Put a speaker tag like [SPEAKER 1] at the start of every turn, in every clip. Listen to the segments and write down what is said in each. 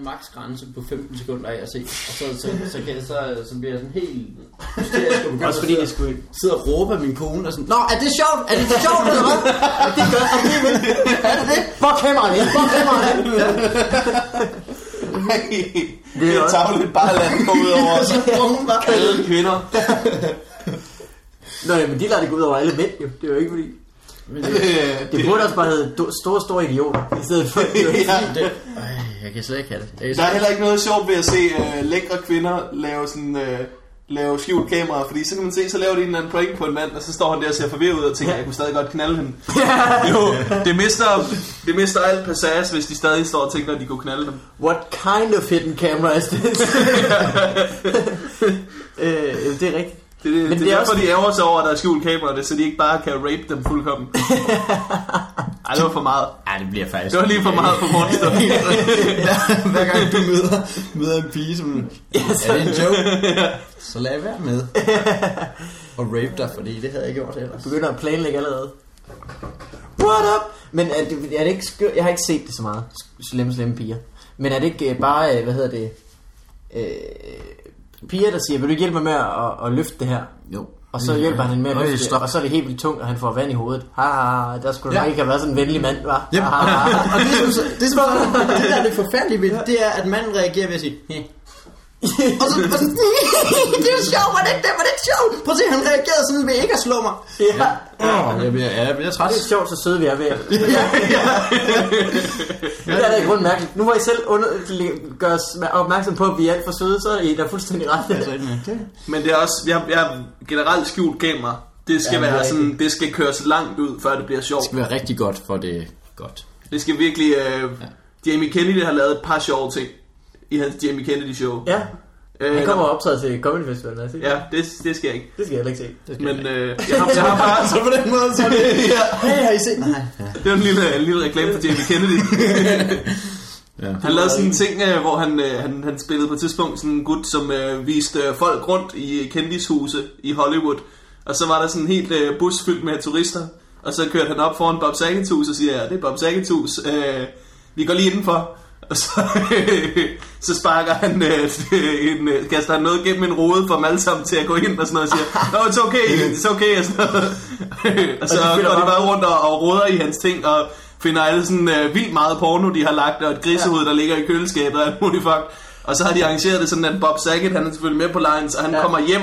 [SPEAKER 1] maksgrænse på 15 sekunder af at se. Og så, så, så, kan jeg, så, så bliver jeg sådan helt hysterisk og begynder
[SPEAKER 2] Også fordi
[SPEAKER 1] at
[SPEAKER 2] det
[SPEAKER 1] sidde-
[SPEAKER 2] skulle ikke...
[SPEAKER 1] sidde og råbe af min kone og sådan, Nå, er det sjovt? Er det for sjovt eller hvad? Og det gør jeg alligevel. Er det det?
[SPEAKER 2] Hvor kameraet ind? Hvor kameraet ind?
[SPEAKER 3] Det er tavligt bare lade den gå ud over os.
[SPEAKER 1] Og hun var
[SPEAKER 3] Alle kvinder.
[SPEAKER 2] Nå, jamen, de lader det gå ud over alle mænd, jo. Det er jo ikke fordi...
[SPEAKER 1] Men
[SPEAKER 3] Det,
[SPEAKER 1] det,
[SPEAKER 2] Det burde også bare hedde do- store, store idioter, i stedet for... Det er jo ikke-
[SPEAKER 3] ja.
[SPEAKER 1] det, øj, jeg kan slet ikke have det. Jeg kan
[SPEAKER 3] Der
[SPEAKER 1] slet-
[SPEAKER 3] er heller ikke noget sjovt ved at se uh, lækre kvinder lave sådan... Uh, lave skjult kamera, fordi så kan man se, så laver de en eller anden prank på en mand, og så står han der og ser forvirret ud og tænker, jeg kunne stadig godt knalde hende. Jo, det mister, det mister alt passage, hvis de stadig står og tænker, at de kunne knalde dem.
[SPEAKER 2] What kind of hidden camera is this? øh, det er rigtigt.
[SPEAKER 3] Det, det,
[SPEAKER 2] Men
[SPEAKER 3] det,
[SPEAKER 2] det
[SPEAKER 3] det
[SPEAKER 2] er
[SPEAKER 3] er derfor,
[SPEAKER 2] også-
[SPEAKER 3] de ærger sig over, at der er skjult kamera, det, så de ikke bare kan rape dem fuldkommen. Ej, det var for meget.
[SPEAKER 1] Ej, det bliver faktisk...
[SPEAKER 3] Det var lige for meget for monster.
[SPEAKER 1] Hver gang du møder, møder en pige, som... Yes. Er det en joke? Så lad være med. Og rape dig, fordi det havde jeg gjort ellers.
[SPEAKER 2] Begynder at planlægge allerede. What up? Men er det, er det ikke skørt? Jeg har ikke set det så meget. Slemme, slemme piger. Men er det ikke øh, bare, øh, hvad hedder det... Øh, piger, der siger, vil du ikke hjælpe mig med at, at, at løfte det her?
[SPEAKER 1] Jo.
[SPEAKER 2] Og så hjælper han hende med at
[SPEAKER 1] Øj,
[SPEAKER 2] løfte det,
[SPEAKER 1] stop.
[SPEAKER 2] og så er det helt vildt tungt, og han får vand i hovedet. Ha, ha, ha, der skulle du
[SPEAKER 1] Ja.
[SPEAKER 2] nok ikke have været sådan en venlig mand, var.
[SPEAKER 1] Yep. og det, som, så- det, som, så- det der er det forfærdelige ved det, det er, at manden reagerer ved at sige, "Hæ." og så, og så det er sjovt, var det, ikke det, var det ikke sjovt? Prøv at se, han reagerede sådan ved ikke at slå mig.
[SPEAKER 2] ja.
[SPEAKER 1] Oh, jeg bliver, ja, jeg bliver træt.
[SPEAKER 2] Det er sjovt, så søde vi er ved at... Det er da i grunden mærkeligt. Nu hvor I selv under... gør os opmærksom på, at vi er alt for søde, så er I da fuldstændig ret.
[SPEAKER 1] Altså,
[SPEAKER 3] Men det er også, jeg, jeg generelt skjult kamera. Det
[SPEAKER 1] Ja,
[SPEAKER 3] skal ja,
[SPEAKER 1] det er
[SPEAKER 3] være sådan, det skal køres langt ud, før det bliver sjovt.
[SPEAKER 1] skal være rigtig godt, for det er godt.
[SPEAKER 3] Det skal virkelig, øh, Jamie Kennedy har lavet et par sjove ting i hans Jamie Kennedy show.
[SPEAKER 2] Ja,
[SPEAKER 3] øh,
[SPEAKER 2] han kommer og optræder til Comedy Festival, lad os sige.
[SPEAKER 3] Ja, det, det skal jeg ikke.
[SPEAKER 2] Det skal jeg heller ikke se.
[SPEAKER 3] Men øh, jeg, har, jeg har bare...
[SPEAKER 1] Altså, på den måde, så er det,
[SPEAKER 3] ja,
[SPEAKER 1] hey, har I set? Nej.
[SPEAKER 3] det var en lille, en lille reklame for Jamie Kennedy.
[SPEAKER 1] Ja.
[SPEAKER 3] Han lavede sådan en ting, øh, hvor han, øh, han, han spillede på et tidspunkt sådan en gut, som øh, viste øh, folk rundt i kendishuse i Hollywood. Og så var der sådan en helt øh, bus fyldt med turister. Og så kørte han op foran Bob Saget's hus og siger, ja, det er Bob Saget's hus. Øh, vi går lige indenfor. Og så, så sparker han, øh, en, øh, kaster han noget gennem en rode for dem alle sammen til at gå ind og sådan noget, og siger, no, it's okay, it's okay, og sådan noget. og så
[SPEAKER 2] Og de finder
[SPEAKER 3] går
[SPEAKER 2] bare-
[SPEAKER 3] de bare rundt og, og råder i hans ting, og finder alle sådan øh, vildt meget porno, de har lagt, og et grisehoved, der ligger i køleskabet og alt muligt fuck. Og så har de arrangeret det sådan, at Bob Saget, han er selvfølgelig med på Lions, og han
[SPEAKER 2] Ja.
[SPEAKER 3] ja. kommer hjem,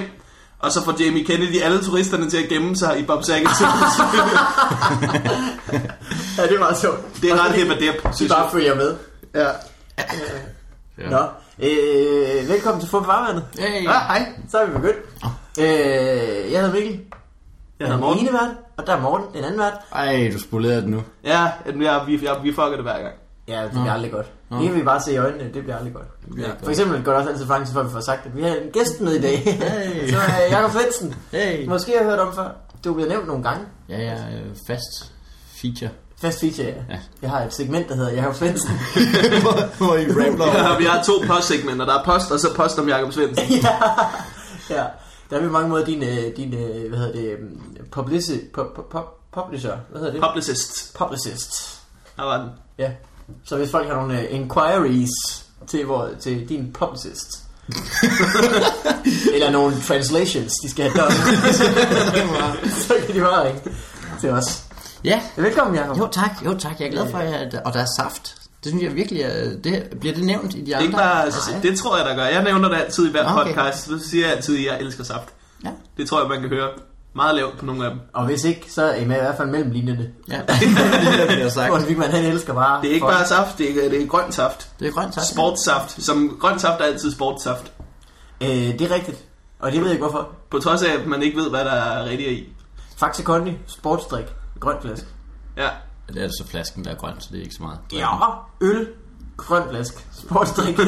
[SPEAKER 3] og så får Jamie Kennedy alle turisterne til at gemme sig i Bob Saget's hus.
[SPEAKER 2] Ja, det er meget sjovt.
[SPEAKER 3] det er
[SPEAKER 2] Og så
[SPEAKER 3] ret
[SPEAKER 2] de-
[SPEAKER 3] hip og dip,
[SPEAKER 2] De
[SPEAKER 3] synes jeg.
[SPEAKER 2] bare følger med.
[SPEAKER 3] Ja.
[SPEAKER 1] Ja.
[SPEAKER 2] Nå, øh, velkommen til Fup Varvandet.
[SPEAKER 1] Hey.
[SPEAKER 3] Ah, hej.
[SPEAKER 2] Så er vi begyndt. Øh, jeg hedder Mikkel.
[SPEAKER 3] Jeg hedder
[SPEAKER 2] Den
[SPEAKER 3] Morten.
[SPEAKER 2] ene vært, og der er Morten, den anden vært.
[SPEAKER 1] Ej, du spolerede det nu.
[SPEAKER 3] Ja, jeg, vi, jeg, vi fucker det hver gang.
[SPEAKER 2] Ja, det bliver aldrig godt. Det kan vi bare se i øjnene, det bliver aldrig godt.
[SPEAKER 1] bliver
[SPEAKER 2] Ja.
[SPEAKER 1] ikke
[SPEAKER 2] For eksempel går det også altid fangen, før vi får sagt det. Vi har en gæst med i dag,
[SPEAKER 1] Hey.
[SPEAKER 2] så øh, Jakob Svendsen.
[SPEAKER 1] Hey.
[SPEAKER 2] Måske har jeg hørt om før. Du er blevet nævnt nogle gange.
[SPEAKER 1] Ja, jeg er øh, fast feature.
[SPEAKER 2] Fast feature, ja.
[SPEAKER 1] Ja.
[SPEAKER 2] Jeg har et segment, der hedder Jakob Svendsen.
[SPEAKER 1] Hvor I rambler
[SPEAKER 3] Ja, vi har to postsegmenter. Der er post, og så post om Jakob Svendsen.
[SPEAKER 2] ja. ja. Der er vi mange måder din, øh, din øh, hvad hedder det, øhm, publici, pu, pu, pu, publisher, hvad hedder det?
[SPEAKER 3] Publicist.
[SPEAKER 2] Publicist.
[SPEAKER 3] Der var den.
[SPEAKER 2] Ja. Så hvis folk har nogle øh, inquiries til, hvor, til din publicist, eller nogle translations, de skal have done, så kan de bare ringe til os.
[SPEAKER 1] Ja,
[SPEAKER 2] Velkommen, Jacob.
[SPEAKER 1] jo tak, jo tak. Jeg er glad for, at og der er saft. Det synes jeg virkelig, er, det, bliver det nævnt i de
[SPEAKER 3] Det, er
[SPEAKER 1] andre?
[SPEAKER 3] ikke bare,
[SPEAKER 1] Af dig?
[SPEAKER 3] det tror jeg, der gør. Jeg nævner det altid i hver
[SPEAKER 1] Nå, okay.
[SPEAKER 3] okay. podcast. Så siger jeg altid, at jeg elsker saft.
[SPEAKER 1] Ja.
[SPEAKER 3] Det tror jeg, man kan høre meget lavt på nogle af dem.
[SPEAKER 2] Og hvis ikke, så er I med i hvert fald mellem linjerne.
[SPEAKER 1] Ja, det bliver sagt.
[SPEAKER 2] Morten Wigman, han elsker bare...
[SPEAKER 3] Det er ikke
[SPEAKER 2] folk.
[SPEAKER 3] bare saft, det er, det er grønt saft.
[SPEAKER 1] Det er grønt saft.
[SPEAKER 3] Sportssaft. Som grønt saft er altid sportssaft.
[SPEAKER 2] Øh, det er rigtigt. Og det ved jeg ikke hvorfor.
[SPEAKER 3] På trods af, at man ikke ved, hvad der er rigtigt i.
[SPEAKER 2] Faxe Kondi, sportsdrik, grøn flaske.
[SPEAKER 3] Ja.
[SPEAKER 1] Det er altså flasken, der er grøn, så det er ikke så meget.
[SPEAKER 2] Ja. Øl, grøn flaske, sportsdrik.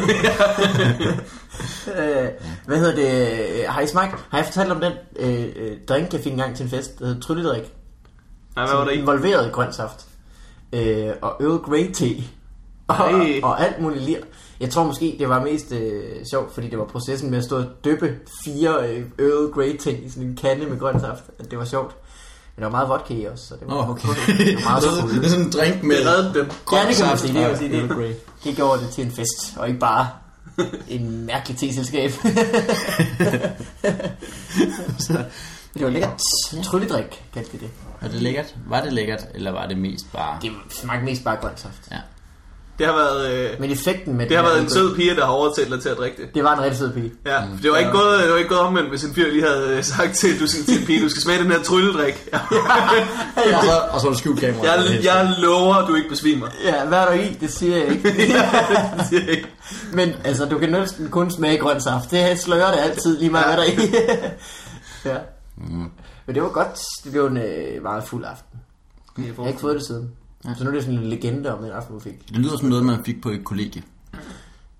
[SPEAKER 2] øh, hvad hedder det? Har I smagt? Har jeg fortalt om den øh, øh, drink, jeg fik engang til en fest, der hedder trylledrik?
[SPEAKER 3] Nej, hvad var det i?
[SPEAKER 2] Involveret grøn saft. Øh, og Earl Grey te. Og,
[SPEAKER 3] Ej.
[SPEAKER 2] og alt muligt lir. Jeg tror måske, det var mest øh, sjovt, fordi det var processen med at stå og døbe fire øh, Earl Grey ting i sådan en kande med grøn saft. at Det var sjovt. Men der var meget vodka i også, så det var...
[SPEAKER 1] Nå, okay.
[SPEAKER 2] Det var meget
[SPEAKER 1] Det er sådan-
[SPEAKER 2] fulde.
[SPEAKER 1] det er sådan en drink med...
[SPEAKER 3] Jeg reddede
[SPEAKER 2] Ja,
[SPEAKER 3] dem.
[SPEAKER 2] det kan man
[SPEAKER 1] Grøntsaft
[SPEAKER 2] sige, det er
[SPEAKER 1] og
[SPEAKER 2] også en
[SPEAKER 1] Earl Grey.
[SPEAKER 2] Gik over det til en fest, og ikke bare en mærkelig teselskab. det var lækkert. Trylledrik, kaldte vi det.
[SPEAKER 1] Er det lækkert? Var det lækkert, eller var det mest bare...
[SPEAKER 2] Det smagte mest bare grøntsaft.
[SPEAKER 1] Ja.
[SPEAKER 3] Det har været, øh,
[SPEAKER 2] Men effekten med
[SPEAKER 3] det har
[SPEAKER 2] den her
[SPEAKER 3] været en
[SPEAKER 2] øl-
[SPEAKER 3] sød pige, der har overtalt dig til at drikke det.
[SPEAKER 2] Det var en rigtig sød pige.
[SPEAKER 3] Ja, mm. det var ikke gået, det var ikke gået omvendt, hvis en fyr lige havde øh, sagt til, du skal, til en pige, du skal smage den her trylledrik. Ja.
[SPEAKER 1] Og så, og så er der skjult kamera.
[SPEAKER 3] Jeg, jeg lover, at du ikke besvimer.
[SPEAKER 2] Ja, hvad er der i? Det siger jeg ikke.
[SPEAKER 3] Det siger jeg ikke.
[SPEAKER 2] Men altså, du kan næsten kun smage grøn saft. Det slører det altid lige meget, hvad der er i. ja. Mm. Men det var godt. Det blev en øh, meget fuld aften. Jeg har ikke fået det siden. Så nu er det sådan en legende om den aften, vi fik.
[SPEAKER 1] Det lyder som noget, man fik på et kollegie.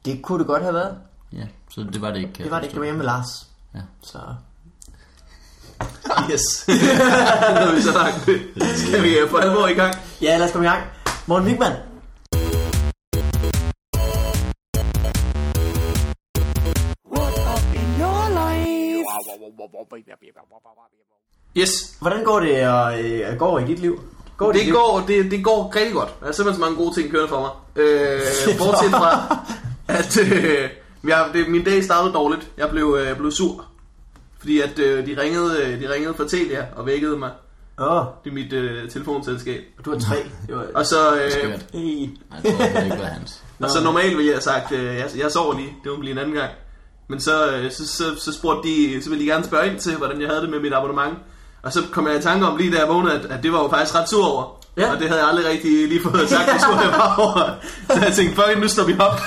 [SPEAKER 2] Det kunne det godt have været.
[SPEAKER 1] Ja, så det var det ikke. kan
[SPEAKER 2] Det var det
[SPEAKER 1] jeg
[SPEAKER 2] ikke. Det var hjemme med Lars.
[SPEAKER 1] Ja.
[SPEAKER 2] Så
[SPEAKER 3] Yes. nu har vi så langt. Skal vi øh, for alvor i gang?
[SPEAKER 2] Ja, lad os komme i gang. Morten Wigman.
[SPEAKER 3] Yes.
[SPEAKER 2] Hvordan går det og, øh, går i dit liv? Går i
[SPEAKER 3] Det
[SPEAKER 2] dit
[SPEAKER 3] går, det, det går rigtig godt. Der er simpelthen så mange gode ting kørende for mig. Øh, bortset fra, at øh, jeg, det, min dag startede dårligt. Jeg blev, øh, blev sur. Fordi at øh, de, ringede, øh, de ringede fra Telia og vækkede mig.
[SPEAKER 2] liv? Åh,
[SPEAKER 3] Det er mit øh, telefonselskab.
[SPEAKER 2] du har tre. Det var...
[SPEAKER 3] Og så, øh,
[SPEAKER 1] Skørt.
[SPEAKER 2] Hey.
[SPEAKER 1] Nej, det var det ikke var hans.
[SPEAKER 3] og så Altså, normalt ville jeg have sagt, øh, jeg, jeg sover lige, det må blive en anden gang. Men så, øh, så, så, så spurgte de, så ville de gerne spørge ind til, hvordan jeg havde det med mit abonnement. Og så kom jeg i tanke om lige da jeg vågnede, at, at det var jeg jo faktisk ret sur over.
[SPEAKER 2] Ja.
[SPEAKER 3] Ja. Og det havde jeg aldrig rigtig lige fået sagt, hvor sur jeg var over. Så jeg tænkte, fuck, it, nu står vi op.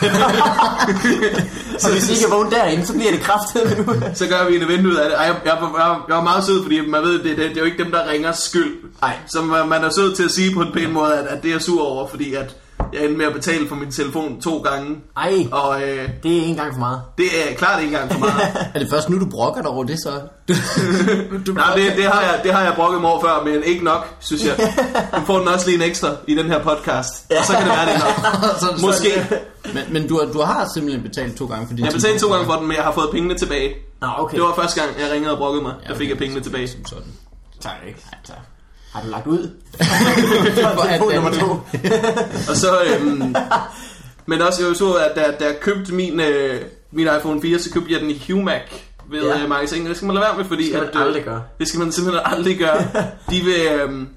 [SPEAKER 2] Så hvis I ikke er vågen derinde, så bliver det kraftet nu.
[SPEAKER 3] så gør vi en event ud af det. Ej, jeg, jeg, jeg, jeg var meget sød, fordi man ved, det, det, det er jo ikke dem, der ringer skyld.
[SPEAKER 2] Nej.
[SPEAKER 3] Som man man er sød til at sige på en pæn måde, at, at det er jeg sur over, fordi at jeg endte med at betale for min telefon to gange.
[SPEAKER 2] Ej,
[SPEAKER 3] Og øh,
[SPEAKER 2] det er en gang for meget.
[SPEAKER 3] det er klart ikke engang for meget.
[SPEAKER 1] Er det først nu, du brokker dig over det, så? Du, du
[SPEAKER 3] Nej, det, det, har jeg, det har jeg brokket mig over før, men ikke nok, synes jeg. Nu får den også lige en ekstra i den her podcast. Og så kan det være, det er nok.
[SPEAKER 1] Sådan,
[SPEAKER 3] Måske.
[SPEAKER 1] Men, men du, har- du har simpelthen betalt to gange for din
[SPEAKER 3] Jeg betalte to gange for den, men jeg har fået pengene tilbage.
[SPEAKER 2] Nå, okay.
[SPEAKER 3] Det var første gang, jeg ringede og brokkede mig. Der fik jeg pengene tilbage.
[SPEAKER 1] Som sådan.
[SPEAKER 2] Tak, ikke? Tak. Har du lagt ud?
[SPEAKER 1] For alt
[SPEAKER 2] Telefon nummer
[SPEAKER 1] andet.
[SPEAKER 2] to.
[SPEAKER 3] Og så... Øhm, men også, jeg så, at da, da jeg købte min, øh, min iPhone 4, så købte jeg den i Humac ved
[SPEAKER 2] Ja.
[SPEAKER 3] ja. magasinet. Det skal man lade være med, fordi...
[SPEAKER 2] Det skal
[SPEAKER 3] at,
[SPEAKER 2] man
[SPEAKER 3] øh,
[SPEAKER 2] aldrig gøre.
[SPEAKER 3] Det skal man simpelthen aldrig gøre. De, vil, øhm,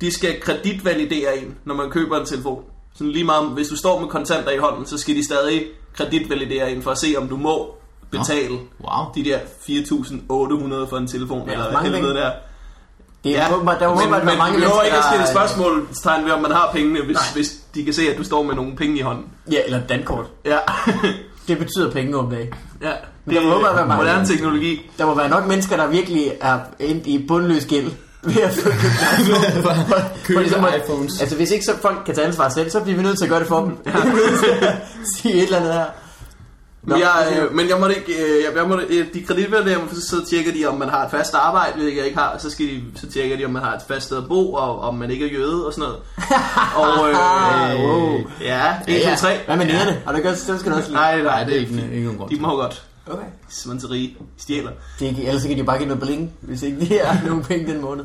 [SPEAKER 3] de skal kreditvalidere en, når man køber en telefon. Sådan lige meget, om- hvis du står med kontanter i hånden, så skal de stadig kreditvalidere en for at se, om du må betale
[SPEAKER 1] Wow.
[SPEAKER 3] de der 4.800 for en telefon. Ja, eller
[SPEAKER 2] mange
[SPEAKER 3] helvede
[SPEAKER 2] penge.
[SPEAKER 3] der.
[SPEAKER 2] Det er åbenbart, der er åbenbart,
[SPEAKER 3] men,
[SPEAKER 2] men,
[SPEAKER 3] men
[SPEAKER 2] mange
[SPEAKER 3] du behøver ikke at
[SPEAKER 2] der-
[SPEAKER 3] stille spørgsmålstegn ved, om man har pengene, hvis,
[SPEAKER 2] Nej.
[SPEAKER 3] hvis de kan se, at du står med nogle penge i hånden.
[SPEAKER 2] Ja, eller dankort.
[SPEAKER 3] Ja,
[SPEAKER 2] Det betyder penge om dag.
[SPEAKER 3] ja.
[SPEAKER 2] Men der må
[SPEAKER 3] øh,
[SPEAKER 2] bare være mange.
[SPEAKER 3] moderne teknologi.
[SPEAKER 2] Der må være nok mennesker, der virkelig er endt i bundløs gæld ved at købe
[SPEAKER 1] Købe
[SPEAKER 2] Fordi så må-
[SPEAKER 1] iPhones.
[SPEAKER 2] Altså hvis ikke så folk kan tage ansvar selv, så bliver vi nødt til at gøre det for dem. Vi bliver nødt til at sige et eller andet her. Nå,
[SPEAKER 3] Men jeg, øh, men jeg måtte ikke, øh, jeg, jeg måtte, øh, de kreditværdige, så, så tjekker de, om man har et fast arbejde, hvilket jeg ikke har, så, skal de, så tjekker de, om man har et fast sted at bo, og om man ikke er jøde og sådan noget. Og, øh,
[SPEAKER 2] wow.
[SPEAKER 3] ja, 1, 2, 3.
[SPEAKER 2] Hvad med nærerne? Har du ikke også, dem skal du også lige.
[SPEAKER 3] Nej,
[SPEAKER 1] Nej,
[SPEAKER 3] nej,
[SPEAKER 1] det er ikke, ikke nogen grund.
[SPEAKER 3] de må godt.
[SPEAKER 2] Okay.
[SPEAKER 3] Simpelthen til rige. Stjæler.
[SPEAKER 2] Det er ikke, ellers så kan de bare give noget bling, hvis ikke de har nogen penge den måned.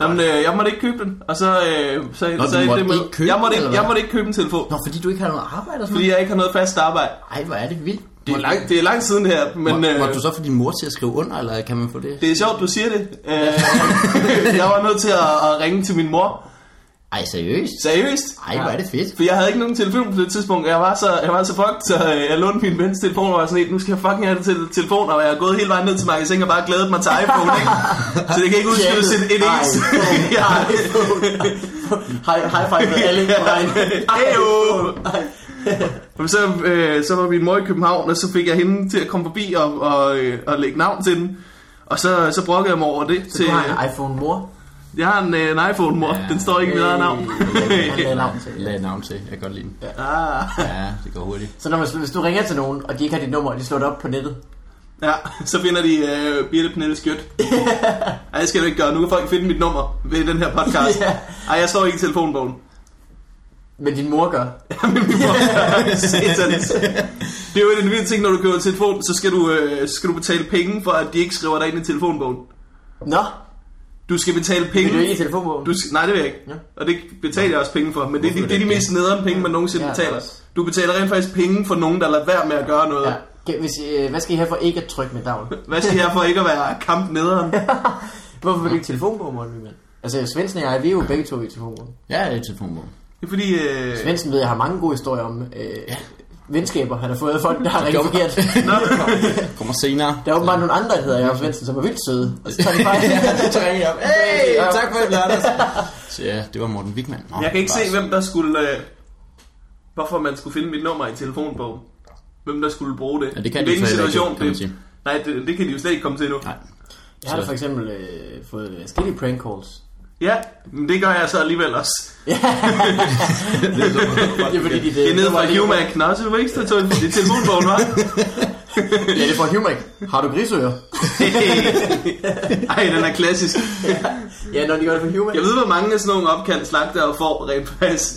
[SPEAKER 3] Nå, men, øh, jeg måtte ikke købe den, og så... Øh, så,
[SPEAKER 1] Nå,
[SPEAKER 3] så
[SPEAKER 1] du
[SPEAKER 3] endte
[SPEAKER 1] måtte
[SPEAKER 3] det med-
[SPEAKER 1] ikke købe
[SPEAKER 3] jeg måtte
[SPEAKER 1] den,
[SPEAKER 3] ikke,
[SPEAKER 1] eller
[SPEAKER 3] jeg
[SPEAKER 1] hvad?
[SPEAKER 3] måtte ikke købe en telefon,
[SPEAKER 1] Nå, fordi du ikke har noget arbejde og sådan
[SPEAKER 3] fordi jeg ikke har noget fast arbejde.
[SPEAKER 1] noget? Ej, hvor er det vildt.
[SPEAKER 3] Det er,
[SPEAKER 1] Hvor-
[SPEAKER 3] langt, det er lang siden her, men...
[SPEAKER 1] Men, må,
[SPEAKER 3] øh,
[SPEAKER 1] måtte du så få din mor til at skrive under, eller kan man få det?
[SPEAKER 3] Det er sjovt, du siger det. Øh, jeg var nødt til at, at ringe til min mor.
[SPEAKER 1] Ej, seriøst?
[SPEAKER 3] Seriøst?
[SPEAKER 1] Ej, hvor er det fedt.
[SPEAKER 3] For jeg havde ikke nogen telefon på det tidspunkt. Jeg var så, jeg var så fucked, så øh, jeg lånte min vens telefon, og var sådan helt, nu skal jeg fucking have det til telefon, og jeg er gået hele vejen ned til magasin og bare glædet mig til iPhone, ikke? Så det kan ikke udskrives en, en eneste. Ja.
[SPEAKER 2] High, high five med alle på vejen.
[SPEAKER 3] Heyo! Men så, øh, så var min mor i København, og så fik jeg hende til at komme forbi og, og, øh, og lægge navn til den. Og så, så brokkede jeg mig over det.
[SPEAKER 2] Så
[SPEAKER 3] til,
[SPEAKER 2] du har en iPhone-mor.
[SPEAKER 3] Jeg har en, øh, en iPhone, mor.
[SPEAKER 1] Ja.
[SPEAKER 3] Den står ikke i mit eget navn.
[SPEAKER 2] Han lagde navn til.
[SPEAKER 1] Lad et navn til. Jeg kan godt lide den. Ja,
[SPEAKER 3] ah,
[SPEAKER 1] ja det går hurtigt.
[SPEAKER 2] Så når man, hvis du ringer til nogen, og de ikke har dit nummer, og de slår det op på nettet.
[SPEAKER 3] ja, så finder de øh, Birte Pernille Skjødt. Ej, det skal du ikke gøre. Nu kan folk finde mit nummer ved den her podcast.
[SPEAKER 2] Ja.
[SPEAKER 3] Ej, jeg står ikke i telefonbogen.
[SPEAKER 2] Men din mor gør.
[SPEAKER 3] Satans. det er jo en vild ting, når du køber en telefon, så skal du, øh, så skal du betale penge for, at de ikke skriver dig ind i telefonbogen.
[SPEAKER 2] Nå,
[SPEAKER 3] Du skal betale
[SPEAKER 2] Vil
[SPEAKER 3] penge.
[SPEAKER 2] du ikke i telefonbogen?
[SPEAKER 3] Du, skal- nej, det vil jeg ikke.
[SPEAKER 2] Ja.
[SPEAKER 3] Og det betaler jeg også penge for. Men det,
[SPEAKER 1] Hvorfor
[SPEAKER 3] det, det er de
[SPEAKER 1] det?
[SPEAKER 3] mest nederen penge, man nogensinde
[SPEAKER 2] Ja,
[SPEAKER 3] betaler.
[SPEAKER 2] også.
[SPEAKER 3] Du betaler rent faktisk penge for nogen, der lader være med at gøre noget.
[SPEAKER 2] Ja. Kan- Hvis, øh, hvad skal I have for ikke at trykke med dagl?
[SPEAKER 3] Hvad skal jeg for ikke at være kamp nederen?
[SPEAKER 2] Hvorfor vil du ikke telefonbogen, Morten Wigman? Altså, Svendsen og jeg, vi er jo begge to i telefonbogen.
[SPEAKER 1] Ja, det er telefonbogen.
[SPEAKER 3] Det er fordi... Øh...
[SPEAKER 2] Svendsen ved, jeg har mange gode historier om øh, venskaber, han har fået af folk, der har rigtig
[SPEAKER 1] Dumme.
[SPEAKER 2] forkert.
[SPEAKER 3] Nå,
[SPEAKER 1] Kommer senere.
[SPEAKER 2] Der er åbenbart nogle andre, der hedder Jacob Svendsen, som er vildt søde. Og så tager de fejl.
[SPEAKER 1] så ringer jeg op. Hey, tak for det, Anders. Så ja, det var Morten Wigman. Nå,
[SPEAKER 3] jeg kan ikke
[SPEAKER 1] bare-
[SPEAKER 3] se, hvem der skulle... Øh... Hvorfor man skulle finde mit nummer i telefonbogen. Hvem der skulle bruge det.
[SPEAKER 1] Ja, det kan
[SPEAKER 3] I
[SPEAKER 1] de
[SPEAKER 3] hvilken
[SPEAKER 1] så heller ikke,
[SPEAKER 3] situation
[SPEAKER 1] kan man
[SPEAKER 3] det...
[SPEAKER 1] sige.
[SPEAKER 3] Nej, det, det kan de jo slet ikke komme til nu.
[SPEAKER 1] Nej.
[SPEAKER 2] Jeg har da for eksempel øh, fået skille prank calls.
[SPEAKER 3] Ja, men det gør jeg så alligevel også.
[SPEAKER 2] Det er fordi, de,
[SPEAKER 1] Øh,
[SPEAKER 3] Det er nede fra Humac. Nå, så er du ikke stå i telefonbogen, hva'?
[SPEAKER 2] Ja, det er fra Humac. Har du grisører?
[SPEAKER 3] Ej, den er klassisk.
[SPEAKER 2] Ja, når de gør det fra Humac.
[SPEAKER 3] Jeg ved, hvor mange af sådan nogle opkald slagter får rent faktisk.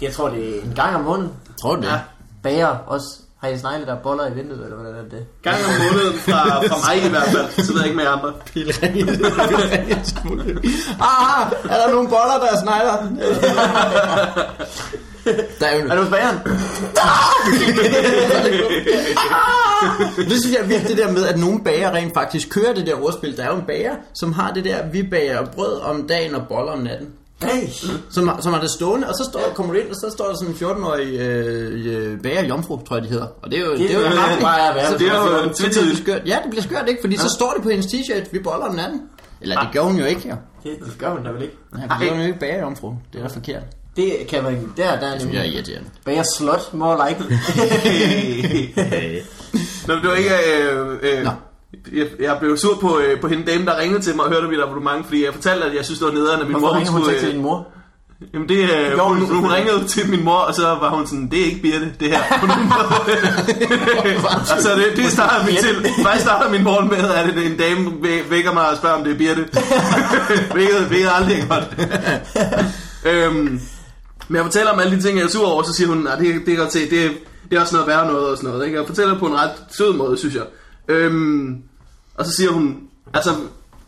[SPEAKER 2] Jeg tror, det er en gang om måneden.
[SPEAKER 1] Tror du det?
[SPEAKER 3] Ja.
[SPEAKER 2] Bager også. Har I snegle, der er boller i vinduet, eller hvordan er det?
[SPEAKER 3] Gang om måneden fra, fra mig i hvert fald, så ved jeg ikke med jer andre.
[SPEAKER 1] Pilringet. ah, er der nogle boller, der er snegler? der er jo
[SPEAKER 2] Er du hos bageren?
[SPEAKER 1] Det synes jeg virkelig, det der med, at nogle bager rent faktisk kører det der ordspil. Der er jo en bager, som har det der, vi bager brød om dagen og boller om natten.
[SPEAKER 2] Hey.
[SPEAKER 1] Som, har- som har det stående, og så står, kommer du ind, og så står der sådan en 14-årig øh, øh, bager jomfru, tror jeg, de hedder. Og det er jo, det, er jo
[SPEAKER 2] jo
[SPEAKER 1] ret-
[SPEAKER 2] bare at være.
[SPEAKER 1] Så
[SPEAKER 3] Det er jo
[SPEAKER 1] så bliver det
[SPEAKER 3] tvetydigt.
[SPEAKER 1] skørt. Ja, det bliver skørt, ikke? Fordi ja. så står det på hendes t-shirt, vi boller om natten. Eller det gjorde hun jo ikke, jo.
[SPEAKER 2] Det, det gør hun da vel ikke.
[SPEAKER 1] Nej,
[SPEAKER 3] Ej.
[SPEAKER 1] det gjorde hun jo ikke bager jomfru. Det er da forkert.
[SPEAKER 2] Det kan man Der, der er
[SPEAKER 1] Det er
[SPEAKER 2] nemlig.
[SPEAKER 1] irriterende.
[SPEAKER 2] Bager slot, more like.
[SPEAKER 3] Nå, men det var ikke... Øh, øh,
[SPEAKER 1] Nå.
[SPEAKER 3] jeg, jeg blev sur på, øh, på hende dame, der ringede til mig og hørte om mit abonnement, fordi jeg fortalte, at jeg synes, det var nederen, at min
[SPEAKER 2] Hvorfor
[SPEAKER 3] mor hun
[SPEAKER 2] ringer hun så ikke
[SPEAKER 3] skulle...
[SPEAKER 2] til
[SPEAKER 3] Øh,
[SPEAKER 2] din mor?
[SPEAKER 3] jamen det, øh,
[SPEAKER 2] gjorde hun
[SPEAKER 3] hun, hun, hun
[SPEAKER 2] selvfølgelig.
[SPEAKER 3] ringede til min mor, og så var hun sådan, det er ikke Birte, det her. På nogen måde. så det, det starter min til. Faktisk starter min morgen med, at en dame væ- vækker mig og spørger, om det er Birte. hvilket, hvilket aldrig er godt. øhm, men jeg fortæller om alle de ting, jeg er sur over, så siger hun, at det, det kan jeg godt se, det, det er også noget værre noget og sådan noget. Ikke? Jeg fortæller på en ret sød måde, synes jeg. Øhm, og så siger hun, altså,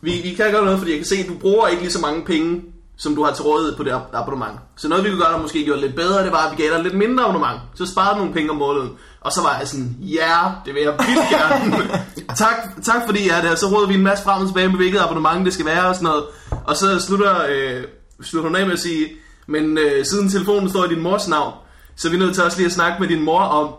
[SPEAKER 3] vi, vi kan gøre noget, fordi jeg kan se, at du bruger ikke lige så mange penge, som du har til rådighed på det ab- abonnement. Så noget, vi kunne gøre, der måske gjorde det lidt bedre, det var, at vi gav dig lidt mindre abonnement. Så sparede du nogle penge om måneden. Og så var jeg sådan, ja, yeah, det vil jeg vildt gerne. tak, tak fordi I er der. Så rådede vi en masse frem og tilbage med, hvilket abonnement det skal være og sådan noget. Og så slutter, øh, slutter hun af med at sige, men øh, siden telefonen står i din mors navn, så er vi nødt til også lige at snakke med din mor om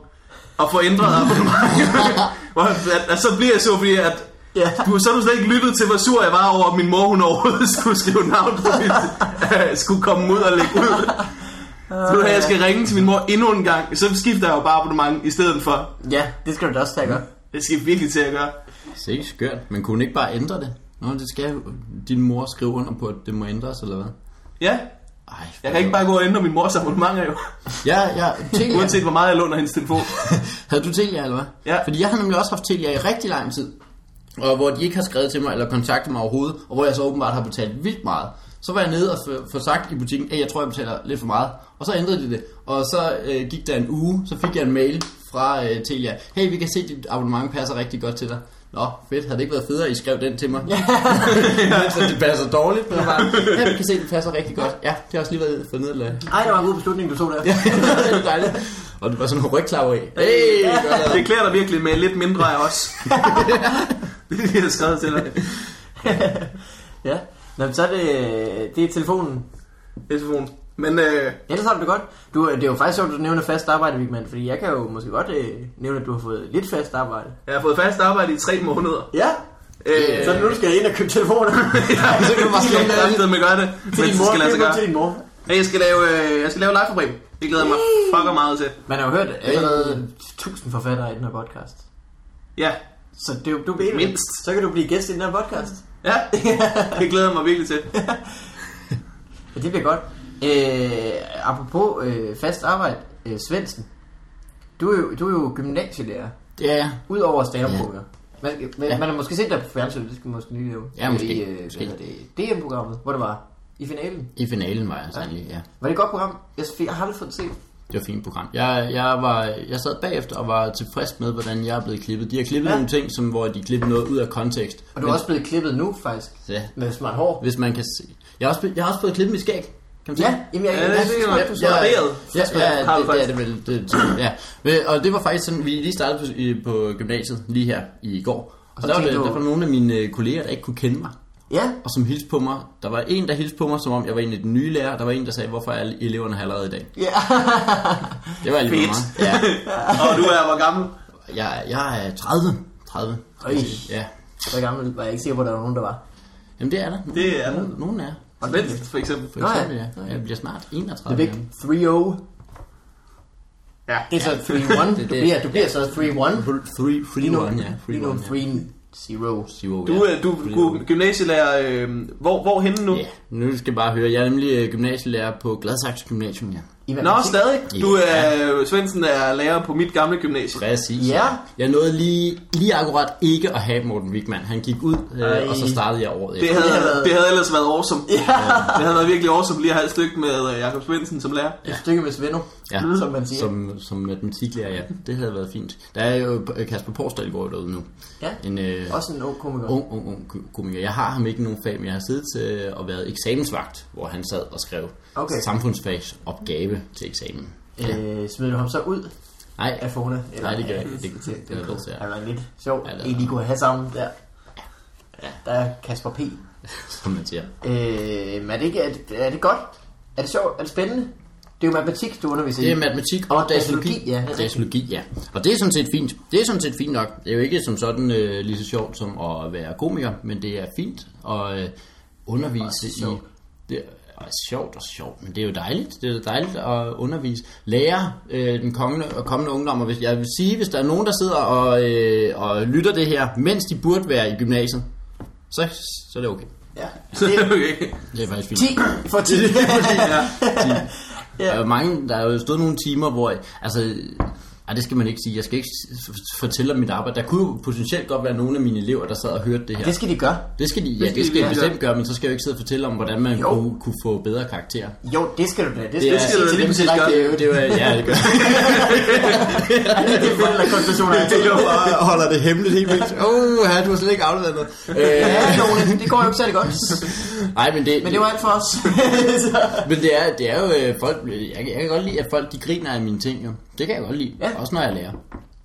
[SPEAKER 3] at få ændret abonnementet. Hvor- at, at, så bliver jeg så, fordi at,
[SPEAKER 2] Ja.
[SPEAKER 3] du, så har du slet ikke lyttet til, hvor sur jeg var over, at min mor hun overhovedet skulle skrive navn på mit, øh, skulle komme ud og lægge ud. Så nu, jeg skal ringe til min mor endnu en gang, så skifter jeg jo bare abonnement i stedet for.
[SPEAKER 2] Ja, det skal du da også tage gøre.
[SPEAKER 3] Det skal jeg virkelig til at gøre.
[SPEAKER 1] Sikke skørt. Men kunne hun ikke bare ændre det? Nå, det skal din mor skrive under på, at det må ændres, eller hvad?
[SPEAKER 3] Ja,
[SPEAKER 1] Ej,
[SPEAKER 3] jeg kan ikke bare gå og ændre min mors abonnement jo.
[SPEAKER 1] Ja, ja. Telia.
[SPEAKER 3] Uanset hvor meget jeg låner hendes telefon.
[SPEAKER 1] Havde du Telia, eller hvad?
[SPEAKER 3] Ja.
[SPEAKER 1] Fordi jeg har nemlig også haft Telia i rigtig lang tid. Og hvor de ikke har skrevet til mig eller kontaktet mig overhovedet. Og hvor jeg så åbenbart har betalt vildt meget. Så var jeg nede og f- få sagt i butikken, at jeg tror, jeg betaler lidt for meget. Og så ændrede de det. Og så øh, gik der en uge, så fik jeg en mail fra øh, Telia. Hey, vi kan se, at dit abonnement passer rigtig godt til dig. Nå, fedt. Havde det ikke været federe, at I skrev den til mig? Ja. så det passer dårligt. Men jeg bare, ja, vi kan se, at det passer rigtig godt. Ja, det har også lige været for ned
[SPEAKER 2] Ej, det var en god beslutning, du tog der.
[SPEAKER 1] det er dejligt. Og det var sådan en rygklap af. Hey, godt lavet.
[SPEAKER 3] Det klæder dig virkelig med lidt mindre af os. Det er det, jeg har skrevet til dig.
[SPEAKER 2] ja. Nå, men så er det, det er telefonen.
[SPEAKER 3] Det er telefonen. Men øh,
[SPEAKER 2] Ellers har du det godt. Du, det er jo faktisk sjovt, at du nævner fast arbejde, Vigman, fordi jeg kan jo måske godt øh, nævne, at du har fået lidt fast arbejde.
[SPEAKER 3] jeg har fået fast arbejde i tre måneder.
[SPEAKER 2] Ja,
[SPEAKER 3] Øh,
[SPEAKER 2] så nu du skal ind og købe telefoner.
[SPEAKER 1] Så kan du bare slå
[SPEAKER 3] Jeg
[SPEAKER 1] den
[SPEAKER 3] kan med at gøre det,
[SPEAKER 2] øh, til
[SPEAKER 3] men
[SPEAKER 2] din
[SPEAKER 3] det
[SPEAKER 2] mor.
[SPEAKER 3] skal lade sig
[SPEAKER 2] Køb den
[SPEAKER 3] gøre.
[SPEAKER 2] til
[SPEAKER 1] altså
[SPEAKER 2] din mor.
[SPEAKER 3] Hey, jeg skal lave, øh, jeg skal lave liveproblem. Det glæder jeg mig fucker meget til.
[SPEAKER 2] Man har jo hørt allerede tusind forfattere i den her podcast.
[SPEAKER 3] Ja,
[SPEAKER 2] Så det, er jo- du bliver
[SPEAKER 3] Mindst.
[SPEAKER 2] Så kan du blive gæst i den her podcast.
[SPEAKER 3] ja. Det glæder jeg mig virkelig til.
[SPEAKER 2] Ja, det bliver godt. Øh, apropos øh, fast arbejde, øh, Svendsen. Du er, jo, du er jo gymnasielærer,
[SPEAKER 1] Ja,
[SPEAKER 2] udover stagerprogrammer. Man, man,
[SPEAKER 1] Ja.
[SPEAKER 2] man, har måske set dig på fjernsynet, det skal man måske lige lave.
[SPEAKER 1] Ja, måske.
[SPEAKER 2] I, øh,
[SPEAKER 1] Måske.
[SPEAKER 2] hvad hedder det, DM-programmet, hvor det var i finalen.
[SPEAKER 1] i finalen var jeg særlig, ja.
[SPEAKER 2] Var det et godt program? Jeg, jeg har aldrig fået det set.
[SPEAKER 1] Det var et fint program. Jeg, jeg, var, jeg sad bagefter og var tilfreds med, hvordan jeg er blevet klippet. De har klippet ja.
[SPEAKER 2] Ja.
[SPEAKER 1] nogle ting, som, hvor de klippede noget ud af kontekst.
[SPEAKER 2] Og du er også blevet klippet nu, faktisk.
[SPEAKER 1] Ja,
[SPEAKER 2] Med smart hår.
[SPEAKER 1] hvis man kan se. Jeg har også, blevet- jeg har også blevet klippet mit skæg. Kan man se
[SPEAKER 2] Ja,
[SPEAKER 1] det?
[SPEAKER 2] jamen, jeg,
[SPEAKER 3] Ja, det
[SPEAKER 2] jeg,
[SPEAKER 3] er sikkert,
[SPEAKER 2] jeg,
[SPEAKER 3] man.
[SPEAKER 2] forstår
[SPEAKER 1] Ja,
[SPEAKER 2] dig.
[SPEAKER 3] Barberet.
[SPEAKER 1] Ja, ja,
[SPEAKER 3] Har
[SPEAKER 1] det,
[SPEAKER 3] du
[SPEAKER 1] det er
[SPEAKER 3] faktisk.
[SPEAKER 1] det vel. Det, ja. Ved- Og det var faktisk sådan, vi lige startede på, i- på gymnasiet lige her i går. Og,
[SPEAKER 2] så
[SPEAKER 1] der, var det,
[SPEAKER 2] tænkte du-
[SPEAKER 1] der var nogle af mine øh, kolleger, der ikke kunne kende mig,
[SPEAKER 2] ja,
[SPEAKER 1] og som hilste på mig. Der var en, der hilste på mig, som om jeg var en af de nye lærere. Der var en, der sagde, hvorfor er alle eleverne her allerede i dag?
[SPEAKER 2] ja.
[SPEAKER 1] Det var alligevel
[SPEAKER 3] Fedt.
[SPEAKER 1] meget. Ja,
[SPEAKER 3] Og du er hvor gammel?
[SPEAKER 1] jeg, jeg er 30. 30.
[SPEAKER 2] Øj.
[SPEAKER 1] Ja.
[SPEAKER 2] Hvor gammel var jeg ikke sikker på, at der var nogen, der var.
[SPEAKER 1] Jamen det er der. Nogen,
[SPEAKER 3] Det er der.
[SPEAKER 1] nogen, nogen er.
[SPEAKER 3] Svend, for eksempel.
[SPEAKER 1] For
[SPEAKER 2] Nå ja.
[SPEAKER 1] eksempel, ja.
[SPEAKER 2] Nå ja.
[SPEAKER 1] Jeg bliver snart
[SPEAKER 2] The
[SPEAKER 1] 31.
[SPEAKER 2] Big
[SPEAKER 1] jamen.
[SPEAKER 2] 3-0.
[SPEAKER 3] Ja.
[SPEAKER 2] Det er så 3-1.
[SPEAKER 1] det.
[SPEAKER 2] Du bliver, du bliver så 3-1.
[SPEAKER 1] Fr- Three,
[SPEAKER 2] Lige
[SPEAKER 1] free
[SPEAKER 2] nu,
[SPEAKER 1] one, ja. Free
[SPEAKER 2] lige nu
[SPEAKER 1] one, ja.
[SPEAKER 2] 3-0.
[SPEAKER 1] Zero,
[SPEAKER 3] Du,
[SPEAKER 1] ja.
[SPEAKER 3] er- du, du er gymnasielærer, øh, hvor, hvor henne nu?
[SPEAKER 1] Ja, nu skal jeg bare høre. Jeg er nemlig øh, gymnasielærer på Gladsaxe Gymnasium, ja.
[SPEAKER 2] I
[SPEAKER 3] Nå,
[SPEAKER 2] matematik.
[SPEAKER 3] stadig. Du er, Svendsen er lærer på mit gamle gymnasie.
[SPEAKER 1] Præcis.
[SPEAKER 2] Ja.
[SPEAKER 1] Jeg nåede lige, lige akkurat ikke at have Morten Wigman. Han gik ud,
[SPEAKER 2] Ej.
[SPEAKER 1] øh, og så startede jeg året
[SPEAKER 3] Det
[SPEAKER 1] efter.
[SPEAKER 3] havde,
[SPEAKER 2] Det havde-
[SPEAKER 3] det havde ellers været awesome. Ja. Det havde været virkelig awesome lige at have et stykke med øh, Jakob Svendsen som lærer.
[SPEAKER 2] Et stykke med Svendo,
[SPEAKER 1] Ja.
[SPEAKER 2] som man siger.
[SPEAKER 1] Som, som matematiklærer, ja. Det havde været fint. Der er jo øh, Kasper Porsdal går jo derude nu.
[SPEAKER 2] Ja.
[SPEAKER 1] En øh,
[SPEAKER 2] Også en ung komiker.
[SPEAKER 1] ung, ung, ung ko- komiker. Jeg har ham ikke i nogen fag, men jeg har siddet til og været eksamensvagt, hvor han sad og skrev
[SPEAKER 2] Okay.
[SPEAKER 1] samfundsfagsopgave til eksamen.
[SPEAKER 2] Øh, smider du ham så ud
[SPEAKER 1] Nej,
[SPEAKER 2] af Fona?
[SPEAKER 1] nej, det gør jeg ikke. Det, det, det, er bedst,
[SPEAKER 2] Det
[SPEAKER 1] ja.
[SPEAKER 2] var lidt sjovt.
[SPEAKER 1] Ja, det er-
[SPEAKER 2] Egentlig kunne have sammen der. Ja, der er Kasper P.
[SPEAKER 1] Som man siger.
[SPEAKER 2] Øh, men er det, ikke, er, det, er det godt? Er det sjovt? Er det spændende? Det er jo matematik, du underviser i.
[SPEAKER 1] Det er matematik og
[SPEAKER 2] Mm. Og
[SPEAKER 1] datalogi.
[SPEAKER 2] datalogi, ja.
[SPEAKER 1] datalogi, ja. Og det er sådan set fint. Det er sådan set fint nok. Det er jo ikke som sådan øh, lige så sjovt som at være komiker, men det er fint at øh, undervise i...
[SPEAKER 2] sjovt.
[SPEAKER 1] Det er og sjovt og sjovt, men det er jo dejligt. Det er jo dejligt at undervise. Lære øh, den kommende, og kommende ungdom, og hvis, jeg vil sige, hvis der er nogen, der sidder og, øh, og lytter det her, mens de burde være i gymnasiet, så, så er det okay.
[SPEAKER 2] Ja.
[SPEAKER 3] Så okay.
[SPEAKER 1] Det er faktisk fint.
[SPEAKER 2] 10 for 10.
[SPEAKER 3] ja.
[SPEAKER 1] Ja. Der er jo mange, der er jo stået nogle timer, hvor... Altså, ej, det skal man ikke sige. Jeg skal ikke s- f- fortælle om mit arbejde. Der kunne jo potentielt godt være nogle af mine elever, der sad og hørte det her.
[SPEAKER 2] det skal de gøre.
[SPEAKER 1] Det skal de, ja, det skal
[SPEAKER 3] de
[SPEAKER 1] de
[SPEAKER 3] virkelig
[SPEAKER 1] bestemt gøre, men så skal jeg jo ikke sidde og fortælle om, hvordan man
[SPEAKER 2] Jo.
[SPEAKER 1] kunne, kunne få bedre karakterer.
[SPEAKER 2] Jo, det skal du da. Det
[SPEAKER 1] Det
[SPEAKER 2] skal,
[SPEAKER 1] er-
[SPEAKER 2] det skal
[SPEAKER 3] det
[SPEAKER 2] du
[SPEAKER 3] er
[SPEAKER 2] til
[SPEAKER 3] lige
[SPEAKER 2] dem
[SPEAKER 3] præcis
[SPEAKER 2] direkte.
[SPEAKER 3] godt.
[SPEAKER 2] i øvrigt.
[SPEAKER 1] Det var, ja, det gør
[SPEAKER 2] Er det det, der er konklusioner?
[SPEAKER 1] Det jo bare holder det hemmeligt helt vildt. Åh, oh, du har slet ikke afleveret noget.
[SPEAKER 2] Ja,
[SPEAKER 1] Øh,
[SPEAKER 2] Lone, det går jo ikke særlig godt.
[SPEAKER 1] nej, men det,
[SPEAKER 2] Men det var alt for os. Så-
[SPEAKER 1] men det, er, det er jo øh, folk... Jeg, kan- jeg kan godt lide, at folk de griner af mine ting, jo. Det kan jeg godt lide.
[SPEAKER 2] Ja.
[SPEAKER 1] Også når jeg lærer.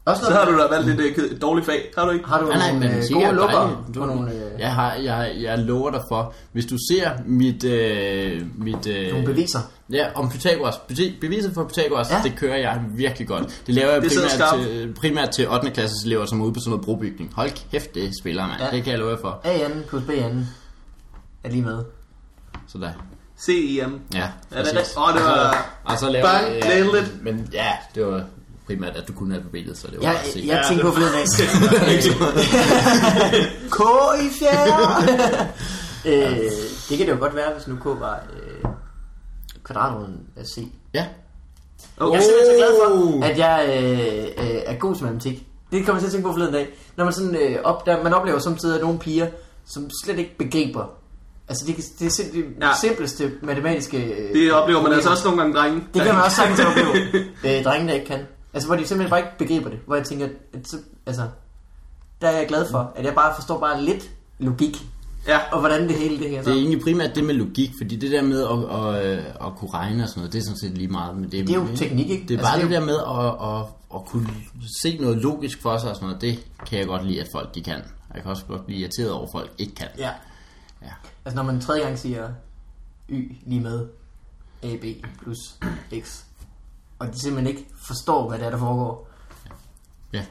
[SPEAKER 2] Også
[SPEAKER 3] Så har du da valgt lidt øh, ked- dårligt fag, har du ikke?
[SPEAKER 2] har du
[SPEAKER 1] Nej, nej,
[SPEAKER 2] nogle
[SPEAKER 1] men
[SPEAKER 2] øh,
[SPEAKER 1] sikkert
[SPEAKER 2] gode lukker
[SPEAKER 1] dejligt.
[SPEAKER 2] på nogle, øh,
[SPEAKER 1] Jeg, har, jeg, jeg lover dig for, hvis du ser mit... Øh, mit øh,
[SPEAKER 2] nogle beviser?
[SPEAKER 1] Ja, om Pythagoras. Be- Beviset for Pythagoras, ja.
[SPEAKER 2] Ja.
[SPEAKER 1] det kører jeg virkelig godt. Det laver jeg
[SPEAKER 3] Det sidder
[SPEAKER 1] primært
[SPEAKER 3] skarpt.
[SPEAKER 1] til, primært til 8. klasses elever, som er ude på sådan noget brobygning. Hold kæft, det spiller, mand. Ja.
[SPEAKER 2] Ja.
[SPEAKER 1] Det kan jeg love jer for.
[SPEAKER 2] A anden plus B anden er lige med.
[SPEAKER 1] Så der.
[SPEAKER 3] CEM.
[SPEAKER 1] Ja,
[SPEAKER 3] E Ja, det er
[SPEAKER 1] præcis.
[SPEAKER 3] det. Åh, det var-
[SPEAKER 1] Og
[SPEAKER 2] Altså,
[SPEAKER 1] så- Og så laver
[SPEAKER 3] Bang,
[SPEAKER 1] jeg...
[SPEAKER 3] nailed it.
[SPEAKER 1] men ja, det var primært, at du kunne have bevæget, så det var
[SPEAKER 2] Jeg,
[SPEAKER 1] bare at se.
[SPEAKER 2] jeg
[SPEAKER 3] Ja,
[SPEAKER 2] tænkte på
[SPEAKER 3] det-
[SPEAKER 2] flere af. K i fjerde! øh, det kan det jo godt være, hvis nu K var øh, kvadratrunden af C.
[SPEAKER 1] ja.
[SPEAKER 2] Jeg
[SPEAKER 3] Okay.
[SPEAKER 2] er simpelthen så glad
[SPEAKER 1] Oh.
[SPEAKER 2] for, at jeg øh, øh, er god til matematik. Det kommer jeg til at tænke på forleden dag. Når man, sådan, øh, op, der, man oplever samtidig nogle piger, som slet ikke begriber. Altså det, det er simpelthen det
[SPEAKER 3] Ja.
[SPEAKER 2] simpleste matematiske... Øh,
[SPEAKER 3] Det oplever man
[SPEAKER 2] problemer.
[SPEAKER 3] altså også nogle gange, drenge.
[SPEAKER 2] Det kan man også sagtens opleve. øh, drenge, der ikke kan. Altså, hvor de simpelthen bare ikke begriber det. Hvor jeg tænker, at, så- altså, der er jeg glad for, at jeg bare forstår bare lidt logik.
[SPEAKER 3] Ja.
[SPEAKER 2] Og hvordan det hele det her
[SPEAKER 1] Det er
[SPEAKER 2] så.
[SPEAKER 1] egentlig primært det med logik, fordi det der med at, at, øh, at, at kunne regne og sådan noget, det er sådan set lige meget. Men det,
[SPEAKER 2] Det er jo teknik, ikke?
[SPEAKER 1] Det er
[SPEAKER 2] Altså,
[SPEAKER 1] bare
[SPEAKER 2] det
[SPEAKER 1] det
[SPEAKER 2] er
[SPEAKER 1] der med at, at, at kunne se noget logisk for sig og sådan noget, det kan jeg godt lide, at folk de kan. Og jeg kan også godt blive irriteret over, at folk ikke kan.
[SPEAKER 2] Ja.
[SPEAKER 1] Ja.
[SPEAKER 2] Altså, når man tredje gang siger Y lige med AB plus X, og de simpelthen ikke forstår, hvad det er, der foregår.
[SPEAKER 1] ja.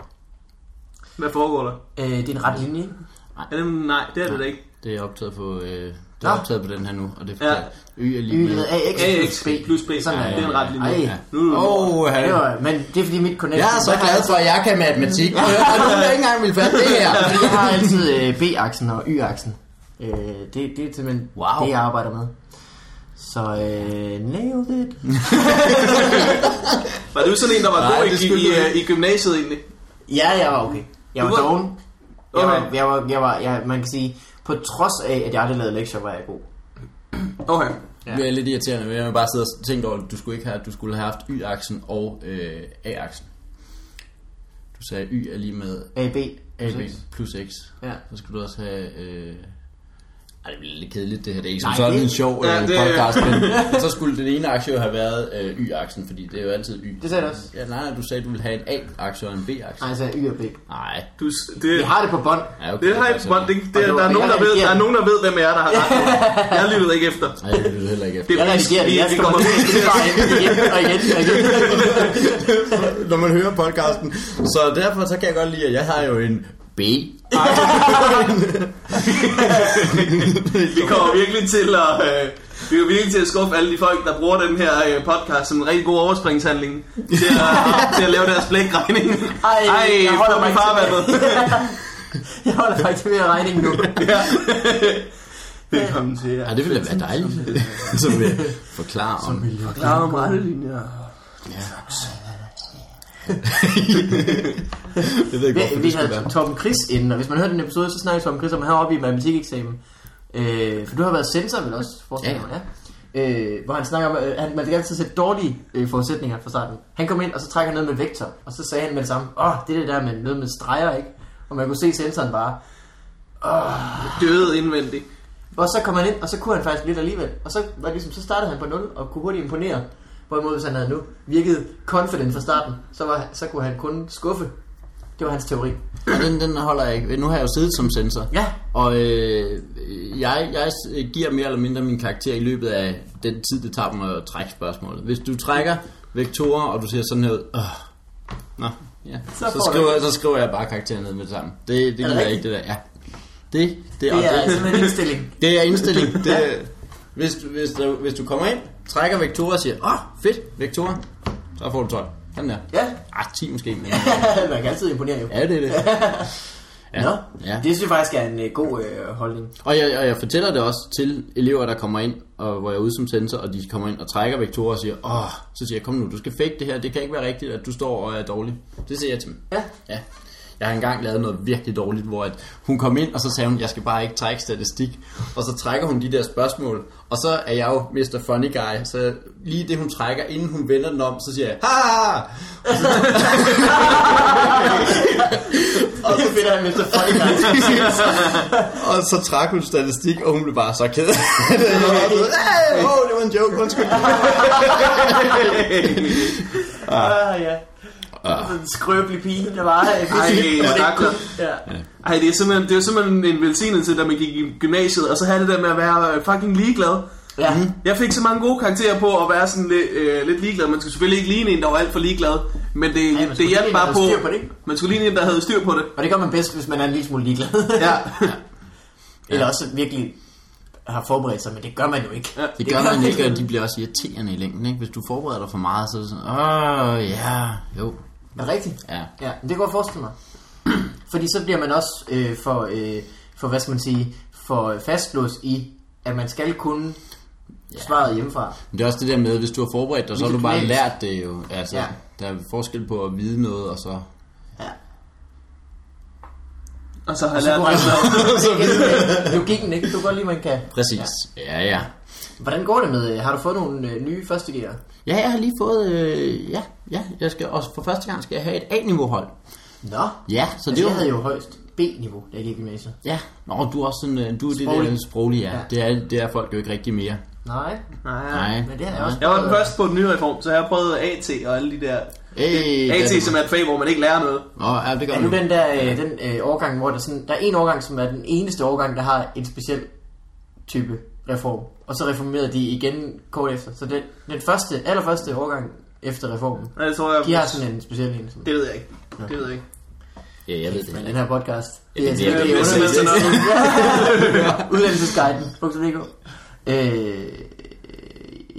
[SPEAKER 3] Hvad foregår der?
[SPEAKER 2] Øh, det er en ret linje, ikke?
[SPEAKER 3] Er det, nej, det er det da ikke.
[SPEAKER 1] Det er optaget på, øh, det
[SPEAKER 2] Nå.
[SPEAKER 1] er optaget på den her nu, og det er
[SPEAKER 3] Ja.
[SPEAKER 1] forkert. Y er
[SPEAKER 2] Y
[SPEAKER 1] lige
[SPEAKER 2] med
[SPEAKER 1] med.
[SPEAKER 2] AX
[SPEAKER 3] AX
[SPEAKER 2] plus B.
[SPEAKER 3] plus B.
[SPEAKER 2] Sådan
[SPEAKER 3] Ja,
[SPEAKER 2] er
[SPEAKER 3] det er en ret linje.
[SPEAKER 2] Ej,
[SPEAKER 1] Ja.
[SPEAKER 3] Nu er du-
[SPEAKER 1] Åh, han-
[SPEAKER 2] det var, men det er fordi mit connection...
[SPEAKER 1] jeg er så
[SPEAKER 2] der har
[SPEAKER 1] glad for, at jeg kan matematik. Der er nogen, der ikke engang vil fatte det her.
[SPEAKER 2] Altså, jeg har altid øh, B-aksen og Y-aksen. Øh, det, det er simpelthen
[SPEAKER 1] Wow.
[SPEAKER 2] wow. det, jeg arbejder med. Så øh, nailed it.
[SPEAKER 3] Var du sådan en, der var
[SPEAKER 1] Nej,
[SPEAKER 3] god
[SPEAKER 1] det
[SPEAKER 3] i,
[SPEAKER 1] skulle
[SPEAKER 3] i,
[SPEAKER 1] du
[SPEAKER 3] øh, i gymnasiet egentlig?
[SPEAKER 2] Ja, jeg var okay. Jeg
[SPEAKER 3] Du
[SPEAKER 2] var
[SPEAKER 3] var-
[SPEAKER 2] doven. Jeg var,
[SPEAKER 3] Okay.
[SPEAKER 2] jeg var, jeg var jeg, man kan sige, på trods af, at jeg aldrig lavede lektier, var jeg god.
[SPEAKER 3] Okay.
[SPEAKER 1] Ja. Det er lidt irriterende, men jeg vil bare sidde og tænke over, at du skulle ikke have, du skulle have haft Y-aksen og øh, A-aksen. Du sagde, Y er lige med
[SPEAKER 2] AB.
[SPEAKER 1] AB
[SPEAKER 2] Præcis.
[SPEAKER 1] plus X.
[SPEAKER 2] Ja.
[SPEAKER 1] Så skulle du også have... Øh... Ej, det bliver lidt kedeligt, det her. Det er ikke
[SPEAKER 2] Nej,
[SPEAKER 1] som sådan
[SPEAKER 2] det-
[SPEAKER 1] en sjov
[SPEAKER 3] Ja,
[SPEAKER 1] ja, øh,
[SPEAKER 3] det-
[SPEAKER 1] podcast, men så skulle den ene aktie jo have været øh, Y-aksen, fordi det er jo altid Y.
[SPEAKER 2] Det sagde du også.
[SPEAKER 1] Ja, nej, nej, du sagde, du ville have en A-aktie og en B-aktie.
[SPEAKER 2] Nej, så er Y og B.
[SPEAKER 1] Nej.
[SPEAKER 3] Du, s- det,
[SPEAKER 2] Vi har det på bånd.
[SPEAKER 1] Ja, okay,
[SPEAKER 3] det har jeg
[SPEAKER 1] altså-
[SPEAKER 3] det, det,
[SPEAKER 2] Og det var-
[SPEAKER 3] der, er nogen, der
[SPEAKER 2] jeg
[SPEAKER 3] ved,
[SPEAKER 2] reagerer.
[SPEAKER 3] der er nogen, der ved, hvem jeg er, der har ret. Jeg lyttede ikke efter.
[SPEAKER 1] Nej, det vil du heller ikke efter.
[SPEAKER 3] Det,
[SPEAKER 2] Jeg redigerer det.
[SPEAKER 3] vi,
[SPEAKER 2] Jeg
[SPEAKER 3] vi
[SPEAKER 2] skal
[SPEAKER 3] kommer
[SPEAKER 2] bare
[SPEAKER 3] til at
[SPEAKER 2] igen og igen og igen.
[SPEAKER 1] Når man hører podcasten. Så derfor så kan jeg godt lide, at jeg har jo en B.
[SPEAKER 3] Vi kommer virkelig til at... Øh, vi er virkelig til at skuffe alle de folk, der bruger den her øh, podcast som en rigtig god overspringshandling til at, til at lave deres blækregning.
[SPEAKER 2] Ej, jeg holder mig
[SPEAKER 3] på med
[SPEAKER 2] ikke
[SPEAKER 3] farvandet.
[SPEAKER 2] Jeg holder faktisk ved at regne nu.
[SPEAKER 3] Ja. Velkommen til jer.
[SPEAKER 1] Ja, det ville da være dejligt. Som vil forklare om.
[SPEAKER 2] Der er jo rettelinjer.
[SPEAKER 1] Jeg ved ikke,
[SPEAKER 2] Vi,
[SPEAKER 1] hvorfor
[SPEAKER 2] vi
[SPEAKER 1] det skulle
[SPEAKER 2] havde
[SPEAKER 1] være.
[SPEAKER 2] Tom Chris inden, og hvis man hørte den episode, så snakkede Tom Chris om, at han var oppe i matematikeksamen. Øh, for du har været censor, vel også, forestiller jeg mig, ja. Øh, hvor han snakker om, at han, man skal altid sætte dårlige øh, forudsætninger fra starten. Han kom ind, og så trækker han noget med vektor, og så sagde han med det samme, åh, det er det der med noget med streger, ikke? Og man kunne se sensoren bare.
[SPEAKER 3] Døde indvendigt.
[SPEAKER 2] Og så kom han ind, og så kunne han faktisk lidt alligevel. Og så, var det ligesom, så startede han på 0, og kunne hurtigt imponere. Hvorimod, hvis han havde nu virket confident fra starten, så, var, så kunne han kun skuffe. Det var hans teori.
[SPEAKER 1] Ja, Den, den holder jeg ikke. Nu har jeg jo siddet som censor.
[SPEAKER 2] Ja.
[SPEAKER 1] Og øh, jeg, jeg giver mere eller mindre min karakter i løbet af den tid, det tager mig at trække spørgsmålet. Hvis du trækker vektorer, og du ser sådan her ud, øh, nå, ja, så,
[SPEAKER 2] får
[SPEAKER 1] så,
[SPEAKER 2] du
[SPEAKER 1] skriver, så skriver jeg bare karakteren ned med det samme. Det, det gider jeg ikke,
[SPEAKER 2] rigtigt?
[SPEAKER 1] det der. Ja. Det, det, og
[SPEAKER 2] Det er altså-
[SPEAKER 1] det,
[SPEAKER 2] simpelthen en indstilling.
[SPEAKER 1] det er indstilling. Det, hvis, du- hvis, du, hvis du kommer ind, trækker vektorer og siger, åh, oh, fedt, vektorer, så får du 12. Sådan der.
[SPEAKER 2] Ja.
[SPEAKER 1] Ah, 10 måske, men
[SPEAKER 2] Man kan altid imponere jo.
[SPEAKER 1] ja, det er det.
[SPEAKER 2] Nå,
[SPEAKER 1] ja.
[SPEAKER 2] det synes jeg faktisk er en øh, god øh, holdning.
[SPEAKER 1] Og jeg, og jeg fortæller det også til elever, der kommer ind, og hvor jeg er ude som sensor, og de kommer ind og trækker vektorer og siger, åh, så siger jeg, kom nu, du skal fake det her, det kan ikke være rigtigt, at du står og er dårlig. Det siger jeg til dem.
[SPEAKER 2] Ja.
[SPEAKER 1] Ja. Jeg har engang lavet noget virkelig dårligt, hvor at hun kom ind, og så sagde hun, jeg skal bare ikke trække statistik. Og så trækker hun de der spørgsmål, og så er jeg jo Mr. Funny Guy, så lige det hun trækker, inden hun vender den om, så siger jeg, ha! Og så,
[SPEAKER 2] Og så finder han Mr. Funny Guy.
[SPEAKER 1] og så trak hun statistik, og hun blev bare så ked. af det. Jeg var sådan, "Hey, Åh, det var en joke, undskyld.
[SPEAKER 2] Ah, ja. Sådan en skrøbelig pige, der var. øh,
[SPEAKER 3] Ah. Ej, stakkels.
[SPEAKER 2] Ja.
[SPEAKER 3] Ej, det er simpelthen, det er simpelthen en velsignelse, da man gik i gymnasiet, og så havde det der med at være øh, fucking ligeglad. Mhm.
[SPEAKER 2] ja.
[SPEAKER 3] Jeg fik så mange gode karakterer på at være sådan lidt, øh, lidt ligeglad. Man skulle selvfølgelig ikke ligne en, der var alt for ligeglad. Men det,
[SPEAKER 2] man
[SPEAKER 3] Ej, det
[SPEAKER 2] skulle ligne
[SPEAKER 3] hjalp
[SPEAKER 2] en,
[SPEAKER 3] bare
[SPEAKER 2] der
[SPEAKER 3] på...
[SPEAKER 2] havde styr på det, ikke?
[SPEAKER 3] man skulle ligne en, der havde styr på det.
[SPEAKER 2] Og det gør man bedst, hvis man er en lille smule ligeglad.
[SPEAKER 3] Ja.
[SPEAKER 2] Eller også virkelig har forberedt sig, men det gør man jo ikke.
[SPEAKER 3] Ja.
[SPEAKER 1] Det gør man ikke, og de bliver også irriterende i længden, ikke? Hvis du forbereder dig for meget, så er det sådan, åh, ja, jo,
[SPEAKER 2] Er det rigtigt?
[SPEAKER 1] ja.
[SPEAKER 2] Ja, men det kan jeg forestille mig. Fordi så bliver man også øh, for, øh, for, hvad skal man sige, for fastlåst i, at man skal kunne svaret hjemmefra.
[SPEAKER 1] Men det er også det der med, hvis du har forberedt dig, så har du bare
[SPEAKER 2] Minimalt.
[SPEAKER 1] lært det jo. Altså,
[SPEAKER 2] Ja.
[SPEAKER 1] ja. der er forskel på at vide noget, og så...
[SPEAKER 2] Ja.
[SPEAKER 3] Og så har jeg
[SPEAKER 2] Så
[SPEAKER 3] lært
[SPEAKER 2] kunne han
[SPEAKER 3] noget.
[SPEAKER 2] så Logikken ikke, du kan godt lide, man kan.
[SPEAKER 1] Præcis. Ja, ja.
[SPEAKER 2] Hvordan går det med, øh, har du fået nogle øh, nye første gear?
[SPEAKER 1] Ja, jeg har lige fået... Øh, ja, ja. Jeg skal, også for første gang skal jeg have et A-niveau-hold.
[SPEAKER 2] Nå,
[SPEAKER 1] Ja, så
[SPEAKER 2] altså,
[SPEAKER 1] det
[SPEAKER 2] jeg
[SPEAKER 1] var...
[SPEAKER 2] havde jo højst B-niveau, da jeg gik i gymnasiet.
[SPEAKER 1] Ja, Nå, du er også sådan... øh, Du er
[SPEAKER 2] Sproglig.
[SPEAKER 1] det der sproglige, ja.
[SPEAKER 2] Ja.
[SPEAKER 1] ja. Det, er, det er folk jo ikke rigtig mere.
[SPEAKER 2] Nej,
[SPEAKER 1] Nej.
[SPEAKER 2] men det har jeg også
[SPEAKER 3] Jeg var den
[SPEAKER 2] prøvet.
[SPEAKER 3] første på den nye reform, så jeg har prøvet AT og alle de der...
[SPEAKER 1] Hey,
[SPEAKER 3] AT, som er et fag, hvor man ikke lærer noget.
[SPEAKER 1] Nå, ja, det gør
[SPEAKER 2] Er nu
[SPEAKER 1] du.
[SPEAKER 2] den der øh, den, øh, årgang, hvor der, sådan, der er en årgang, som er den eneste årgang, der har en speciel type reform. Og så reformerede de igen kort efter. Så den, den første, allerførste årgang efter reformen,
[SPEAKER 3] Nej, det tror jeg...
[SPEAKER 2] de har sådan en speciel en. Som,
[SPEAKER 3] Det ved jeg ikke. Det ved jeg ikke.
[SPEAKER 1] Ja, jeg ved det.
[SPEAKER 2] men
[SPEAKER 1] heller
[SPEAKER 2] den
[SPEAKER 1] ikke.
[SPEAKER 2] her podcast,
[SPEAKER 1] Ja,
[SPEAKER 2] det er
[SPEAKER 1] det er-
[SPEAKER 2] selvfølgelig
[SPEAKER 1] det er-
[SPEAKER 2] undervisning.
[SPEAKER 3] det
[SPEAKER 2] Uddannelsesguiden.dk øh, øh,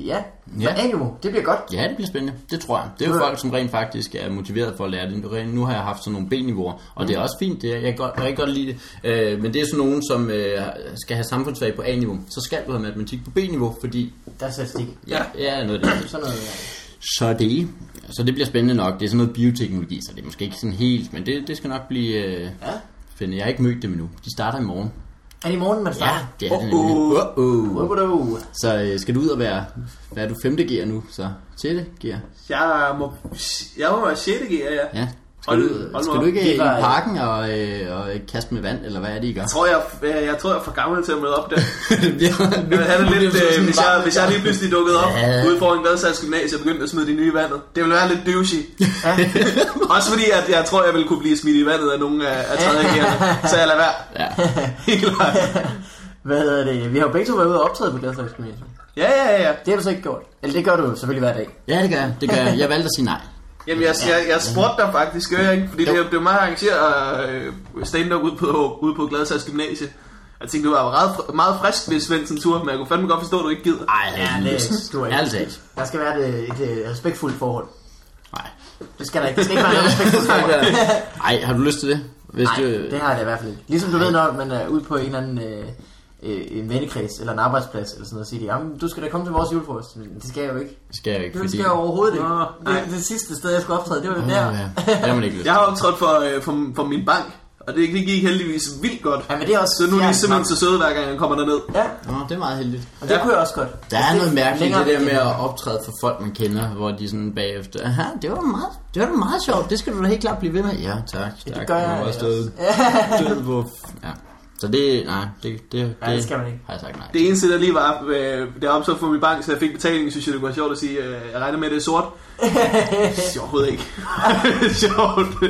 [SPEAKER 2] Ja,
[SPEAKER 1] Ja.
[SPEAKER 2] ja. Animo, det bliver godt.
[SPEAKER 1] Ja, det bliver spændende. Det tror jeg. Det er jo folk, som rent faktisk er motiveret for at lære det. Nu har jeg haft sådan nogle B-niveauer, og det er også fint. Det er, jeg kan godt, jeg kan godt lide det. Øh, men det er sådan nogen, som øh, skal have samfundsfag på A-niveau. Så skal du have matematik på B-niveau, fordi
[SPEAKER 2] Der er statistik.
[SPEAKER 1] ja, ja er noget af det.
[SPEAKER 2] Sådan noget. ja.
[SPEAKER 1] Så er det. Så det bliver spændende nok. Det er sådan noget bioteknologi, så det er måske ikke sådan helt, men det, det skal nok blive øh,
[SPEAKER 2] Ja.
[SPEAKER 1] spændende. Jeg har ikke mødt dem endnu. De starter i morgen.
[SPEAKER 2] Er det i morgen, man starter?
[SPEAKER 1] Ja, det er det nemlig.
[SPEAKER 3] Uh-oh.
[SPEAKER 1] Uh-oh.
[SPEAKER 2] Wubadoo.
[SPEAKER 1] Så øh, skal du ud og være, hvad er du, femte gear nu, så 6. gear?
[SPEAKER 3] Jeg må, jeg må være 6. gear, ja.
[SPEAKER 1] Ja. Skal
[SPEAKER 3] Hold-
[SPEAKER 1] du,
[SPEAKER 3] hold nu
[SPEAKER 1] skal
[SPEAKER 3] op.
[SPEAKER 1] du ikke
[SPEAKER 2] Det var-
[SPEAKER 1] i parken og, øh, og kaste med vand, eller hvad er det, I gør?
[SPEAKER 3] Jeg tror, jeg, jeg, jeg tror, jeg er for gammel til at møde op der.
[SPEAKER 1] det bliver,
[SPEAKER 3] Men han er lidt, øh, hvis, jeg, hvis jeg lige pludselig dukkede op
[SPEAKER 1] Ja.
[SPEAKER 3] ja. ude foran Gladsags Gymnasie og begyndte at smide de nye i vandet. Det ville være lidt douchey.
[SPEAKER 2] Ja.
[SPEAKER 3] Også fordi, at jeg tror, jeg ville kunne blive smidt i vandet af nogle af, af tredje gearne. Så jeg lader være.
[SPEAKER 1] Ja.
[SPEAKER 3] Helt klart.
[SPEAKER 2] Hvad hedder det? Vi har jo begge to været ude og optræde på Gladsaxe Gymnasium.
[SPEAKER 3] Ja, ja, ja, ja.
[SPEAKER 2] Det har du så ikke gjort. Eller det gør du jo selvfølgelig hver dag.
[SPEAKER 1] ja, det gør jeg. Det gør jeg. Jeg valgte at sige nej.
[SPEAKER 3] Jamen, jeg, jeg, jeg spurgte dig faktisk, gør jeg ikke? Fordi
[SPEAKER 1] Jo.
[SPEAKER 3] det, det var mig, der arrangerede øh, stand-up ude på, ude på Gladsags Gymnasie. Jeg tænkte, det var meget, meget frisk ved Svendsen tur, men jeg kunne fandme godt forstå, at du ikke gider.
[SPEAKER 1] Ej,
[SPEAKER 2] Ja, det er du ikke.
[SPEAKER 1] Ærligt talt.
[SPEAKER 2] Der skal være et, et, et respektfuldt forhold.
[SPEAKER 1] Nej.
[SPEAKER 2] Det skal der ikke. Det skal ikke være et respektfuldt forhold.
[SPEAKER 1] Ej, har du lyst til det? Hvis du,
[SPEAKER 2] Nej, det har jeg da i hvert fald ikke. Ligesom du ved, når man er ude på en eller anden øh, øh, en vennekreds eller en arbejdsplads eller sådan noget, siger de, jamen du skal da komme til vores julefrokost. Men Det skal jeg jo ikke.
[SPEAKER 1] skal jeg ikke,
[SPEAKER 2] Det
[SPEAKER 1] fordi...
[SPEAKER 2] skal jeg overhovedet ikke.
[SPEAKER 3] Nå, nej.
[SPEAKER 2] Det, det, sidste sted, jeg skulle optræde, det var jo
[SPEAKER 1] Åh,
[SPEAKER 2] der.
[SPEAKER 1] ja. Det har man ikke lyst
[SPEAKER 3] Jeg
[SPEAKER 1] til.
[SPEAKER 3] har optrådt for, øh, for, for min bank, og det, det gik heldigvis vildt godt.
[SPEAKER 2] Ja, men det er også
[SPEAKER 3] Så nu er de
[SPEAKER 2] fjernt,
[SPEAKER 3] simpelthen
[SPEAKER 2] mand.
[SPEAKER 3] så søde, hver gang jeg kommer derned.
[SPEAKER 2] Ja,
[SPEAKER 1] Nå, det er meget heldigt.
[SPEAKER 2] og det
[SPEAKER 3] Ja.
[SPEAKER 2] kunne jeg også godt.
[SPEAKER 1] Der er
[SPEAKER 2] Det
[SPEAKER 1] noget mærkeligt i
[SPEAKER 2] længere-
[SPEAKER 1] det der med at optræde for folk, man kender, hvor de sådan bagefter, aha, det var meget, det var da meget sjovt, det skal du da helt klart blive ved med. Ja, tak, tak.
[SPEAKER 2] gør
[SPEAKER 1] har
[SPEAKER 2] jeg
[SPEAKER 1] også
[SPEAKER 2] ellers.
[SPEAKER 1] stået død på. Ja. Så det, nej, det, det,
[SPEAKER 2] Nej, det skal man ikke.
[SPEAKER 1] har jeg sagt nej.
[SPEAKER 3] Det eneste, der lige var, øh, da jeg optog for min bank, så jeg fik betaling, synes jeg, det var sjovt at sige, øh, jeg regner med, at det er sort. Sjovt ikke. sjovt.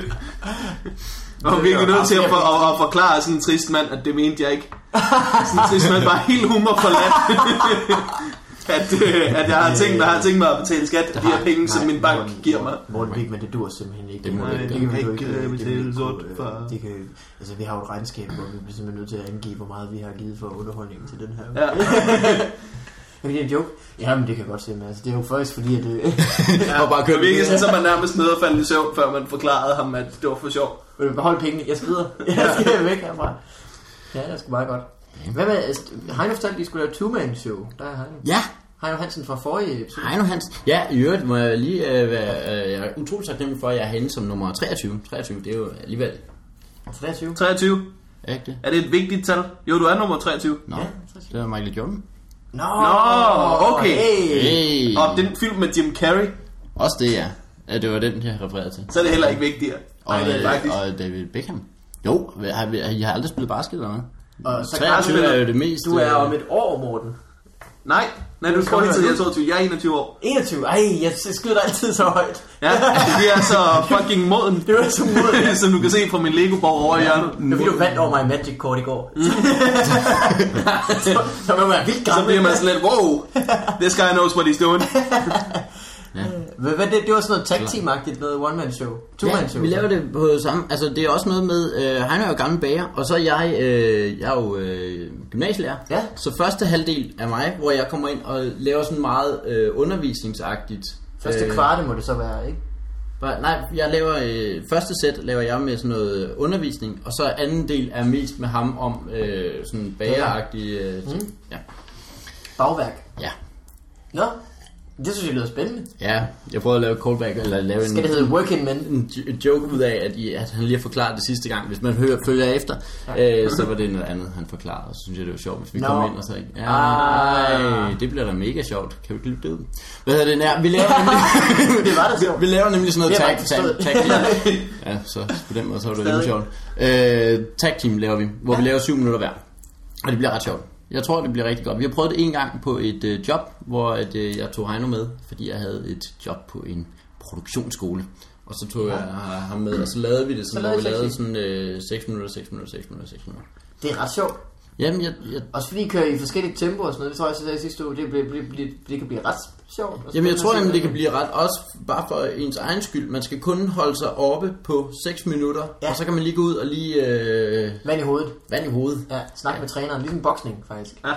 [SPEAKER 3] Jeg var virkelig nødt til at, for, at, at forklare sådan en trist mand, at det mente jeg ikke. Sådan en trist mand, bare helt humor forladt. at, øh, at jeg har tænkt, mig, har tænkt mig at betale skat af de her penge, som min bank giver mig.
[SPEAKER 2] Morten Wigman, det dur simpelthen ikke.
[SPEAKER 1] Det må du
[SPEAKER 2] Nej,
[SPEAKER 1] ikke
[SPEAKER 2] det
[SPEAKER 1] gøre.
[SPEAKER 2] kan vi jo ikke.
[SPEAKER 3] Ikke, øh,
[SPEAKER 2] det kan vi
[SPEAKER 3] betale
[SPEAKER 2] ikke
[SPEAKER 3] sort
[SPEAKER 2] kunne, øh,
[SPEAKER 3] for-
[SPEAKER 2] Det kan, altså, vi har jo et regnskab, hvor vi bliver simpelthen nødt til at angive, hvor meget vi har givet for underholdningen til den her.
[SPEAKER 3] Ja.
[SPEAKER 2] Er det en joke? Jamen, det kan jeg godt se, men altså, det er jo faktisk fordi, at... Øh,
[SPEAKER 1] Ja, og bare
[SPEAKER 3] Det
[SPEAKER 1] kørt
[SPEAKER 3] virkede sådan, så man nærmest nødt og faldt i søvn, før man forklarede ham, at det var for sjov.
[SPEAKER 2] Vil du beholde pengene? Jeg skrider. Jeg skal væk herfra. Ja, det er sgu meget godt. Hvad med, altså, Heino fortalte, at de skulle lave two-man-show. Der er Heino.
[SPEAKER 1] Ja,
[SPEAKER 2] Heino Hansen fra forrige episode.
[SPEAKER 1] Heino Hans. Ja, i øvrigt må jeg lige øh, være, øh, jeg er utrolig taknemmelig for, at jeg er henne som nummer 23. 23, det er jo alligevel,
[SPEAKER 2] 23.
[SPEAKER 3] 23.
[SPEAKER 1] er ikke det?
[SPEAKER 3] Er det et vigtigt tal? Jo, du er nummer 23.
[SPEAKER 1] Nå,
[SPEAKER 2] Ja,
[SPEAKER 1] det var Michael Jordan.
[SPEAKER 2] Nå,
[SPEAKER 3] okay.
[SPEAKER 2] Hey.
[SPEAKER 1] Hey.
[SPEAKER 3] Og den film med Jim Carrey,
[SPEAKER 1] Også det, ja. ja. det var den, jeg refererede til.
[SPEAKER 3] så er det heller ikke vigtigere.
[SPEAKER 1] Og,
[SPEAKER 3] Nej, det er
[SPEAKER 1] øh,
[SPEAKER 3] faktisk.
[SPEAKER 1] og David Beckham. Jo, har, vi- I har aldrig spillet basket eller noget?
[SPEAKER 2] Og så kan
[SPEAKER 1] 23 er jo det mest...
[SPEAKER 2] du er
[SPEAKER 1] øh,
[SPEAKER 2] om et år, Morten.
[SPEAKER 3] Nej, nej, du tror lige til, at jeg er 22. Jeg er 21 år.
[SPEAKER 2] 21. Ej, jeg skyder dig altid så højt.
[SPEAKER 3] Ja, vi er så fucking moden.
[SPEAKER 2] Det var så modigt.
[SPEAKER 3] Som du kan se fra min Lego-borg over i hjørnet.
[SPEAKER 2] Det var fordi, du vandt over mig i Magic Court i
[SPEAKER 1] Mm.
[SPEAKER 2] går. så, så man være vildt
[SPEAKER 3] Så
[SPEAKER 2] gammel.
[SPEAKER 3] bliver man sådan lidt, wow, this guy knows what he's doing.
[SPEAKER 2] Hvad, hvad, det, det var sådan noget tag team-agtigt, noget one-man-show.
[SPEAKER 1] Ja,
[SPEAKER 2] Two-man-show.
[SPEAKER 1] vi laver det på samme... Altså, det er også noget med... Øh, han er jo gammel bager, og så er jeg... Øh, jeg er jo øh, gymnasielærer.
[SPEAKER 2] Ja.
[SPEAKER 1] Så første halvdel af mig, hvor jeg kommer ind og laver sådan meget øh, undervisningsagtigt... Øh.
[SPEAKER 2] Første kvarte må det så være, ikke?
[SPEAKER 1] Bare- Nej, jeg laver øh, første sæt laver jeg med sådan noget undervisning, og så anden del er mest med ham om øh, sådan bageragtige øh, ting.
[SPEAKER 2] Mm.
[SPEAKER 1] Ja.
[SPEAKER 2] Bagværk.
[SPEAKER 1] ja.
[SPEAKER 2] Nå, det synes jeg lyder spændende.
[SPEAKER 1] Ja, jeg prøvede at lave et callback, eller lave en,
[SPEAKER 2] Skal det hedde Working Men?
[SPEAKER 1] en jo- joke ud af, at, I, at han lige har forklaret det sidste gang. Hvis man hører, følger efter, øh, så var det noget andet, han forklarede, og så synes jeg, det var sjovt, hvis vi
[SPEAKER 2] Nå.
[SPEAKER 1] no. kom ind og så ikke. Ja,
[SPEAKER 2] Ah.
[SPEAKER 1] ej, det bliver da mega sjovt. Kan vi ikke lytte det ud? Hvad hedder det? nær? vi laver nemlig,
[SPEAKER 2] Det var da sjovt.
[SPEAKER 1] vi laver nemlig sådan noget
[SPEAKER 2] Det har
[SPEAKER 1] tag,
[SPEAKER 2] jeg
[SPEAKER 1] tag,
[SPEAKER 2] ikke
[SPEAKER 1] tag, team. Ja, så på den måde, så var det lidt sjovt. Øh, tag team laver vi, hvor vi laver syv minutter hver. Og det bliver ret sjovt. Jeg tror, det bliver rigtig godt. Vi har prøvet det en gang på et øh, job, hvor at, øh, jeg tog Heino med, fordi jeg havde et job på en produktionsskole. Og så tog jeg ham med, og så lavede vi det sådan,
[SPEAKER 2] Så
[SPEAKER 1] hvor vi
[SPEAKER 2] lavede I
[SPEAKER 1] lavede sådan øh, 6 minutter, 6 minutter, 6 minutter, 6 minutter.
[SPEAKER 2] Det er ret sjovt.
[SPEAKER 1] Jamen, jeg, jeg,
[SPEAKER 2] Også fordi I kører i forskellige tempoer og sådan noget. Det tror jeg, så sagde sidste uge. Det, bliver, bliver, bliver, det kan blive ret sjovt. og
[SPEAKER 1] Jamen jeg
[SPEAKER 2] spændende
[SPEAKER 1] tror
[SPEAKER 2] at se,
[SPEAKER 1] jamen, det
[SPEAKER 2] hvad
[SPEAKER 1] kan blive ret, også bare for ens egen skyld. Man skal kun holde sig oppe på 6 minutter,
[SPEAKER 2] Ja.
[SPEAKER 1] ja. og så kan man lige gå ud og lige øh,
[SPEAKER 2] Vand i hovedet.
[SPEAKER 1] vand i hovedet.
[SPEAKER 2] Ja, snak med træneren. Ligesom boksning, faktisk.
[SPEAKER 3] Ja.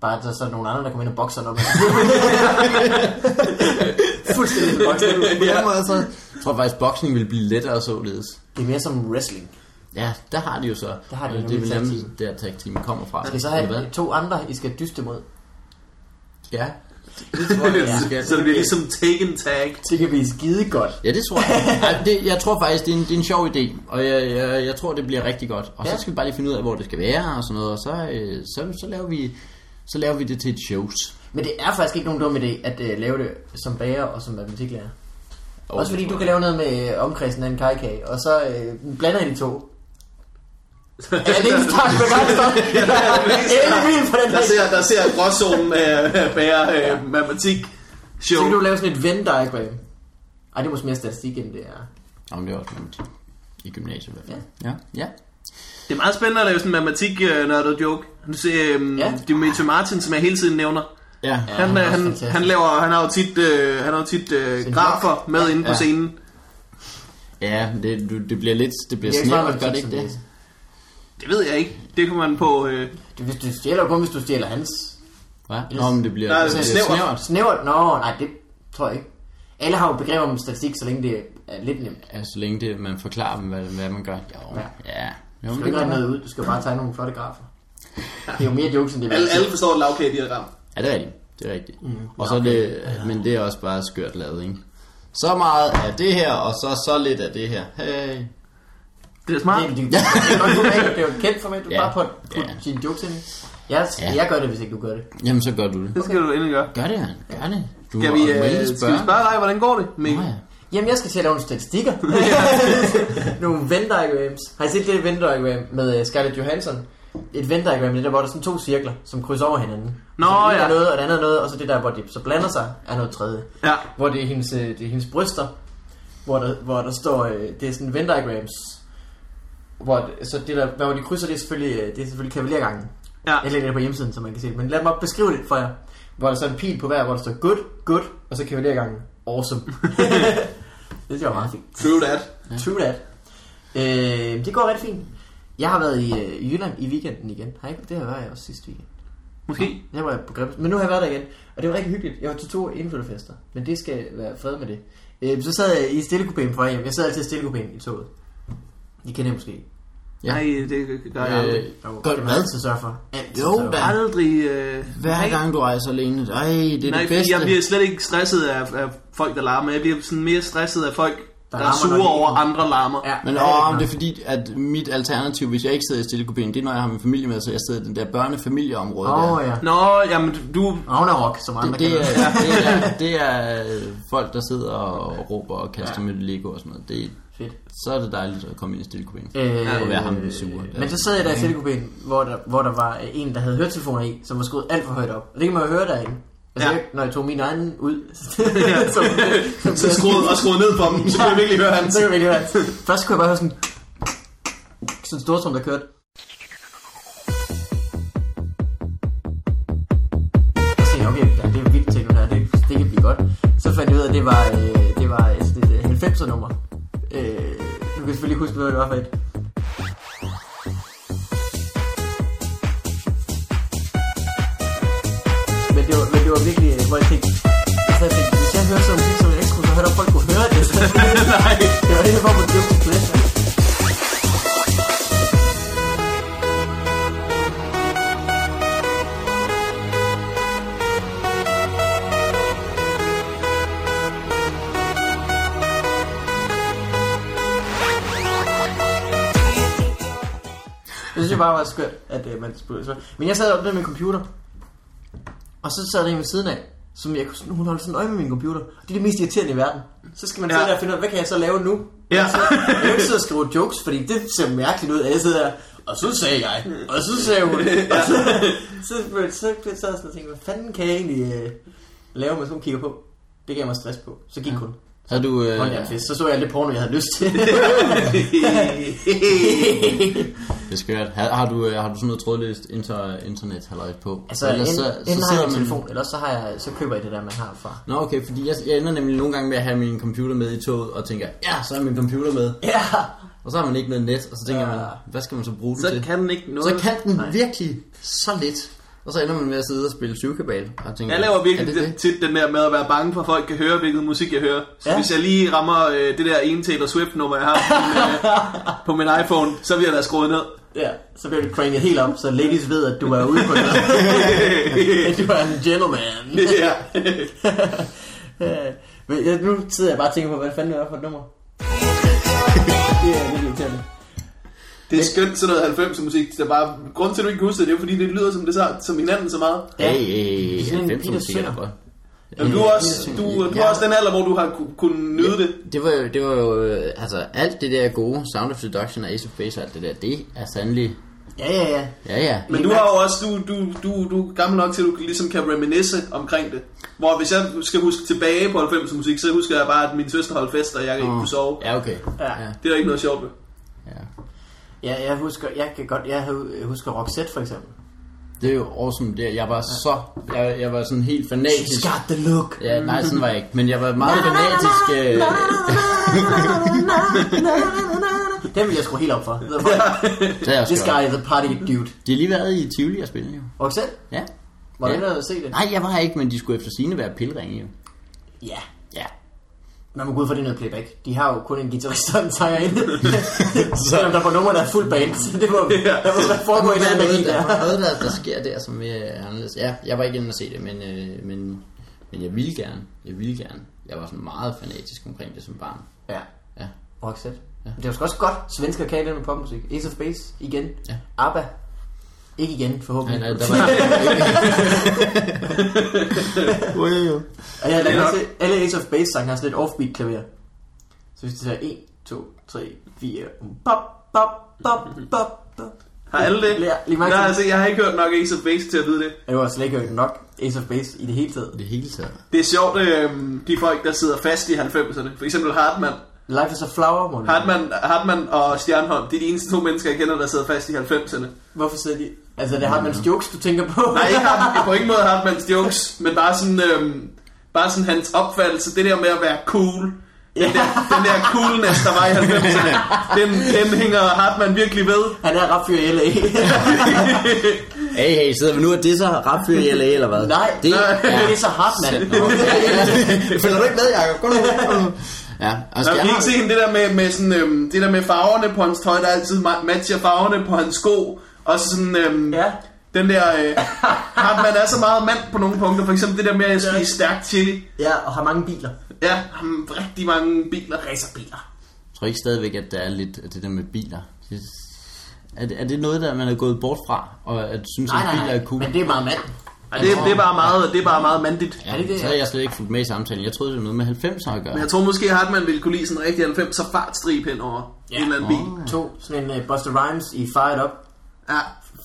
[SPEAKER 2] Bare at der så er nogle andre, der kommer ind og bokser, når man... Fuldstændig som boksning.
[SPEAKER 1] På den måde, så jeg tror faktisk, boksning ville blive lettere således.
[SPEAKER 2] Det er mere som wrestling.
[SPEAKER 1] Ja, der har de jo så.
[SPEAKER 2] Der har de
[SPEAKER 1] øh, det er
[SPEAKER 2] nemlig
[SPEAKER 1] vel
[SPEAKER 2] tag
[SPEAKER 1] nemlig
[SPEAKER 2] team.
[SPEAKER 1] der tag team kommer fra.
[SPEAKER 2] Skal I så
[SPEAKER 1] Eller hvad?
[SPEAKER 2] have to andre, I skal dyste mod?
[SPEAKER 1] Ja. Det tror jeg,
[SPEAKER 2] Ja.
[SPEAKER 1] ja. skal.
[SPEAKER 3] Så det bliver ligesom taken tag.
[SPEAKER 2] Det kan blive skide godt.
[SPEAKER 1] Ja, det tror jeg. Ej, det, jeg tror faktisk, det er en, det er en sjov idé, og jeg, jeg, jeg tror, det bliver rigtig godt. Og ja.
[SPEAKER 2] Ja.
[SPEAKER 1] så skal vi bare lige finde ud af, hvor det skal være og sådan noget, og så, øh, så, så, laver, vi, så laver vi det til et shows.
[SPEAKER 2] Men det er faktisk ikke nogen dum idé at øh, lave det som bager og som matematiklærer.
[SPEAKER 1] Og
[SPEAKER 2] Også fordi du kan lave noget med øh, omkredsen af en kajkage, og så øh, blander I de to. Er det ikke en start begejstret? Endelig vild på den
[SPEAKER 3] Der
[SPEAKER 2] der.
[SPEAKER 3] ser, der ser gråzonen øh, bære øh, matematik
[SPEAKER 2] Så
[SPEAKER 3] show.
[SPEAKER 2] kan du lave sådan et Venn diagram. Ej, det er måske mere statistik end det er.
[SPEAKER 1] Nå, men det er også nemt. I gymnasiet i hvert fald. Ja. ja. ja.
[SPEAKER 3] Det er meget spændende at lave sådan en matematik øh, nørdet joke. Du ser, øh,
[SPEAKER 2] Ja.
[SPEAKER 3] ja. det er Matthew Martin, som jeg hele tiden nævner.
[SPEAKER 1] Ja,
[SPEAKER 3] Ja,
[SPEAKER 2] han
[SPEAKER 3] han,
[SPEAKER 2] er
[SPEAKER 3] øh,
[SPEAKER 2] også
[SPEAKER 3] han,
[SPEAKER 2] fantastisk.
[SPEAKER 3] han, laver, han har jo tit, øh, han har jo tit øh,
[SPEAKER 2] Sin
[SPEAKER 3] grafer med inde på
[SPEAKER 1] Ja.
[SPEAKER 3] scenen.
[SPEAKER 1] ja det, du, det bliver lidt, det bliver
[SPEAKER 2] Det er ikke
[SPEAKER 1] snævert,
[SPEAKER 2] meget
[SPEAKER 1] gør det
[SPEAKER 2] matematik,
[SPEAKER 1] ikke det?
[SPEAKER 2] som
[SPEAKER 3] Det ved jeg ikke. Det kommer man på... Øh,
[SPEAKER 2] Det, hvis du stjæler jo kun, hvis du stjæler hans
[SPEAKER 1] Hva? Nå, men det bliver,
[SPEAKER 3] Nej,
[SPEAKER 1] det
[SPEAKER 3] det
[SPEAKER 1] bliver
[SPEAKER 3] er
[SPEAKER 1] snævert.
[SPEAKER 3] snævert.
[SPEAKER 2] snævert. Nå, nej, det tror jeg ikke. Alle har jo begreber om statistik, så længe det er lidt nemt.
[SPEAKER 1] Ja, så længe det, man forklarer dem, hvad, hvad man gør. Jo,
[SPEAKER 2] Ja.
[SPEAKER 1] ja. ja. Jo, men
[SPEAKER 2] Du skal ikke
[SPEAKER 1] det
[SPEAKER 2] regne
[SPEAKER 1] er
[SPEAKER 2] noget ud, du skal bare tegne nogle flotte grafer. Det er jo mere jokes end det,
[SPEAKER 3] alle,
[SPEAKER 2] vil
[SPEAKER 3] alle
[SPEAKER 2] sige.
[SPEAKER 3] forstår et lavkagediagram.
[SPEAKER 1] Ja, det er rigtigt. Det er rigtigt. Mm, og så er det, men det er også bare skørt lavet, ikke? Så meget af det her, og så så lidt af det her. Hey.
[SPEAKER 3] Det er smart.
[SPEAKER 2] Det er- det er- det er et godt format, det er jo et kendt format, du
[SPEAKER 1] Ja.
[SPEAKER 2] bare put, put
[SPEAKER 1] Ja.
[SPEAKER 2] dine jokes ind i. Jeg,
[SPEAKER 1] Ja.
[SPEAKER 2] jeg gør det, hvis ikke du gør det.
[SPEAKER 1] Jamen, så gør du det.
[SPEAKER 3] Det skal du endelig gøre.
[SPEAKER 1] Gør det, han. Gør det. Du
[SPEAKER 3] Skal
[SPEAKER 1] må-
[SPEAKER 3] vi,
[SPEAKER 1] og du må
[SPEAKER 3] øh,
[SPEAKER 1] endelig
[SPEAKER 3] skal vi spørge dig, hvordan går det,
[SPEAKER 1] Nå,
[SPEAKER 3] Mikkel?
[SPEAKER 1] ja.
[SPEAKER 2] Jamen, jeg skal til at lave nogle statistikker. nogle Venn diagrams. Har I set det Venn diagram med øh, Scarlett Johansson? Et Venn diagram, det der, hvor der er sådan to cirkler, som krydser over hinanden.
[SPEAKER 3] Nå,
[SPEAKER 2] så det ene
[SPEAKER 3] ja.
[SPEAKER 2] er noget, og det andet er noget, og så det der, hvor de så blander sig, er noget tredje.
[SPEAKER 3] Ja.
[SPEAKER 2] Hvor det er hendes, øh, det er hendes bryster, hvor der, hvor der står, øh, det er sådan Venn diagrams. Hvor, det- så det der, hvor de krydser, det er selvfølgelig, øh, det er selvfølgelig kavalergangen.
[SPEAKER 3] Ja.
[SPEAKER 2] Jeg lægger det på hjemmesiden, så man kan se det. Men lad mig beskrive det for jer. Hvor der så er en pil på hver, hvor der står good, good, og så kavalergangen awesome. det er jo meget fint.
[SPEAKER 3] True that.
[SPEAKER 2] True that. Øh, det går ret fint. Jeg har været i, øh, i Jylland i weekenden igen. Har jeg ikke? Det var jeg også sidste weekend.
[SPEAKER 3] Måske.
[SPEAKER 2] Jeg var på Grebes. Men nu har jeg været der igen. Og det var rigtig hyggeligt. Jeg var til to indflytterfester. Men det skal være fred med det. Øh, så sad jeg i stillekupéen på vej hjem. Jeg sad altid i stillekupéen i toget. I kender det måske.
[SPEAKER 1] Ja.
[SPEAKER 3] Nej, det gør jeg aldrig.
[SPEAKER 1] Øh,
[SPEAKER 2] Jo,
[SPEAKER 1] Gør
[SPEAKER 2] det
[SPEAKER 1] du
[SPEAKER 2] man
[SPEAKER 1] hvad?
[SPEAKER 2] altid sørge for. Altid
[SPEAKER 1] Jo,
[SPEAKER 2] sørge for.
[SPEAKER 1] hvad?
[SPEAKER 3] Aldrig... Øh,
[SPEAKER 1] Hver
[SPEAKER 3] nej.
[SPEAKER 1] gang du rejser alene, ej, det er
[SPEAKER 3] Nej,
[SPEAKER 1] det
[SPEAKER 3] fordi
[SPEAKER 1] bedste.
[SPEAKER 3] jeg bliver slet ikke stresset af, af folk, der larmer. Jeg bliver sådan mere stresset af folk, der, der er
[SPEAKER 2] larmer, når
[SPEAKER 3] sure
[SPEAKER 2] de-
[SPEAKER 3] over andre larmer.
[SPEAKER 2] Ja,
[SPEAKER 1] Men
[SPEAKER 2] det er
[SPEAKER 1] åh,
[SPEAKER 2] rigtig
[SPEAKER 1] om det er
[SPEAKER 2] nok.
[SPEAKER 1] fordi, at mit alternativ, hvis jeg ikke sidder i stillekupéen, det er, når jeg har min familie med, så jeg sidder i den der børnefamilieområde
[SPEAKER 2] Åh
[SPEAKER 1] der.
[SPEAKER 2] ja.
[SPEAKER 3] Nå, jamen du...
[SPEAKER 2] Ragnarok, som andre
[SPEAKER 1] Det, det, er,
[SPEAKER 2] kender.
[SPEAKER 1] det, er, det er øh, folk, der sidder og råber og kaster ja. med Lego og sådan noget. Det,
[SPEAKER 2] Fedt.
[SPEAKER 1] så er det dejligt at komme ind i stillekupéen.
[SPEAKER 2] Øh,
[SPEAKER 1] Og være ham den sure.
[SPEAKER 2] Men så sad jeg der i stillekupéen, hvor der, hvor der var øh, en, der havde høretelefoner i, som var skruet alt for højt op. Og det kan man jo høre derinde. Altså,
[SPEAKER 3] Ja.
[SPEAKER 2] ja. når jeg tog min egen ud, som,
[SPEAKER 3] Så skruede, og skruede ned på dem, så kunne jeg virkelig høre hans.
[SPEAKER 2] så kan man ikke høre. Først kunne jeg bare høre sådan, sådan en stortrum, der kørte. Og så tænkte jeg, okay, ja, det er vildt techno der, det, det kan blive godt. Så fandt jeg ud af, at det var, øh, det var altså, det, det 90'er nummer. Øh, nu kan jeg selvfølgelig ikke huske, hvad det var for et. Men det var, men det var virkelig, øh, hvor jeg tænkte, så jeg tænkte, hvis jeg hører sådan musik som en ekskurs, så hørte folk kunne høre det.
[SPEAKER 3] Nej.
[SPEAKER 2] Det var helt for på Guilty Pleasure. Jeg synes jo bare var skørt, at øh, man spurgte så. Men jeg sad oppe ved min computer, og så sad der en ved siden af, som jeg kunne sådan, hun holdt sådan øje med min computer. Og det er det mest irriterende i verden. Så skal man ja.
[SPEAKER 3] Ja.
[SPEAKER 2] sidde der og finde ud af, hvad kan jeg så lave nu?
[SPEAKER 3] Ja.
[SPEAKER 2] Jeg kan jo ikke sidde og skrive jokes, fordi det ser mærkeligt ud, at jeg sidder der. Og så sagde jeg, og så sagde hun. Og så, så, så, så, så, så, sådan og tænkte, hvad fanden kan jeg egentlig øh, lave, mens hun kigger på? Det gav mig stress på. Så gik hun.
[SPEAKER 1] Har du... Øh,
[SPEAKER 2] Hold jer fest. Så så jeg alt det porno, jeg havde lyst til.
[SPEAKER 1] Det er skørt. Har, har, du, øh, har du sådan noget trådløst inter, internet halløj på?
[SPEAKER 2] altså, enten, så, så enten har
[SPEAKER 1] sidder
[SPEAKER 2] jeg en
[SPEAKER 1] man-
[SPEAKER 2] telefon, eller så, har jeg, så køber jeg det der, man har fra.
[SPEAKER 1] Nå okay, fordi jeg, jeg ender nemlig nogle gange med at have min computer med i toget, og tænker, ja, så er min computer med.
[SPEAKER 2] Ja.
[SPEAKER 1] Og så har man ikke noget net, og så tænker
[SPEAKER 2] Ja.
[SPEAKER 1] ja. man, hvad skal man så bruge den
[SPEAKER 3] Så
[SPEAKER 1] til?
[SPEAKER 3] kan den ikke noget.
[SPEAKER 1] så kan den Nej. virkelig så lidt. Og så ender man med at sidde og spille syvkabal. Og tænker,
[SPEAKER 3] Jeg laver virkelig
[SPEAKER 1] er
[SPEAKER 3] det
[SPEAKER 1] det, det?
[SPEAKER 3] tit den der med at være bange for, at folk kan høre, hvilken musik jeg hører. Så
[SPEAKER 2] Ja.
[SPEAKER 3] ja. hvis jeg lige rammer øh, det der ene Taylor Swift-nummer, jeg har på min, øh, på min iPhone, så bliver der skruet ned.
[SPEAKER 2] Ja, så bliver du cranket helt op, så ladies ved, at du er ude på noget. at du er en gentleman.
[SPEAKER 3] ja.
[SPEAKER 2] Øh, Men jeg, nu sidder jeg bare og tænker på, hvad fanden det er for et nummer. det er lidt irriterende.
[SPEAKER 3] Det er skønt sådan noget 90'er musik. Det er bare, grunden til, at du ikke kan huske det, det er jo, fordi, det lyder som, det så, som hinanden så meget.
[SPEAKER 1] Ja,
[SPEAKER 2] Ja.
[SPEAKER 1] hey, hey,
[SPEAKER 2] Sådan en
[SPEAKER 1] 90
[SPEAKER 2] lille
[SPEAKER 1] musik er da
[SPEAKER 2] synder.
[SPEAKER 1] godt.
[SPEAKER 3] Jamen, du er også, du, du er også den alder, hvor du har ku- kunnet nyde det.
[SPEAKER 1] Det var jo, det var jo øh, altså alt det der gode Sound of Seduction og Ace of Base og alt det der, det er sandelig,
[SPEAKER 2] Ja, ja, ja.
[SPEAKER 1] ja ja.
[SPEAKER 3] Men du har jo også, du, du, du, du er gammel nok til, at du ligesom kan reminisce omkring det. Hvor hvis jeg skal huske tilbage på 90'er musik, så husker jeg bare, at min søster holdt fest, og jeg ikke kunne sove.
[SPEAKER 1] Ja, okay.
[SPEAKER 2] Ja.
[SPEAKER 1] ja.
[SPEAKER 3] Det er der ikke noget sjovt ved.
[SPEAKER 1] ja.
[SPEAKER 2] Ja, jeg husker, jeg kan godt, jeg havde- husker Roxette for eksempel.
[SPEAKER 1] Det er jo awesome der. Jeg var så, jeg, jeg var sådan helt fanatisk.
[SPEAKER 2] She's got the look.
[SPEAKER 1] Ja, nej, sådan var jeg ikke. Men jeg var meget fanatisk. Øh,
[SPEAKER 2] Den vil jeg skrue helt op for.
[SPEAKER 1] det er jeg
[SPEAKER 2] This
[SPEAKER 1] også
[SPEAKER 2] guy
[SPEAKER 1] godt.
[SPEAKER 2] is a party dude.
[SPEAKER 1] De har lige været i Tivoli og spille, jo.
[SPEAKER 2] Roxette,
[SPEAKER 1] Ja.
[SPEAKER 2] var du
[SPEAKER 1] ja.
[SPEAKER 2] inde og se det?
[SPEAKER 1] Nej, jeg var ikke, men de skulle efter sine være pilringe, jo.
[SPEAKER 2] Ja.
[SPEAKER 1] Ja.
[SPEAKER 2] Man må gå ud for det er noget playback. De har jo kun en guitarist og en sangerinde. Selvom der på nummer, der er fuld band. Så det må, der må være foregå en eller anden magi
[SPEAKER 1] der,
[SPEAKER 2] der.
[SPEAKER 1] var noget der, der sker der, som er anderledes. Ja, jeg var ikke inde og se det, men, øh, men, men jeg ville gerne. Jeg ville gerne. Jeg var sådan meget fanatisk omkring det som barn.
[SPEAKER 2] Ja,
[SPEAKER 1] Ja.
[SPEAKER 2] Roxette. Ja. Det var sgu også godt. Svensker kan det med popmusik. Ace of Base, igen.
[SPEAKER 1] Ja.
[SPEAKER 2] ABBA, ikke igen
[SPEAKER 1] Nej,
[SPEAKER 2] forhåbentlig.
[SPEAKER 1] nej, der var ikke.
[SPEAKER 2] Og jeg
[SPEAKER 3] Det er
[SPEAKER 2] lader
[SPEAKER 3] nok.
[SPEAKER 2] til, alle Ace of Base sange har sådan et offbeat klaver. Så hvis det tager 1, 2, 3, 4, um, bop, bop, bop, bop, bop.
[SPEAKER 3] Har alle det?
[SPEAKER 2] Lige, lige
[SPEAKER 3] Nej,
[SPEAKER 2] meget.
[SPEAKER 3] altså, jeg har ikke hørt nok Ace of Base til at vide det.
[SPEAKER 2] Jeg har slet ikke hørt nok Ace of Base i det hele taget.
[SPEAKER 1] Det hele taget.
[SPEAKER 3] Det er sjovt, øh, de folk, der sidder fast i 90'erne. For eksempel Hartmann.
[SPEAKER 2] Life is a flower, Morten.
[SPEAKER 3] Hartmann, Hartmann og Stjernholm, det er de eneste to mennesker, jeg kender, der sidder fast i 90'erne.
[SPEAKER 2] Hvorfor sidder de... Altså, det har man jokes, du tænker på.
[SPEAKER 3] Nej, ikke Hartmann, på ingen måde Hartmanns jokes, men bare sådan, øhm, bare sådan hans opfattelse, det der med at være cool. Den der, den der coolness, der var i 90'erne, den, den hænger Hartmann virkelig ved.
[SPEAKER 2] Han er rapfyr i LA.
[SPEAKER 1] Hey, hey, sidder vi nu og disser rapfyr i LA, eller hvad?
[SPEAKER 2] Nej,
[SPEAKER 1] det
[SPEAKER 2] det er
[SPEAKER 1] er...
[SPEAKER 2] så hardt, mand.
[SPEAKER 1] Følger du ikke med, Jacob? Gå nu. Ja, altså,
[SPEAKER 3] Der
[SPEAKER 1] jeg
[SPEAKER 3] kan I ikke
[SPEAKER 1] har...
[SPEAKER 3] se hende, det der med, med, sådan, øhm, det der med farverne på hans tøj, der altid ma- matcher farverne på hans sko. Og så sådan, øhm,
[SPEAKER 2] Ja.
[SPEAKER 3] den der, øh, Hartmann er så meget mand på nogle punkter. For eksempel det der med at spise stærk chili.
[SPEAKER 2] Ja, og har mange biler.
[SPEAKER 3] Ja, ham, rigtig mange biler.
[SPEAKER 2] Racerbiler.
[SPEAKER 1] Jeg tror ikke stadigvæk, at der er lidt af det der med biler. Det- Er det, er det noget, der man er gået bort fra, og at synes,
[SPEAKER 2] Nej,
[SPEAKER 1] at
[SPEAKER 2] nej,
[SPEAKER 1] biler er
[SPEAKER 2] nej.
[SPEAKER 1] cool?
[SPEAKER 2] Men det er meget mand.
[SPEAKER 3] Ja, det, det, er bare meget, det er bare meget mandigt.
[SPEAKER 1] Ja,
[SPEAKER 2] Er det det,
[SPEAKER 1] så
[SPEAKER 2] ja?
[SPEAKER 1] havde jeg slet ikke fulgt med i samtalen. Jeg troede, det var noget med 90'er at gøre.
[SPEAKER 3] Men jeg tror måske, at Hartmann ville kunne lide sådan en rigtig 90'er fartstrip hen over ja. en eller anden bil.
[SPEAKER 2] To, sådan en uh, Buster Rhymes i Fired Up.
[SPEAKER 3] Ja,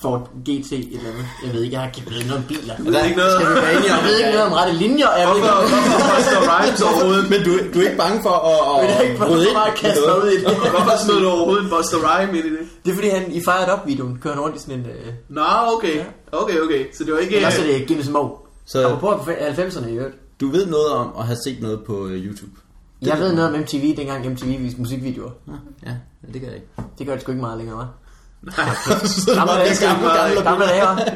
[SPEAKER 2] Ford GT et eller andet. Jeg ved ikke, jeg har ikke ved noget om biler.
[SPEAKER 3] jeg ved ikke noget.
[SPEAKER 1] Skal vi være enige om?
[SPEAKER 2] Jeg ved ikke noget om rette linjer. og Jeg ved
[SPEAKER 3] Hvorfor,
[SPEAKER 2] ikke,
[SPEAKER 3] hvorfor Buster Rhymes overhovedet?
[SPEAKER 1] Men du, du er ikke bange for at,
[SPEAKER 2] Men jeg er ikke
[SPEAKER 1] rode
[SPEAKER 2] bare,
[SPEAKER 1] ind
[SPEAKER 2] bare
[SPEAKER 1] i
[SPEAKER 2] kaste mig
[SPEAKER 1] noget?
[SPEAKER 2] ud i det.
[SPEAKER 3] Hvorfor smed du overhovedet en Buster Rhyme ind i det?
[SPEAKER 2] Det er fordi, han i Fired Up-videoen kører han rundt i sådan en... Øh,
[SPEAKER 3] Nå, okay. Okay, okay. Så det var ikke...
[SPEAKER 2] yeah. Også
[SPEAKER 1] altså,
[SPEAKER 2] er det Guinness Mo. Så...
[SPEAKER 1] Så-
[SPEAKER 2] Apropos 90'erne i øvrigt.
[SPEAKER 1] Du ved noget om at have set noget på øh, YouTube?
[SPEAKER 2] Jeg ved noget om MTV, dengang MTV viste musikvideoer.
[SPEAKER 1] Nå, Ja, ja, det kan jeg ikke.
[SPEAKER 2] Det gør det sgu ikke meget længere, hva'?
[SPEAKER 1] Nå, det skal
[SPEAKER 3] gamle-
[SPEAKER 1] jeg ikke.
[SPEAKER 2] Gamle dage, hva'?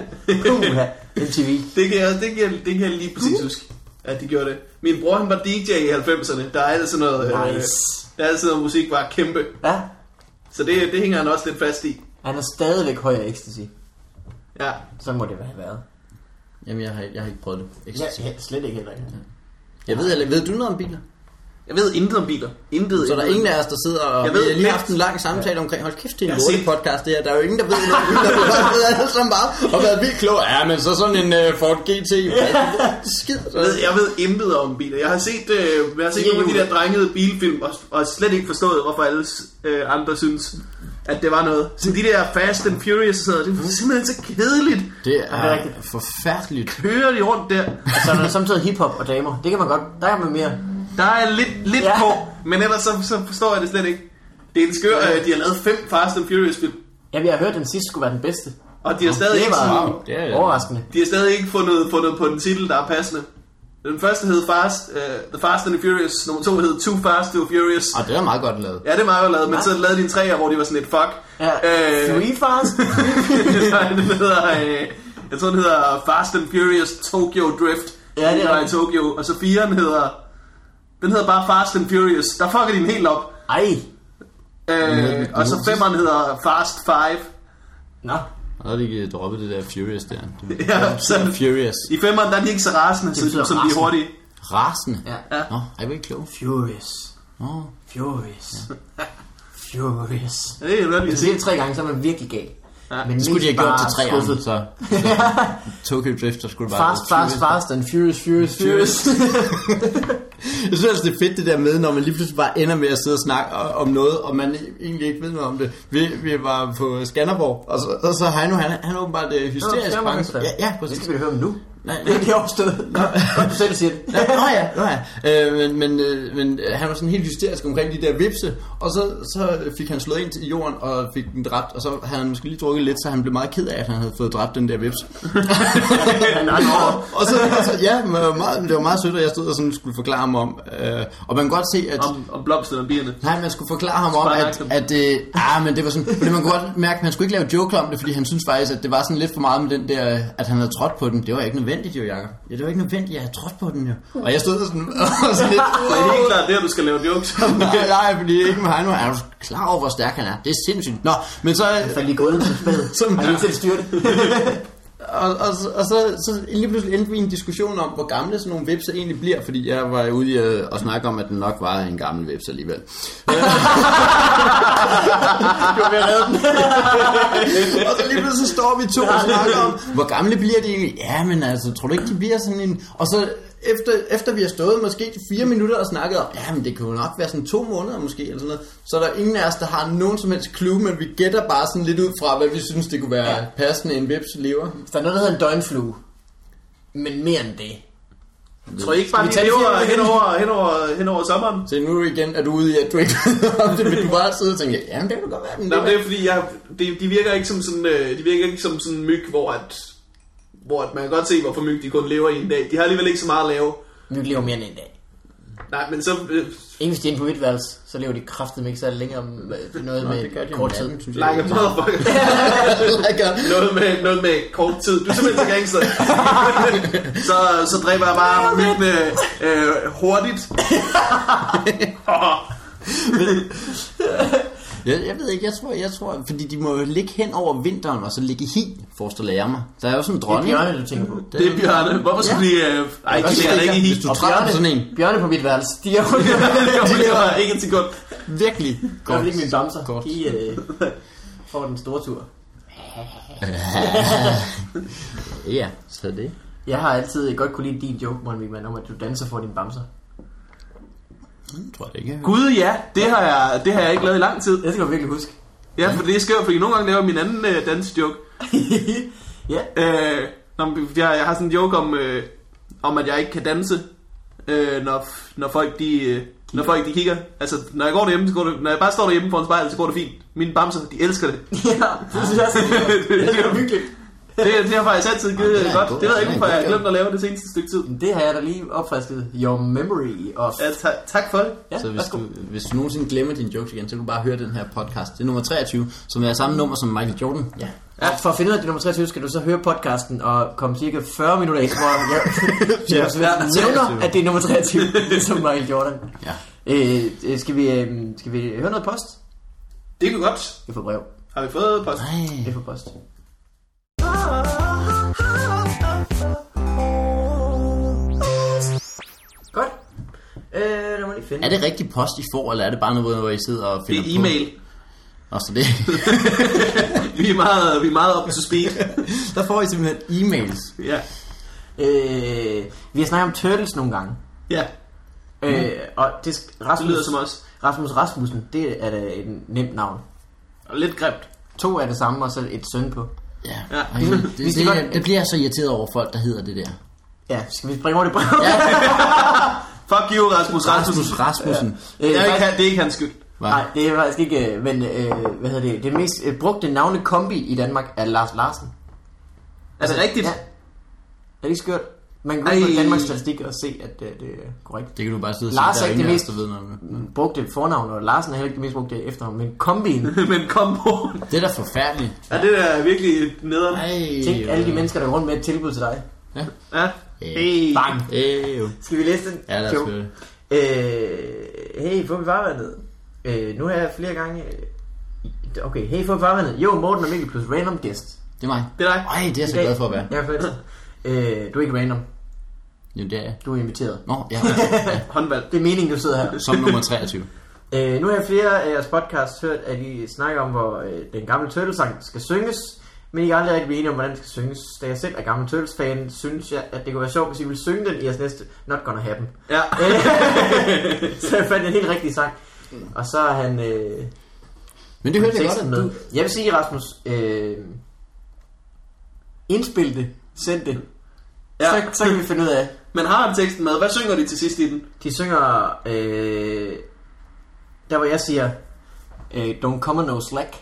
[SPEAKER 2] Puha, MTV.
[SPEAKER 3] Det kan, jeg, det, kan jeg, det kan jeg lige præcis huske, at de gjorde det. Min bror, han var DJ i 90'erne. Der er altid noget, øh,
[SPEAKER 2] Nice.
[SPEAKER 3] der er altid noget musik, var kæmpe.
[SPEAKER 2] Ja,
[SPEAKER 3] Så det, det hænger han også lidt fast i.
[SPEAKER 2] han er stadigvæk høj af ecstasy.
[SPEAKER 3] Ja.
[SPEAKER 2] Så må det have været.
[SPEAKER 1] Jamen, jeg har, jeg har ikke prøvet det. Ikke
[SPEAKER 2] Ja,
[SPEAKER 1] så-
[SPEAKER 2] ja, slet ikke heller. ikke.
[SPEAKER 1] Jeg ved, jeg, ved du noget om biler?
[SPEAKER 3] Jeg ved intet om biler. Intet.
[SPEAKER 1] Så der er ingen af os, der sidder og...
[SPEAKER 3] Jeg ved
[SPEAKER 1] vi har lige
[SPEAKER 3] lidt.
[SPEAKER 1] haft en lang samtale omkring... Hold kæft, det er
[SPEAKER 3] Jeg
[SPEAKER 1] en
[SPEAKER 3] har
[SPEAKER 1] lortet
[SPEAKER 3] set-
[SPEAKER 1] podcast, det her. Der er jo ingen, der ved noget. om biler. Vi har ved alle sammen bare og været vildt kloge. Ja, men så sådan en uh, Ford GT. Skid.
[SPEAKER 3] Jeg ved, jeg ved intet om biler. Jeg har set, øh, jeg har set
[SPEAKER 2] Ja,
[SPEAKER 3] nogle af de
[SPEAKER 2] jo.
[SPEAKER 3] der drengede bilfilm, og, og slet ikke forstået, hvorfor alle øh, andre synes, at det var noget. Så de der Fast and Furious og sådan noget, det
[SPEAKER 1] Mm.
[SPEAKER 3] er simpelthen så kedeligt.
[SPEAKER 1] Det
[SPEAKER 2] det er
[SPEAKER 1] er
[SPEAKER 2] rigtigt.
[SPEAKER 1] forfærdeligt.
[SPEAKER 3] Kører de rundt der?
[SPEAKER 2] Og så er der Altså, samtidig hiphop og damer. Det kan man godt. Der kan man mere.
[SPEAKER 3] Der er lidt, lidt
[SPEAKER 2] Ja.
[SPEAKER 3] ja. på, men ellers så, så forstår jeg det slet ikke. Det er en skør, øh, de har lavet fem Fast and Furious film,
[SPEAKER 2] Ja, vi har hørt, at den sidste skulle være den bedste.
[SPEAKER 3] og de har stadig,
[SPEAKER 2] Det
[SPEAKER 3] ikke,
[SPEAKER 2] var
[SPEAKER 3] sådan,
[SPEAKER 1] Det er-
[SPEAKER 2] overraskende.
[SPEAKER 3] de har stadig ikke fundet, fundet på en titel, der er passende. Den første hed Fast, øh, The Fast and the Furious, nummer to hed Too Fast, Too Furious.
[SPEAKER 1] Og det er meget godt lavet.
[SPEAKER 3] Ja, det er meget godt lavet, men så lavede de en træer, hvor de var sådan et fuck.
[SPEAKER 2] Ja,
[SPEAKER 3] Øh,
[SPEAKER 2] Three Fast.
[SPEAKER 3] Nej, den hedder, øh, jeg tror, den hedder Fast and Furious Tokyo Drift.
[SPEAKER 2] Ja, det er
[SPEAKER 3] Den var i
[SPEAKER 2] rigtigt.
[SPEAKER 3] Tokyo. Og så firen hedder... Den hedder bare Fast and Furious. Der fucker de den helt op.
[SPEAKER 2] Ej,
[SPEAKER 3] Øh, og så femeren hedder Fast Five.
[SPEAKER 2] Nå.
[SPEAKER 1] Og der er de ikke droppet det der Furious der. Det
[SPEAKER 3] Ja, så
[SPEAKER 1] Furious.
[SPEAKER 3] i femmeren, der er de ikke så rasende, så,
[SPEAKER 2] betyder
[SPEAKER 3] som de er
[SPEAKER 2] rasende.
[SPEAKER 3] hurtige.
[SPEAKER 1] Rasende.
[SPEAKER 2] Ja.
[SPEAKER 3] Ja.
[SPEAKER 1] Nå, ej, hvor er I klog.
[SPEAKER 2] Furious.
[SPEAKER 1] Nå,
[SPEAKER 2] Furious. Furious.
[SPEAKER 3] Ja, det er godt,
[SPEAKER 2] Hvis
[SPEAKER 3] vi har
[SPEAKER 2] man siger
[SPEAKER 3] set.
[SPEAKER 2] det tre gange, så er man virkelig gal.
[SPEAKER 3] Ja.
[SPEAKER 2] Men
[SPEAKER 1] det skulle de
[SPEAKER 2] mest
[SPEAKER 1] have gjort til
[SPEAKER 2] bare
[SPEAKER 1] træerne,
[SPEAKER 2] skuffet.
[SPEAKER 1] så. Tokyo Drift, der skulle det bare...
[SPEAKER 2] Fast, fast, fast, and furious, furious, furious.
[SPEAKER 1] Jeg synes altså, det er fedt det der med, når man lige pludselig bare ender med at sidde og snakke o- om noget, og man egentlig ikke ved noget om det. Vi, vi var på Skanderborg, og så, og så Heino, han, han er åbenbart øh, hysterisk
[SPEAKER 2] Skanderborg
[SPEAKER 1] bange.
[SPEAKER 2] Festival.
[SPEAKER 1] Ja, ja,
[SPEAKER 2] Det
[SPEAKER 1] præcis.
[SPEAKER 2] skal vi da høre om nu.
[SPEAKER 1] Nej,
[SPEAKER 2] Det er det overstået. Godt, du selv siger det.
[SPEAKER 1] Ja, Nå ja, nå ja. Øh, men, men, øh, men øh, han var sådan helt hysterisk omkring de der vipse, og så, så fik han slået ind til jorden og fik den dræbt, og så havde han måske lige drukket lidt, så han blev meget ked af, at han havde fået dræbt den der vips.
[SPEAKER 2] Han er over.
[SPEAKER 1] og så, altså, ja, men det var meget, det var meget sødt, at jeg stod og sådan skulle forklare ham om, øh, og man kan godt se, at...
[SPEAKER 3] Om, om blomsterne og bierne.
[SPEAKER 1] Nej, man skulle forklare ham om,
[SPEAKER 3] Spark
[SPEAKER 1] at,
[SPEAKER 3] dem.
[SPEAKER 1] at øh, ah, men det var sådan, fordi man kunne godt mærke, at han skulle ikke lave joke om det, fordi han synes faktisk, at det var sådan lidt for meget med den der, øh, at han havde trådt på den. Det var ikke nødvendigt jo, Jacob. Ja, det var ikke nødvendigt, jeg havde trådt på den jo. Og jeg stod der sådan, og sådan lidt,
[SPEAKER 3] Det er helt klart det, at du skal lave jokes om.
[SPEAKER 1] nej, nej, fordi ikke med Heino. Er du klar over, hvor stærk han er? Det er sindssygt. Nå, men så...
[SPEAKER 2] Han faldt i gulvet med spædet.
[SPEAKER 1] Som-
[SPEAKER 2] Har lige til at styre det.
[SPEAKER 1] Og, og, så- og så, så lige pludselig endte vi i en diskussion om, hvor gamle sådan nogle vipser egentlig bliver, fordi jeg var ude i at, at snakke om, at den nok var en gammel vips alligevel.
[SPEAKER 2] Du har været den.
[SPEAKER 1] og så lige pludselig så står vi to og snakker om, hvor gamle bliver de egentlig? Ja, men altså, tror du ikke, de bliver sådan en... Og så efter, efter vi har stået måske fire minutter og snakket om, ja, men det kunne nok være sådan to måneder måske, eller sådan noget, så er der ingen af os, der har nogen som helst clue, men vi gætter bare sådan lidt ud fra, hvad vi synes, det kunne være passende, en vips lever.
[SPEAKER 2] Hvis der er noget, der hedder en døgnflue. Men mere end det.
[SPEAKER 3] Tror I ikke bare,
[SPEAKER 2] Skal vi
[SPEAKER 3] de
[SPEAKER 2] tage det
[SPEAKER 3] lever
[SPEAKER 2] fjerde?
[SPEAKER 3] hen over, hen, over, hen over sommeren?
[SPEAKER 1] Så nu igen er du ude i, at du ikke ved om det, men du bare sidder og tænker, jamen det kan godt være, men
[SPEAKER 3] Nå, men
[SPEAKER 1] det
[SPEAKER 3] det er fordi, jeg, de, de, virker ikke som sådan, øh, de virker ikke som sådan en myg, hvor, at, hvor at man kan godt se, hvorfor myg de kun lever i en dag. De har alligevel ikke så meget at lave.
[SPEAKER 2] Vi lever mere end en dag.
[SPEAKER 3] Nej, men så... Øh,
[SPEAKER 2] Ikke hvis de er inde på mit værelse, så lever de kraftedeme ikke særlig længere om øh, noget
[SPEAKER 1] Nå,
[SPEAKER 2] med
[SPEAKER 1] det gør de om
[SPEAKER 2] kort tid.
[SPEAKER 1] natten, synes jeg.
[SPEAKER 3] like a motherfucker.
[SPEAKER 1] er
[SPEAKER 3] noget, med, noget med kort tid. Du er simpelthen så gangster. så, så dræber jeg bare myggene øh, hurtigt.
[SPEAKER 1] jeg, jeg ved ikke, jeg tror, jeg tror, fordi de må jo ligge hen over vinteren, og så ligge i hi, forestiller jeg mig. Der er jo sådan en
[SPEAKER 2] Det er
[SPEAKER 1] dronning.
[SPEAKER 2] bjørne, du tænker på.
[SPEAKER 3] Det er bjørne. Hvorfor skulle de... Øh, ej, de lærer ikke i.
[SPEAKER 1] Hvis du træder på sådan en,
[SPEAKER 2] Bjørne på mit værelse, de er jo
[SPEAKER 3] De lever ikke en sekund.
[SPEAKER 1] virkelig
[SPEAKER 2] Gør det ikke mine bamser.
[SPEAKER 1] Kort.
[SPEAKER 2] De øh, får den store tur.
[SPEAKER 1] Ja, så det.
[SPEAKER 2] Jeg har altid godt kunne lide din joke, Morten Wigman, om at du danser for dine bamser.
[SPEAKER 1] Jeg Mm, tror det ikke.
[SPEAKER 3] Gud ja, det har, jeg, det har jeg ikke lavet i lang tid.
[SPEAKER 2] Det skal du virkelig huske.
[SPEAKER 3] Ja, for det er skørt, fordi nogle gange laver jeg min anden øh, dansjoke.
[SPEAKER 2] ja,
[SPEAKER 3] Øh, når, jeg, jeg har sådan en joke om, øh, om, at jeg ikke kan danse, øh, når, når folk de... Øh, når folk de kigger, altså når jeg går derhjemme, så går det, når jeg bare står derhjemme foran spejlet, så går det fint. Mine bamser, de elsker det.
[SPEAKER 2] ja,
[SPEAKER 1] Ah.
[SPEAKER 2] det synes jeg også. Det er hyggeligt.
[SPEAKER 3] Det, det har faktisk altid givet
[SPEAKER 1] Ja, det er
[SPEAKER 3] det godt.
[SPEAKER 1] en god-
[SPEAKER 3] Det
[SPEAKER 1] det
[SPEAKER 3] ved jeg
[SPEAKER 1] er
[SPEAKER 3] ikke,
[SPEAKER 1] en
[SPEAKER 3] hvorfor
[SPEAKER 1] god
[SPEAKER 3] jeg har
[SPEAKER 1] joke.
[SPEAKER 3] glemt at lave det seneste stykke tid.
[SPEAKER 2] Det har jeg da lige opfrisket. Your memory of...
[SPEAKER 3] Ja, ta- tak for det.
[SPEAKER 2] Ja,
[SPEAKER 1] Så hvis
[SPEAKER 2] værsgo.
[SPEAKER 1] du, hvis du nogensinde glemmer dine jokes igen, så kan du bare høre den her podcast. Det er nummer 23, som er samme nummer som Michael Jordan. Ja.
[SPEAKER 2] Ja. For at finde ud af det nummer 23, skal du så høre podcasten og komme cirka 40 minutter ind, hvor jeg, jeg
[SPEAKER 1] Ja.
[SPEAKER 2] ja, nævner, at det er nummer 23, som Michael Jordan.
[SPEAKER 1] Ja.
[SPEAKER 2] Øh, øh, skal, vi, øh, skal vi høre noget post?
[SPEAKER 3] Det kunne godt.
[SPEAKER 2] Jeg får brev.
[SPEAKER 3] Har vi fået post?
[SPEAKER 2] Jeg får post. Godt. Øh, lad mig lige finde.
[SPEAKER 1] Er det rigtig post, I får, eller er det bare noget, hvor I sidder og
[SPEAKER 3] Det
[SPEAKER 1] finder
[SPEAKER 3] er e-mail.
[SPEAKER 1] på? Nå, så det.
[SPEAKER 3] Vi er meget, vi er meget op til speed.
[SPEAKER 1] Der får I simpelthen e-mails.
[SPEAKER 3] Ja.
[SPEAKER 2] Øh, vi har snakket om Turtles nogle gange.
[SPEAKER 3] Ja,
[SPEAKER 2] Øh, og det, sk- Rasmus,
[SPEAKER 3] Mm. det lyder som os.
[SPEAKER 2] Rasmus Rasmussen, det er da et nemt navn.
[SPEAKER 3] Og Lidt grimt.
[SPEAKER 2] To er det samme, og så et søn på.
[SPEAKER 1] Ja.
[SPEAKER 3] Ja.
[SPEAKER 1] Ej, det, det,
[SPEAKER 2] Hvis de
[SPEAKER 1] det,
[SPEAKER 2] godt-
[SPEAKER 1] det, bliver jeg så irriteret over folk, der hedder det der.
[SPEAKER 2] Ja, skal vi springe over det brev?
[SPEAKER 1] Ja.
[SPEAKER 3] Fuck you, Rasmus
[SPEAKER 1] Rasmus
[SPEAKER 3] Rasmussen.
[SPEAKER 1] Rasmussen.
[SPEAKER 3] Det er, ikke,
[SPEAKER 2] faktisk-
[SPEAKER 3] han- det er ikke hans skyld.
[SPEAKER 1] Hva?
[SPEAKER 2] Nej, det er faktisk ikke, øh, men øh, hvad hedder det, det mest øh, brugte navnekombi i Danmark er Lars Larsen.
[SPEAKER 3] Er det rigtigt?
[SPEAKER 2] Ja. Er det ikke skørt? Man kan gå
[SPEAKER 3] Ej.
[SPEAKER 2] ind på Danmarks Statistik og se, at øh, det er korrekt.
[SPEAKER 1] Det kan du bare sidde og
[SPEAKER 2] Lars
[SPEAKER 1] sige, der
[SPEAKER 2] er
[SPEAKER 1] er
[SPEAKER 2] ikke
[SPEAKER 1] ingen af os,
[SPEAKER 2] det
[SPEAKER 1] der ved noget om det.
[SPEAKER 2] Brugte fornavn, og Larsen er heller ikke det mest brugte efternavn, men kombien.
[SPEAKER 3] Men kom på.
[SPEAKER 1] Det er da forfærdeligt.
[SPEAKER 3] Ja, det der er virkelig nederen.
[SPEAKER 1] Ej,
[SPEAKER 2] Tænk alle de mennesker, der går rundt med et tilbud til dig.
[SPEAKER 3] Ja. Hey.
[SPEAKER 2] Bang!
[SPEAKER 1] Øh, jo.
[SPEAKER 2] Skal vi læse den?
[SPEAKER 1] Ja, lad
[SPEAKER 2] Jo.
[SPEAKER 1] os høre det.
[SPEAKER 2] Øh, hey, hvor er vi bare været ned? Øh, nu har jeg flere gange... Øh, Okay, hey for farvandet. Jo, Morten og Mikkel plus random guest.
[SPEAKER 1] Det er mig.
[SPEAKER 3] Det er dig.
[SPEAKER 1] Ej, det er jeg så glad for at være.
[SPEAKER 2] Ja, fedt. øh, du er ikke random.
[SPEAKER 1] Jamen, det er jeg.
[SPEAKER 2] Du er inviteret.
[SPEAKER 1] Nå, ja, ja.
[SPEAKER 3] Håndvalg.
[SPEAKER 2] Det er meningen, du sidder her.
[SPEAKER 1] Som nummer 23.
[SPEAKER 2] Øh, nu har jeg flere af jeres podcasts hørt, at I snakker om, hvor øh, den gamle Turtles-sang skal synges, men I er aldrig rigtig enige om, hvordan den skal synges. Da jeg selv er gammel Turtles-fan, synes jeg, at det kunne være sjovt, hvis I ville synge den i jeres næste Not Gonna Happen.
[SPEAKER 3] Ja.
[SPEAKER 2] Øh, så jeg fandt en helt rigtig sang. Og så er han... Øh,
[SPEAKER 1] Men det hørte jeg godt,
[SPEAKER 2] teksten
[SPEAKER 1] at
[SPEAKER 2] med.
[SPEAKER 1] du...
[SPEAKER 2] Jeg vil sige, Rasmus, øh, indspil det, send det.
[SPEAKER 3] Ja.
[SPEAKER 2] Ja. Så, så kan vi finde ud af.
[SPEAKER 3] Men har han teksten med? Hvad synger de til sidst i den?
[SPEAKER 2] De synger, øh, der hvor jeg siger, øh, don't come no slack,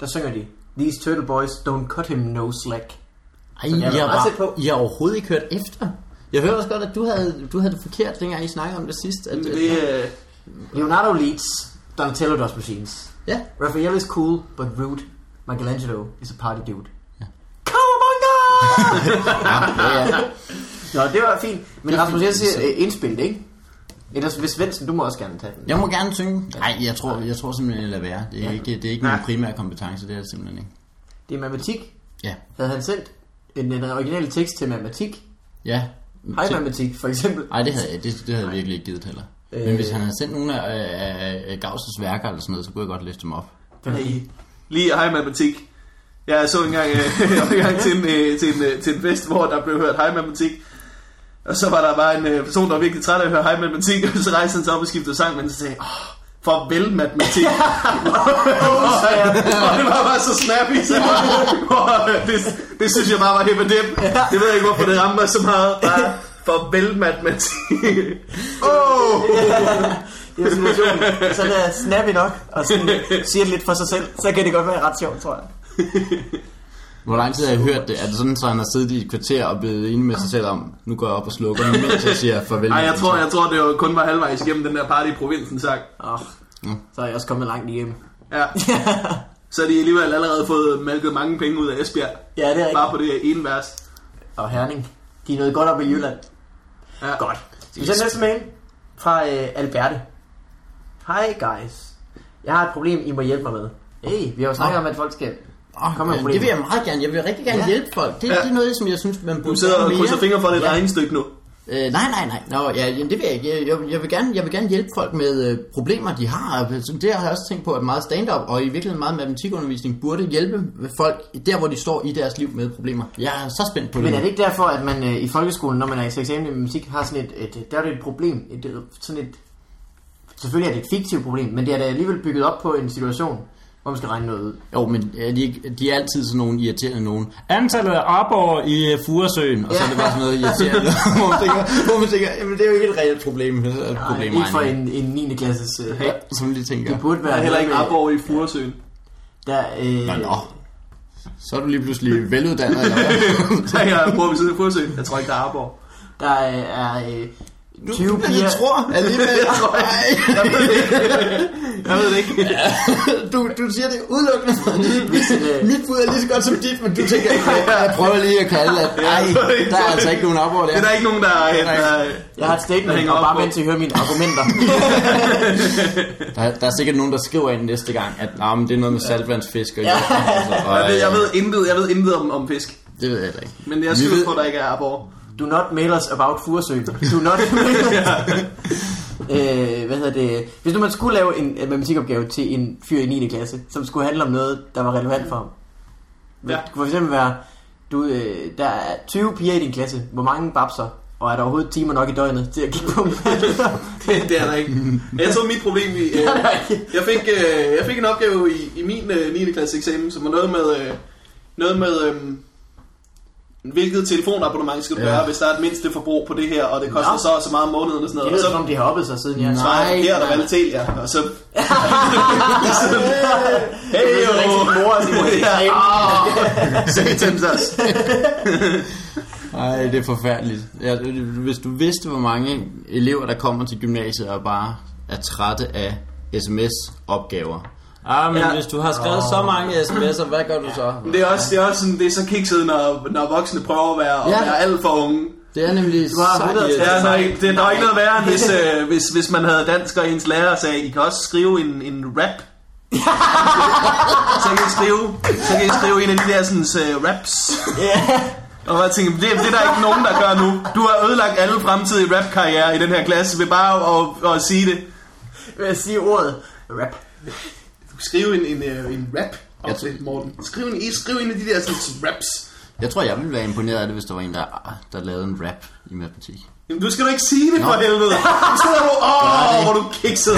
[SPEAKER 2] der synger de, these turtle boys don't cut him no slack.
[SPEAKER 1] Ej,
[SPEAKER 2] Så jeg
[SPEAKER 1] jeg,
[SPEAKER 2] var
[SPEAKER 1] jeg,
[SPEAKER 2] meget tæt
[SPEAKER 1] var,
[SPEAKER 2] på.
[SPEAKER 1] jeg har overhovedet ikke hørt efter. Jeg hørte også godt, at du havde, du havde det forkert, dengang I snakkede om det sidst. At,
[SPEAKER 3] Det, øh,
[SPEAKER 2] Leonardo Leeds, Donatello does machines.
[SPEAKER 1] Ja,
[SPEAKER 2] Raphael is cool, but rude. Michelangelo is a party dude. Cowabunga!
[SPEAKER 1] ja, ja.
[SPEAKER 2] Nå, det var fint. Men
[SPEAKER 1] Det var
[SPEAKER 2] Rasmus,
[SPEAKER 1] fint.
[SPEAKER 2] jeg siger øh, indspil det, ikke? Ellers, hvis Svendsen, du må også gerne tage den.
[SPEAKER 1] Jeg må gerne synge. Nej, jeg tror, jeg tror simpelthen, jeg lader være. Det er ikke, det er ikke min primære kompetence, det er det simpelthen ikke.
[SPEAKER 2] Det er matematik.
[SPEAKER 1] Ja.
[SPEAKER 2] Havde han sendt den, den originale tekst til matematik?
[SPEAKER 1] Ja.
[SPEAKER 2] Hej
[SPEAKER 1] Så-
[SPEAKER 2] matematik, for eksempel.
[SPEAKER 1] Ej, det havde jeg, det, det havde jeg virkelig ikke givet heller. Men
[SPEAKER 2] Øh.
[SPEAKER 1] hvis han havde sendt nogle af, af, af Gauss' værker eller sådan noget, så kunne jeg godt læse dem op.
[SPEAKER 2] Den er i.
[SPEAKER 3] lige hej matematik. Jeg så engang, øh, jeg var engang til, en, øh, til, en, øh, til en fest, hvor der blev hørt hej matematik. Og så var der bare en øh, person, der var virkelig træt af at høre hej matematik, og så rejste han sig op og skiftede sang, men så sagde åh, farvel matematik. så, ja. Og det var bare så snappy, så og, øh, det, det synes jeg bare var helt med dem. Det ved jeg ikke, hvorfor det rammer mig så meget. Bare, farvel matematik. Åh! Oh!
[SPEAKER 2] Det er sådan en version, så er det snappy nok, og sådan siger det lidt for sig selv, så kan det godt være ret sjovt, tror jeg.
[SPEAKER 1] Hvor lang tid har jeg hørt det? Er det sådan, så han har siddet i et kvarter og blevet enig med sig selv om, nu går jeg op og slukker, den, mens jeg siger farvel.
[SPEAKER 3] Ej, jeg tror, jeg tror, det var kun var halvvejs igennem den der party i provinsen sang.
[SPEAKER 2] Oh, så er jeg også kommet langt igennem.
[SPEAKER 3] Ja. Så har de alligevel allerede fået malket mange penge ud af Esbjerg.
[SPEAKER 2] Ja, det er
[SPEAKER 3] Bare
[SPEAKER 2] rigtigt.
[SPEAKER 3] på det ene vers.
[SPEAKER 2] Og Herning, de er nået godt op i Jylland.
[SPEAKER 3] Ja.
[SPEAKER 2] Godt. Skal vi sende næste mail fra øh, Alberte? Hej guys. Jeg har et problem, I må hjælpe mig med. Hey, vi har jo snakket om, at folk skal...
[SPEAKER 1] Oh,
[SPEAKER 2] Kom med
[SPEAKER 1] det vil
[SPEAKER 2] problemet.
[SPEAKER 1] jeg meget gerne. Jeg vil rigtig gerne ja.
[SPEAKER 2] Ja.
[SPEAKER 1] hjælpe folk. Det, ja.
[SPEAKER 3] Ja.
[SPEAKER 1] det er noget, som jeg synes, man burde
[SPEAKER 3] Du sidder
[SPEAKER 1] gøre
[SPEAKER 3] og
[SPEAKER 1] mere.
[SPEAKER 3] krydser fingre for det ja. regnestykke nu.
[SPEAKER 1] Øh, nej, nej, nej. Nå, ja, jamen, det vil jeg ikke. Jeg, jeg, jeg, vil gerne, jeg vil gerne hjælpe folk med øh, problemer, de har. Så Det har jeg også tænkt på, at meget stand-up og i virkeligheden meget matematikundervisning burde hjælpe folk der, hvor de står i deres liv med problemer. Jeg er så spændt på det.
[SPEAKER 2] Men
[SPEAKER 1] nu.
[SPEAKER 2] er det ikke derfor, at man øh, i folkeskolen, når man er til eksamen i matematik, har sådan et, et, der er det et problem, et, øh, sådan et, selvfølgelig er det et fiktivt problem, men det er da alligevel bygget op på en situation, hvor man skal regne noget ud.
[SPEAKER 1] Jo, men er de, ikke- de er altid sådan nogle irriterende nogen. Antallet af arbor i øh, Furesøen, og så er det bare sådan noget irriterende, hvor man tænker, hvor man tænker jamen, det er jo ikke et reelt problem. Nej,
[SPEAKER 2] Nej, ikke for en, en 9. klasses... Øh, ja.
[SPEAKER 1] Som lige tænker.
[SPEAKER 2] Det burde
[SPEAKER 3] Der
[SPEAKER 2] være
[SPEAKER 3] er heller ikke
[SPEAKER 2] noget med-
[SPEAKER 3] Arborg i Furesøen.
[SPEAKER 2] Der, øh,
[SPEAKER 1] Nå, nå. Så er du lige pludselig veluddannet, eller hvad?
[SPEAKER 3] Så jeg bor ved siden af Furesøen. Jeg tror ikke, der er Arborg.
[SPEAKER 2] der øh, er øh,
[SPEAKER 1] Du,
[SPEAKER 2] 20 piger...
[SPEAKER 1] jeg tror alligevel.
[SPEAKER 3] Jeg tror ikke. Jeg ved det ikke. Jeg ved det ikke.
[SPEAKER 1] du, du siger det udelukkende for
[SPEAKER 2] Hvis, øh,
[SPEAKER 1] Mit bud er lige så godt som dit, men du tænker, "Ja, jeg prøver lige at kalde, at nej, der er altså ikke nogen opord
[SPEAKER 3] Det er
[SPEAKER 1] der.
[SPEAKER 3] der ikke nogen, der... der,
[SPEAKER 2] Jeg har et
[SPEAKER 3] der
[SPEAKER 2] statement,
[SPEAKER 3] hænger
[SPEAKER 2] og
[SPEAKER 3] op
[SPEAKER 2] bare
[SPEAKER 3] på.
[SPEAKER 2] vent til at høre mine argumenter.
[SPEAKER 1] der. Der er sikkert nogen, der skriver ind næste gang, at nah, men det er noget med saltvandsfisk. Og, ja. og,
[SPEAKER 3] Jeg ved, jeg ved intet, jeg ved intet om, om fisk.
[SPEAKER 1] Det ved jeg heller ikke.
[SPEAKER 3] Men jeg
[SPEAKER 1] Vi
[SPEAKER 3] synes
[SPEAKER 1] ved-
[SPEAKER 3] på, at der ikke er Arborg.
[SPEAKER 2] Do not mail us about Furesøen. Do not mail us. øh, hvad hedder det? Hvis nu man skulle lave en øh, matematikopgave til en fyr i 9. klasse, som skulle handle om noget, der var relevant for ham. Ja.
[SPEAKER 3] Ja.
[SPEAKER 2] Det kunne fx være, du, øh, der er 20 piger i din klasse. Hvor mange babser? Og er der overhovedet timer nok i døgnet til at kigge på dem?
[SPEAKER 3] Det, det er der ikke. Jeg tror, mit problem... i, Øh, jeg, fik, øh, jeg fik en opgave i, i min øh, 9. klasse eksamen, som var noget med... Øh, noget med øh, hvilket telefonabonnement skal du
[SPEAKER 1] Ja.
[SPEAKER 3] ja. have, hvis der er et mindste forbrug på det her, og det koster
[SPEAKER 2] Nå.
[SPEAKER 3] så og så meget om måneden og sådan
[SPEAKER 2] det
[SPEAKER 3] noget. Og
[SPEAKER 2] lyder
[SPEAKER 3] så
[SPEAKER 2] som om, de har oppet sig siden jeg
[SPEAKER 1] Nej.
[SPEAKER 3] svarer jeg forkert og
[SPEAKER 2] nej.
[SPEAKER 3] valgte til, ja. Og så... så
[SPEAKER 2] Det
[SPEAKER 3] hey,
[SPEAKER 2] er
[SPEAKER 3] jo.
[SPEAKER 2] sådan rigtig mor, de må ikke
[SPEAKER 3] Ja,
[SPEAKER 2] træne.
[SPEAKER 3] åh, Satans os.
[SPEAKER 1] Ej, det er forfærdeligt. Ja, hvis du vidste, hvor mange elever, der kommer til gymnasiet og bare er trætte af sms-opgaver. Ah, men
[SPEAKER 3] Ja.
[SPEAKER 1] hvis du har skrevet så mange sms'er, hvad gør du så?
[SPEAKER 3] Det er også, det er også sådan, det er så kikset, når, når voksne prøver at være,
[SPEAKER 1] Ja.
[SPEAKER 3] ja. at være alt for unge.
[SPEAKER 1] Det er nemlig
[SPEAKER 2] har
[SPEAKER 1] sejt
[SPEAKER 2] 160
[SPEAKER 1] irriterende.
[SPEAKER 3] Ja, der er, ikke, det er nok ikke noget værre, end hvis, øh, hvis, hvis man havde dansk, og ens lærer sagde, I kan også skrive en, en rap så kan I skrive, så kan I skrive en af de der sådan, uh, raps. Og jeg tænker, det, det er der ikke nogen, der gør nu. Du har ødelagt alle fremtidige rapkarriere i den her klasse ved bare at, at, at sige det.
[SPEAKER 2] Vil jeg sige ordet rap?
[SPEAKER 3] Skriv en, en, øh, en rap om det, Morten. Skriv en, skriv en af de der sådan, raps.
[SPEAKER 1] Jeg tror, jeg ville være imponeret af det, hvis der var en, der, der lavede en rap i matematik.
[SPEAKER 3] Jamen, du skal da ikke sige det for helvede. Du sidder og... Åh, hvor er du kikset.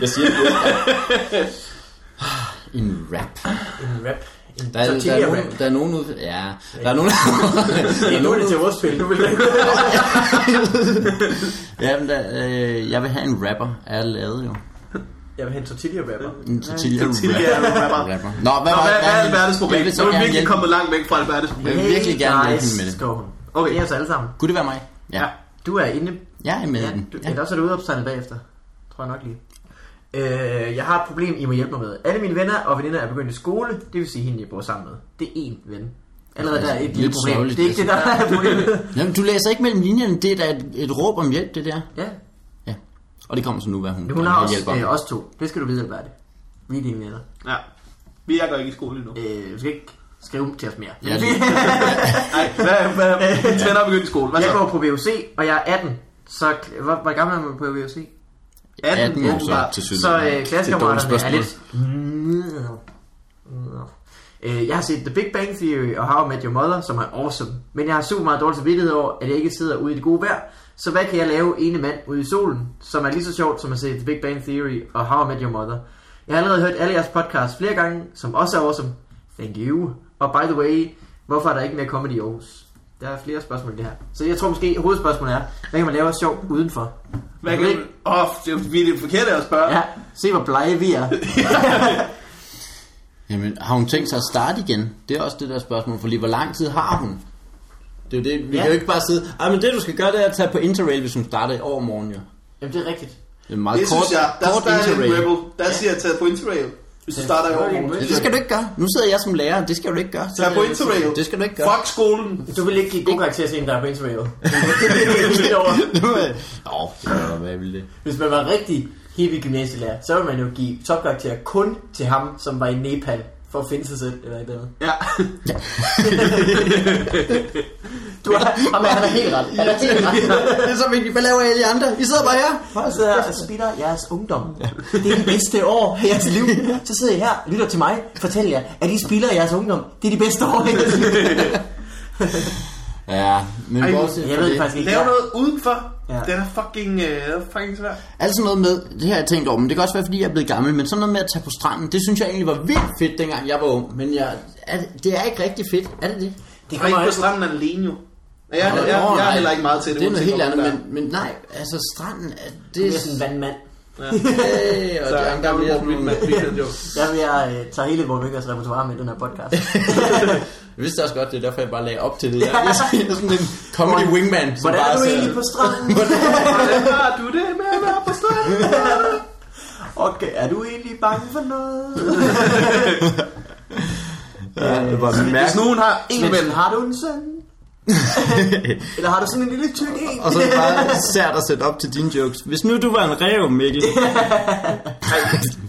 [SPEAKER 1] Jeg siger det. en rap.
[SPEAKER 2] En rap. En
[SPEAKER 1] Der er, der, er nogen, der er nogen ud... Ja, der er nogen... der er
[SPEAKER 2] Nu er
[SPEAKER 1] nogen
[SPEAKER 2] det
[SPEAKER 1] ud,
[SPEAKER 2] til ordspil. Nu vil jeg
[SPEAKER 1] ja, men der, øh, jeg vil have en rapper er lavet jo.
[SPEAKER 2] Jeg vil have en tortilla-rapper.
[SPEAKER 1] En tortilla
[SPEAKER 3] Tortilla
[SPEAKER 1] rapper.
[SPEAKER 3] rapper.
[SPEAKER 1] Nå, hvad,
[SPEAKER 3] Nå,
[SPEAKER 1] var-
[SPEAKER 3] hvad, hvad er
[SPEAKER 1] var-
[SPEAKER 3] Albertes problem?
[SPEAKER 1] Jeg vil så
[SPEAKER 3] Nu er vi
[SPEAKER 1] gerne
[SPEAKER 3] virkelig
[SPEAKER 1] hjælpe.
[SPEAKER 3] kommet langt væk fra Albertes problem.
[SPEAKER 1] Jeg vil virkelig gerne hjælpe hende med det.
[SPEAKER 2] Skår hun.
[SPEAKER 3] Okay.
[SPEAKER 2] Okay, os alle sammen.
[SPEAKER 1] Kunne det være mig? Ja.
[SPEAKER 2] Du er inde...
[SPEAKER 1] Jeg er med i
[SPEAKER 2] Ja,
[SPEAKER 1] den.
[SPEAKER 2] du, ja.
[SPEAKER 1] Ja.
[SPEAKER 2] Ellers er du ude opstandet bagefter. Tror jeg nok lige. Øh, jeg har et problem, I må hjælpe mig med. Alle mine venner og veninder er begyndt i skole, det vil sige hende, jeg bor sammen med. Det er én ven. Allerede der er et
[SPEAKER 1] Lidt
[SPEAKER 2] lille problem.
[SPEAKER 1] sørgeligt,
[SPEAKER 2] Det er ikke det, der er problemet.
[SPEAKER 1] Jamen, du læser ikke mellem linjerne. Det er da et, et råb om hjælp, det der.
[SPEAKER 2] Ja,
[SPEAKER 1] Ja. Og det kommer så nu, hvad hun,
[SPEAKER 2] hun har også,
[SPEAKER 1] hjælper.
[SPEAKER 2] øh, os to. Det skal du vide, Albert. Vi er dine venner.
[SPEAKER 3] Ja. Vi er der ikke i skole endnu.
[SPEAKER 2] Øh, du skal ikke skrive til os mere.
[SPEAKER 1] Ja,
[SPEAKER 2] Vi-
[SPEAKER 3] Nej, hvad, hvad, mine venner er begyndt i skole. Hvad
[SPEAKER 2] jeg
[SPEAKER 3] så?
[SPEAKER 2] går på VUC, og jeg er 18. Så hvor, hvor gammel er man på VUC?
[SPEAKER 1] 18 år så
[SPEAKER 3] åbenbart.
[SPEAKER 1] til syd.
[SPEAKER 2] Så øh, klassekammeraterne er
[SPEAKER 1] spørgsmål.
[SPEAKER 2] lidt... Øh, Jeg har set The Big Bang Theory og How I Met Your Mother, som er awesome. Men jeg har super meget dårlig samvittighed over, at jeg ikke sidder ude i det gode vejr. Så hvad kan jeg lave ene mand ude i solen, som er lige så sjovt som at se The Big Bang Theory og How I Met Your Mother? Jeg har allerede hørt alle jeres podcasts flere gange, som også er awesome. Thank you. Og by the way, hvorfor er der ikke mere comedy i Aarhus? Der er flere spørgsmål i det her. Så jeg tror måske, hovedspørgsmålet er, hvad kan man lave af sjov udenfor?
[SPEAKER 3] Hvad kan du... Åh, det er vi er det forkerte at spørge.
[SPEAKER 2] Ja, se hvor blege vi er.
[SPEAKER 1] Jamen, har hun tænkt sig at starte igen? Det er også det der spørgsmål, for lige hvor lang tid har hun? Det er jo det, vi
[SPEAKER 2] Ja.
[SPEAKER 1] ja. kan jo ikke bare sidde, Ej, men det du skal gøre, det er at tage på Interrail, hvis hun starter i overmorgen, jo.
[SPEAKER 2] Jamen, det er rigtigt.
[SPEAKER 1] Det er en meget
[SPEAKER 3] Det
[SPEAKER 1] kort,
[SPEAKER 3] synes jeg, der
[SPEAKER 1] kort
[SPEAKER 3] starter en
[SPEAKER 1] Interrail.
[SPEAKER 3] rebel. Der siger jeg, tag på interrail. Hvis du starter i
[SPEAKER 2] starter i
[SPEAKER 3] overmorgen.
[SPEAKER 1] Ja, det skal du ikke gøre. Nu sidder jeg som lærer, det skal du ikke gøre.
[SPEAKER 3] Tag på interrail.
[SPEAKER 1] Det skal du ikke gøre.
[SPEAKER 3] Fuck skolen.
[SPEAKER 2] Du vil ikke give god karakter til en, der er på interrail. Det er over.
[SPEAKER 1] Nu er- Nå, det er da, hvad jeg ville det.
[SPEAKER 2] Hvis man var rigtig hippie gymnasielærer, så ville man jo give topkarakter kun til ham, som var i Nepal for at finde sig selv eller et eller andet.
[SPEAKER 3] Ja.
[SPEAKER 2] Du er, ham er, han er helt ret. Han er helt ret.
[SPEAKER 1] Det er så vigtigt. Hvad laver alle de andre? I sidder bare her.
[SPEAKER 2] Jeg sidder her og spilder jeres ungdom. Det er de bedste år af jeres liv. Så sidder I her og lytter til mig og fortæller jer, at I spilder jeres ungdom. Det er de bedste år af jeres liv.
[SPEAKER 1] Ja, men
[SPEAKER 3] Ej,
[SPEAKER 1] bortset
[SPEAKER 2] Jeg
[SPEAKER 1] fra
[SPEAKER 2] ved
[SPEAKER 1] det
[SPEAKER 2] det faktisk ikke.
[SPEAKER 3] Lav noget udenfor.
[SPEAKER 2] Ja.
[SPEAKER 3] Den er fucking, øh, den er fucking svær.
[SPEAKER 1] Altså noget med, det har jeg tænkt over, men det kan også være, fordi jeg er blevet gammel, men sådan noget med at tage på stranden, det synes jeg egentlig var vildt fedt, dengang jeg var ung. Men jeg, er det, det er ikke rigtig fedt, er det det?
[SPEAKER 2] Det
[SPEAKER 3] Og
[SPEAKER 2] kommer
[SPEAKER 3] ikke på
[SPEAKER 2] også.
[SPEAKER 3] stranden alene jo. Ja, Jeg,
[SPEAKER 1] Nå,
[SPEAKER 3] jeg, jeg, jeg
[SPEAKER 1] nej.
[SPEAKER 3] er heller ikke meget til det.
[SPEAKER 1] Det er noget
[SPEAKER 3] uanset
[SPEAKER 1] helt
[SPEAKER 3] hvor
[SPEAKER 1] andet,
[SPEAKER 3] man er.
[SPEAKER 1] men, men nej, altså stranden, er- det
[SPEAKER 2] Det
[SPEAKER 1] er
[SPEAKER 2] er sådan en vandmand.
[SPEAKER 1] Hey, og det
[SPEAKER 3] Så er
[SPEAKER 1] er
[SPEAKER 3] en
[SPEAKER 1] der
[SPEAKER 3] gammel
[SPEAKER 1] bliver
[SPEAKER 3] mor,
[SPEAKER 1] sådan
[SPEAKER 3] mit
[SPEAKER 1] nogle-
[SPEAKER 3] mand, Peter, jo.
[SPEAKER 2] Der vil jeg øh, tage hele vores Møkkers repertoire med i den her podcast.
[SPEAKER 1] Jeg vidste også godt, det er derfor, jeg bare lagde op til det. Jeg jeg er sådan en comedy wingman, som
[SPEAKER 2] Hvordan
[SPEAKER 1] bare
[SPEAKER 2] er du
[SPEAKER 1] sidder-
[SPEAKER 2] egentlig på stranden?
[SPEAKER 3] Hvordan har du det med at være på stranden?
[SPEAKER 2] Okay, er du egentlig bange for noget?
[SPEAKER 1] Ja, det var
[SPEAKER 3] Hvis nogen har en ven,
[SPEAKER 2] Men har du en søn? Eller har du sådan en lille tyk en?
[SPEAKER 1] Og så er det bare sært at sætte op til dine jokes. Hvis nu du var en rev, Mikkel.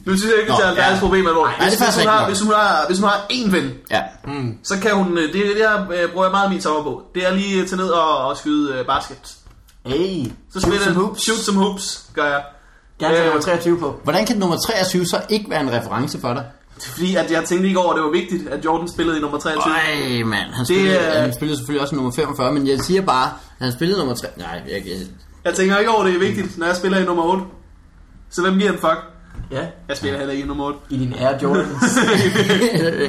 [SPEAKER 3] nu synes jeg ikke,
[SPEAKER 1] Nå,
[SPEAKER 3] at det er deres problem alvorligt.
[SPEAKER 1] Nej, det er
[SPEAKER 3] Hvis,
[SPEAKER 1] faktisk
[SPEAKER 3] hvis, hun
[SPEAKER 1] rigtig
[SPEAKER 3] har,
[SPEAKER 1] nok.
[SPEAKER 3] hvis, hun har, hvis hun har en ven,
[SPEAKER 1] Ja.
[SPEAKER 3] så kan hun, øh, det, det her øh, bruger jeg meget af min sommer på, det er lige at tage ned og, og skyde øh, basket.
[SPEAKER 2] Hey,
[SPEAKER 3] Så spiller
[SPEAKER 2] some
[SPEAKER 3] jeg
[SPEAKER 2] hoops.
[SPEAKER 3] shoot some hoops, gør jeg.
[SPEAKER 2] Gerne tage
[SPEAKER 3] Øh.
[SPEAKER 2] nummer 23 på.
[SPEAKER 1] Hvordan kan nummer 23 så ikke være en reference for dig?
[SPEAKER 3] Fordi at jeg tænkte ikke over, at det var vigtigt, at Jordan spillede i nummer 23.
[SPEAKER 1] Nej, mand. Han spillede,
[SPEAKER 3] er-
[SPEAKER 1] han spillede selvfølgelig også nummer 45, men jeg siger bare, at han spillede nummer 3. Nej, jeg, jeg,
[SPEAKER 3] Jeg tænker ikke over, at det er vigtigt, når jeg spiller i nummer 8. Så hvem giver en fuck?
[SPEAKER 2] Ja,
[SPEAKER 3] Jeg spiller heller ikke i nummer 8.
[SPEAKER 2] i din Air Jordans.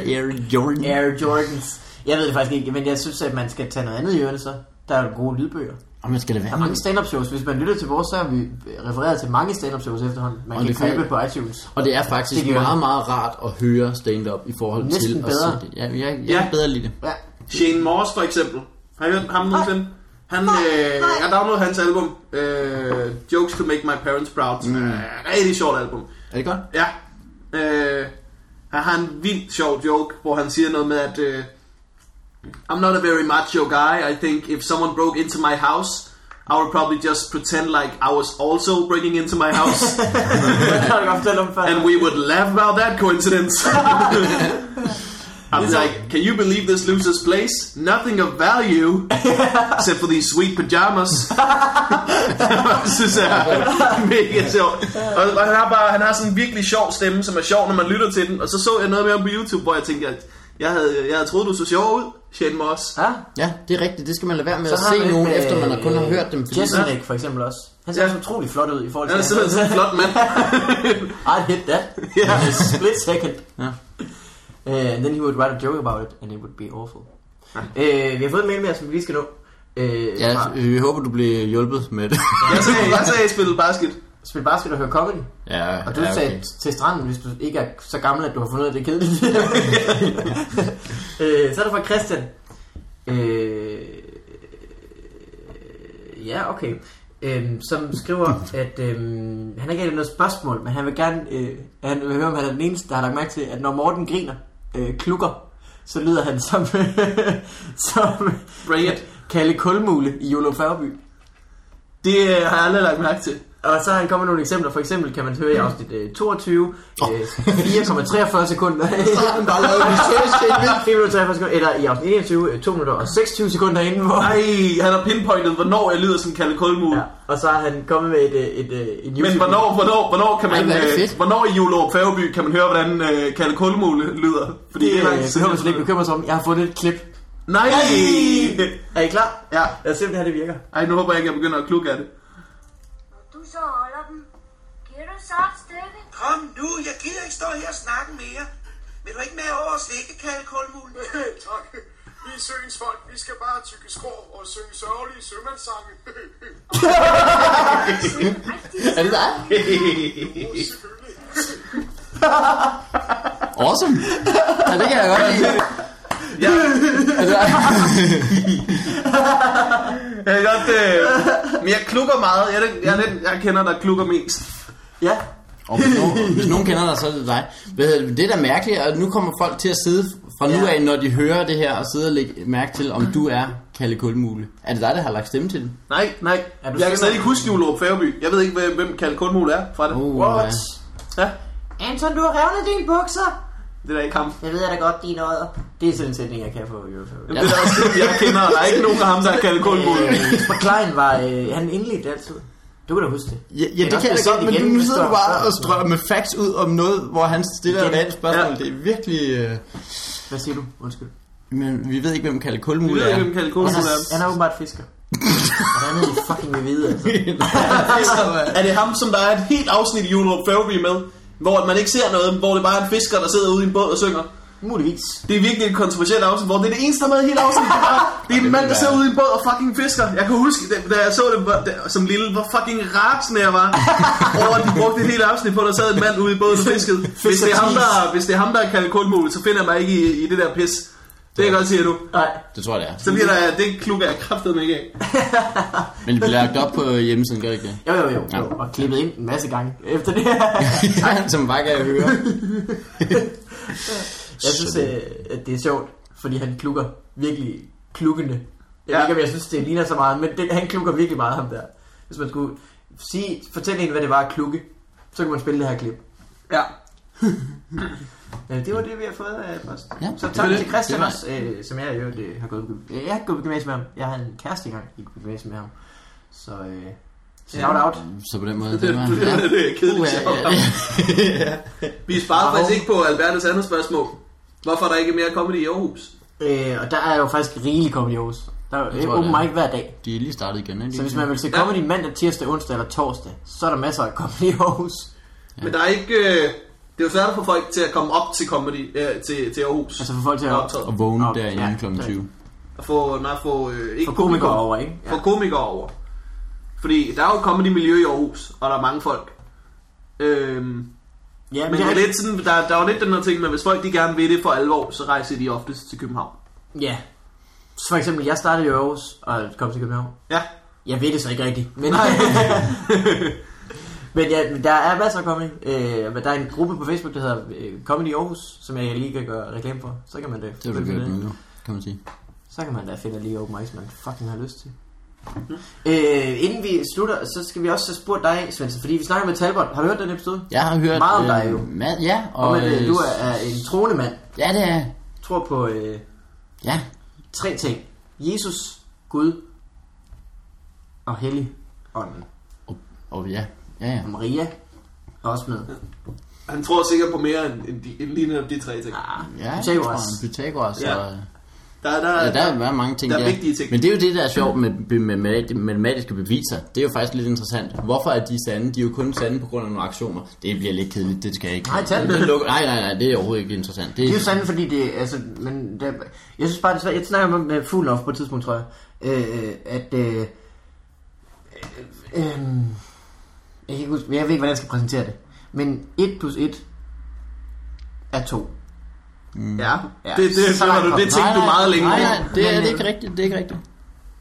[SPEAKER 1] Air Jordan.
[SPEAKER 2] Air Jordans. Jeg ved det faktisk ikke, men jeg synes, at man skal tage noget andet i ørene så. Der er jo gode lydbøger.
[SPEAKER 1] Og man skal lade
[SPEAKER 2] Der er
[SPEAKER 1] være. med-
[SPEAKER 2] mange stand-up shows. Hvis man lytter til vores, så har vi refereret til mange stand-up shows efterhånden. Man
[SPEAKER 1] Og
[SPEAKER 2] kan
[SPEAKER 1] det kan-
[SPEAKER 2] købe på iTunes.
[SPEAKER 1] Og det er faktisk
[SPEAKER 2] Det gør
[SPEAKER 1] meget,
[SPEAKER 2] det.
[SPEAKER 1] meget rart at høre stand-up i forhold
[SPEAKER 2] Næsten
[SPEAKER 1] til
[SPEAKER 2] bedre.
[SPEAKER 1] at se det. Ja, jeg, jeg, jeg
[SPEAKER 3] Ja.
[SPEAKER 1] kan bedre lide det.
[SPEAKER 2] Ja.
[SPEAKER 3] Shane Morse for eksempel. Har I hørt ham nogensinde? Han, øh, jeg har downloadet hans album, øh, Jokes to Make My Parents Proud. Mm. rigtig sjovt album.
[SPEAKER 1] Er det godt?
[SPEAKER 3] Ja. Øh, han har en vildt sjov joke, hvor han siger noget med, at øh, I'm not a very macho guy. I think if someone broke into my house, I would probably just pretend like I was also breaking into my house,
[SPEAKER 2] Det kan jeg godt fortælle om før.
[SPEAKER 3] and we would laugh about that coincidence. I'm like, can you believe this loser's place? Nothing of value, except for these sweet pajamas. så så mega sjovt. Og, og han, har bare, uh, han har sådan en virkelig sjov stemme, som er sjov, når man lytter til den. Og så så jeg noget mere på YouTube, hvor jeg tænkte, at jeg havde, jeg havde troet, du så sjov ud, Shane Moss.
[SPEAKER 2] Ja,
[SPEAKER 1] Ja, det er rigtigt. Det skal man lade være med
[SPEAKER 2] så
[SPEAKER 1] at
[SPEAKER 2] har
[SPEAKER 1] se
[SPEAKER 2] man
[SPEAKER 1] nogen,
[SPEAKER 2] lidt,
[SPEAKER 1] efter man har kun har
[SPEAKER 2] øh,
[SPEAKER 1] hørt dem. Fordi
[SPEAKER 2] Jason Nick for eksempel også. Han ser
[SPEAKER 3] Ja.
[SPEAKER 2] også utrolig flot ud i forhold
[SPEAKER 3] Han er
[SPEAKER 2] til...
[SPEAKER 3] simpelthen sådan en flot mand.
[SPEAKER 2] I'd hit that.
[SPEAKER 3] Ja.
[SPEAKER 2] Split second.
[SPEAKER 1] Ja.
[SPEAKER 2] Uh, and then he would write a joke about it, and it would be awful. Uh, vi har fået en mail mere, som vi lige skal nå. Uh,
[SPEAKER 1] ja,
[SPEAKER 2] fra-
[SPEAKER 1] øh, vi håber, du bliver hjulpet med det.
[SPEAKER 3] Jeg sagde, jeg sagde, at jeg spillede basket.
[SPEAKER 2] Spil basket og høre comedy.
[SPEAKER 1] ja,
[SPEAKER 2] Og du
[SPEAKER 1] ja,
[SPEAKER 2] ja,
[SPEAKER 1] okay.
[SPEAKER 2] sagde til stranden, hvis du ikke er så gammel, at du har fundet ud af, det er kedeligt. øh, så er der fra Christian. Øh, ja, okay. Øhm, som skriver, at øhm, han ikke har noget spørgsmål, men han vil gerne øh, han vil høre, om han er den eneste, der har lagt mærke til, at når Morten griner, øh, klukker, så lyder han som, som
[SPEAKER 3] Bring it.
[SPEAKER 2] Kalle Kulmule i Jolo Færby.
[SPEAKER 3] Det øh, har jeg aldrig lagt mærke til.
[SPEAKER 2] Og så har han kommet med nogle eksempler. For eksempel kan man høre i afsnit øh, 22, øh, 4,43 sekunder.
[SPEAKER 1] har den bare lavet en research, det er vildt.
[SPEAKER 2] 4,43 sekunder, eller i afsnit 21, øh, 2 minutter og 26 sekunder inden, hvor...
[SPEAKER 3] Ej, han har pinpointet, hvornår jeg lyder som Kalle Kulmul.
[SPEAKER 2] Ja,
[SPEAKER 3] Ja.
[SPEAKER 2] og så har han kommet med et, øh, et, et, et
[SPEAKER 3] Men hvornår, hvornår, hvornår kan man,
[SPEAKER 1] Ej, hvor er det
[SPEAKER 3] øh,
[SPEAKER 1] fedt.
[SPEAKER 3] hvornår i Julerup Færgeby kan man høre, hvordan øh, Kalle Kulmul lyder? Fordi
[SPEAKER 2] Det,
[SPEAKER 3] det,
[SPEAKER 2] øh,
[SPEAKER 3] er lang
[SPEAKER 2] det
[SPEAKER 3] tid
[SPEAKER 2] behøver man slet
[SPEAKER 3] siden.
[SPEAKER 2] ikke bekymre sig om. Jeg har fundet et klip.
[SPEAKER 3] Nej!
[SPEAKER 2] Er I klar?
[SPEAKER 3] Ja,
[SPEAKER 2] Lad os se, om det her det virker.
[SPEAKER 3] ej, nu håber jeg ikke, jeg begynder at klukke af det.
[SPEAKER 4] Når du så holder dem, giver du så et stykke?
[SPEAKER 5] Kom nu, jeg gider ikke stå her og snakke mere. Vil du ikke med over og slikke, Kalle Kulmul?
[SPEAKER 6] tak. Vi er søens folk. Vi skal bare tykke skrå og synge sørgelige sømandssange.
[SPEAKER 1] Er det dig?
[SPEAKER 6] Selvfølgelig.
[SPEAKER 1] Awesome. Ja, det kan jeg godt lide.
[SPEAKER 3] Ja,
[SPEAKER 1] Altså,
[SPEAKER 3] jeg kan godt, øh, men jeg klukker meget. Jeg, er den- jeg, er den, jeg kender, der klukker mest.
[SPEAKER 2] Ja.
[SPEAKER 1] og hvis, nogen, hvis nogen kender dig, så er det dig. Hvad hedder det? Det er da mærkeligt, og nu kommer folk til at sidde fra nu
[SPEAKER 2] Ja.
[SPEAKER 1] af, når de hører det her, og sidde og lægge mærke til, om du er Kalle Kulmule. Er det dig, der har lagt stemme til den?
[SPEAKER 3] Nej, nej.
[SPEAKER 2] Er du
[SPEAKER 3] Jeg kan
[SPEAKER 2] sikker?
[SPEAKER 3] stadig ikke huske Julerup Færgeby. Jeg ved ikke, hvem- hvem Kalle Kulmul er fra det.
[SPEAKER 1] Oh,
[SPEAKER 2] What?
[SPEAKER 3] Ja,
[SPEAKER 2] Anton, du har revnet dine bukser.
[SPEAKER 3] det er da ikke ham.
[SPEAKER 2] Det ved jeg da godt, dine øjder. Det er sådan en sætning, jeg kan få i hvert fald.
[SPEAKER 3] Det er da også det, jeg kender. Der er ikke nogen af ham, der er Kalle Kulmul.
[SPEAKER 2] Jesper Klein Øh, var, øh, han indledte altid. Du kan da huske det.
[SPEAKER 1] Ja, ja det,
[SPEAKER 2] også
[SPEAKER 1] kan jeg
[SPEAKER 2] blive
[SPEAKER 1] godt,
[SPEAKER 2] sendt
[SPEAKER 1] men
[SPEAKER 2] igen,
[SPEAKER 1] nu
[SPEAKER 2] hvis
[SPEAKER 1] sidder
[SPEAKER 2] der-
[SPEAKER 1] du bare
[SPEAKER 2] der-
[SPEAKER 1] og strøger med facts ud om noget, hvor han stiller et
[SPEAKER 2] Igen.
[SPEAKER 1] andet spørgsmål.
[SPEAKER 3] Ja.
[SPEAKER 1] Ja. Det er virkelig... Øh...
[SPEAKER 2] Hvad siger du? Undskyld.
[SPEAKER 1] Men vi ved ikke, hvem Kalle
[SPEAKER 3] Vi
[SPEAKER 1] Kulmule
[SPEAKER 3] ved
[SPEAKER 1] er.
[SPEAKER 3] ikke, hvem Kalle Kulmul
[SPEAKER 2] Han
[SPEAKER 3] er.
[SPEAKER 2] er, han er åbenbart fisker. Hvordan er det fucking ved vide, altså?
[SPEAKER 3] Altså, Er det ham, som der er et helt afsnit i Julerup Færgeby med? Hvor at man ikke ser noget, hvor det bare er en fisker, der sidder ude i en båd og synger.
[SPEAKER 2] Muligvis.
[SPEAKER 3] Det er virkelig et kontroversielt afsnit, hvor det er det eneste, der er med i hele afsnittet. Det er bare- Det er en mand, der sidder ude i en båd og fucking fisker. Jeg kan huske, da- da jeg så det hvor- da- som lille, hvor fucking rasende jeg var. Over at de brugte et helt afsnit på, at der sad en mand ude i båden og fiskede. Hvis det er ham, der, hvis det er ham, der kan kulmul, så finder jeg mig ikke i, i det der pis. Det kan jeg godt sige nu.
[SPEAKER 2] Nej.
[SPEAKER 1] Det tror jeg, det er.
[SPEAKER 3] Så bliver der, det klukker jeg kraftedeme ikke af.
[SPEAKER 1] Men det bliver lagt op på øh, hjemmesiden, gør det ikke det?
[SPEAKER 2] Jo, jo, jo.
[SPEAKER 1] Ja.
[SPEAKER 2] jo. Og klippet ind en masse gange efter det her.
[SPEAKER 1] Ja, som bare kan jeg høre.
[SPEAKER 2] Jeg synes, øh, at det er sjovt, fordi han klukker virkelig klukkende. Jeg ja.
[SPEAKER 3] Ja.
[SPEAKER 2] ved ikke, om jeg synes, det ligner så meget, men det, han klukker virkelig meget, ham der. Hvis man skulle sige, fortælle en, hvad det var at klukke, så kunne man spille det her klip.
[SPEAKER 3] Ja.
[SPEAKER 2] Ja, det var det, vi har fået af posten.
[SPEAKER 1] Ja,
[SPEAKER 2] så
[SPEAKER 1] det var
[SPEAKER 2] tak
[SPEAKER 1] det.
[SPEAKER 2] til Christian
[SPEAKER 1] Det var-
[SPEAKER 2] også, øh, som jeg i øvrigt øh, har gået på, gym- jeg har gået på gymnasiet med ham. Jeg havde en kæreste engang, jeg gik på gymnasiet med ham. Så øh, shout out.
[SPEAKER 1] Så på den måde,
[SPEAKER 3] Det,
[SPEAKER 1] øh, det var...
[SPEAKER 3] det, det, det er kedeligt.
[SPEAKER 1] Ja, ja, ja.
[SPEAKER 3] Vi sparede
[SPEAKER 2] Wow.
[SPEAKER 3] faktisk ikke på Albertes andet spørgsmål. Hvorfor er der ikke mere comedy i Aarhus?
[SPEAKER 2] Øh, og der er jo faktisk rigelig comedy i Aarhus. Der er
[SPEAKER 1] Det
[SPEAKER 2] jo
[SPEAKER 1] tror jeg,
[SPEAKER 2] open
[SPEAKER 1] der er.
[SPEAKER 2] mic hver dag.
[SPEAKER 1] De er lige startet igen, ikke?
[SPEAKER 2] Så hvis man vil se comedy mandag, tirsdag, onsdag eller torsdag, så er der masser af comedy i Aarhus.
[SPEAKER 3] Men der er ikke... Øh, det er jo svært at få folk til at komme op til comedy øh, til, til Aarhus.
[SPEAKER 2] Altså for folk til at
[SPEAKER 3] optræde.
[SPEAKER 1] Og vågne
[SPEAKER 2] Nå,
[SPEAKER 1] derinde
[SPEAKER 2] ja,
[SPEAKER 1] kl.
[SPEAKER 2] det-
[SPEAKER 1] 20.
[SPEAKER 3] At få, nej, få, øh, ikke
[SPEAKER 2] få komikere over, ikke?
[SPEAKER 3] Få komikere over. Fordi der er jo et comedy-miljø i Aarhus, og der er mange folk. Øhm,
[SPEAKER 2] Ja,
[SPEAKER 3] men det er lidt sådan, der, der er jo lidt den her ting med, hvis folk de gerne vil det for alvor, så rejser de oftest til København.
[SPEAKER 2] Ja. Så for eksempel, jeg startede i Aarhus og kom til København.
[SPEAKER 3] Ja,
[SPEAKER 2] Jeg ved det så ikke rigtigt. Men, men ja, men der er masser af comedy. Øh, men der er en gruppe på Facebook, der hedder øh, Comedy Aarhus, som jeg lige kan gøre reklame for. Så kan man øh, da
[SPEAKER 1] Det er du gjort nu, kan man sige.
[SPEAKER 2] øh, Så kan man da finde lige open mics, man fucking har lyst til.
[SPEAKER 3] Mm.
[SPEAKER 2] Øh, inden vi slutter, så skal vi også have spurgt dig, Svendsen, fordi vi snakker med Talbot. Har du hørt den episode?
[SPEAKER 1] Jeg har hørt...
[SPEAKER 2] Meget om dig jo.
[SPEAKER 1] Mand, ja, og...
[SPEAKER 2] Og med,
[SPEAKER 1] øh,
[SPEAKER 2] øh, du er, er en troende mand.
[SPEAKER 1] Ja, det er...
[SPEAKER 2] Tror på øh,
[SPEAKER 1] Ja,
[SPEAKER 2] tre ting. Jesus, Gud og Hellig Ånden.
[SPEAKER 1] og ja. Ja, ja.
[SPEAKER 2] Og Maria er også med.
[SPEAKER 3] Han tror sikkert på mere end, end, de, end lige netop de tre ting.
[SPEAKER 2] Ah.
[SPEAKER 1] Ja, jeg tror,
[SPEAKER 2] Pythagoras.
[SPEAKER 1] han er Pythagoras
[SPEAKER 3] Ja.
[SPEAKER 1] ja. og...
[SPEAKER 3] Der, der,
[SPEAKER 1] Ja, der er mange ting
[SPEAKER 3] der er vigtige ting.
[SPEAKER 1] Men det er jo det, der er sjovt med, med, med, med matematiske beviser. Det er jo faktisk lidt interessant. Hvorfor er de sande? De er jo kun sande på grund af nogle aktioner. Det bliver lidt kedeligt, det skal jeg ikke.
[SPEAKER 2] Nej, tag den.
[SPEAKER 1] det lukker, nej, nej, nej, det er overhovedet ikke interessant. Det
[SPEAKER 2] Det er
[SPEAKER 1] er,
[SPEAKER 2] jo sandt, fordi det, altså, men det, jeg synes bare, det er svært. Jeg snakker med, med Fuglof på et tidspunkt, tror jeg, øh, at, øh, øh, øh, jeg, kan ikke huske, jeg ved ikke, hvordan jeg skal præsentere det, men 1 plus 1 er 2.
[SPEAKER 3] Ja,
[SPEAKER 2] Ja,
[SPEAKER 3] Mm. det, det,
[SPEAKER 2] så
[SPEAKER 3] det, har
[SPEAKER 2] langt
[SPEAKER 3] du,
[SPEAKER 2] kom
[SPEAKER 3] det
[SPEAKER 2] den.
[SPEAKER 3] tænkte du meget længe.
[SPEAKER 1] Nej,
[SPEAKER 3] ikke?
[SPEAKER 1] nej, det er,
[SPEAKER 2] Men,
[SPEAKER 1] det er
[SPEAKER 2] øh,
[SPEAKER 1] ikke rigtigt. Det er ikke rigtigt.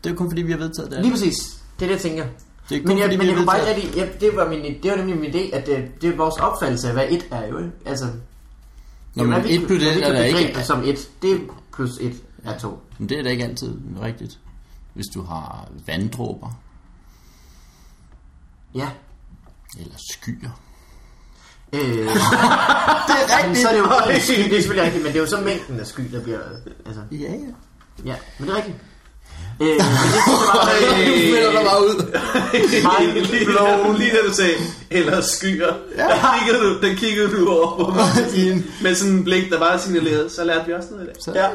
[SPEAKER 1] Det er kun fordi, vi har vedtaget det.
[SPEAKER 2] Lige præcis, det er det, jeg tænker.
[SPEAKER 1] Det er kun
[SPEAKER 2] Men jeg,
[SPEAKER 1] fordi,
[SPEAKER 2] men
[SPEAKER 1] vi
[SPEAKER 2] jeg kunne bare
[SPEAKER 1] vedtager-
[SPEAKER 2] ikke rigtig, ja, det, var min, det var nemlig min idé, at øh, det, det er vores opfattelse af, hvad 1 er jo, ikke? altså,
[SPEAKER 1] Nå, men
[SPEAKER 2] hvad vi-
[SPEAKER 1] 1 plus
[SPEAKER 2] hvad vi
[SPEAKER 1] 1 er
[SPEAKER 2] kan
[SPEAKER 1] da ikke...
[SPEAKER 2] begribe som 1, det er plus 1 er 2.
[SPEAKER 1] Men det er da ikke altid rigtigt. Hvis du har vanddråber
[SPEAKER 2] Ja,
[SPEAKER 1] eller skyer.
[SPEAKER 2] Øh, det er rigtigt. Men så er det jo det er sky, det er selvfølgelig rigtigt, men det er jo så mængden af sky, der bliver... Altså,
[SPEAKER 1] Ja, ja.
[SPEAKER 2] ja, men det er rigtigt. Øh, men det synes jeg
[SPEAKER 1] Du finder
[SPEAKER 2] bare,
[SPEAKER 1] dig bare ud.
[SPEAKER 2] Mind
[SPEAKER 3] lige,
[SPEAKER 2] blown.
[SPEAKER 3] lige da du sagde, eller skyer, ja. der, kiggede du, der kiggede du over på mig med sådan en blik, der bare signalerede, så lærte vi også noget i dag.
[SPEAKER 1] Så-
[SPEAKER 3] ja,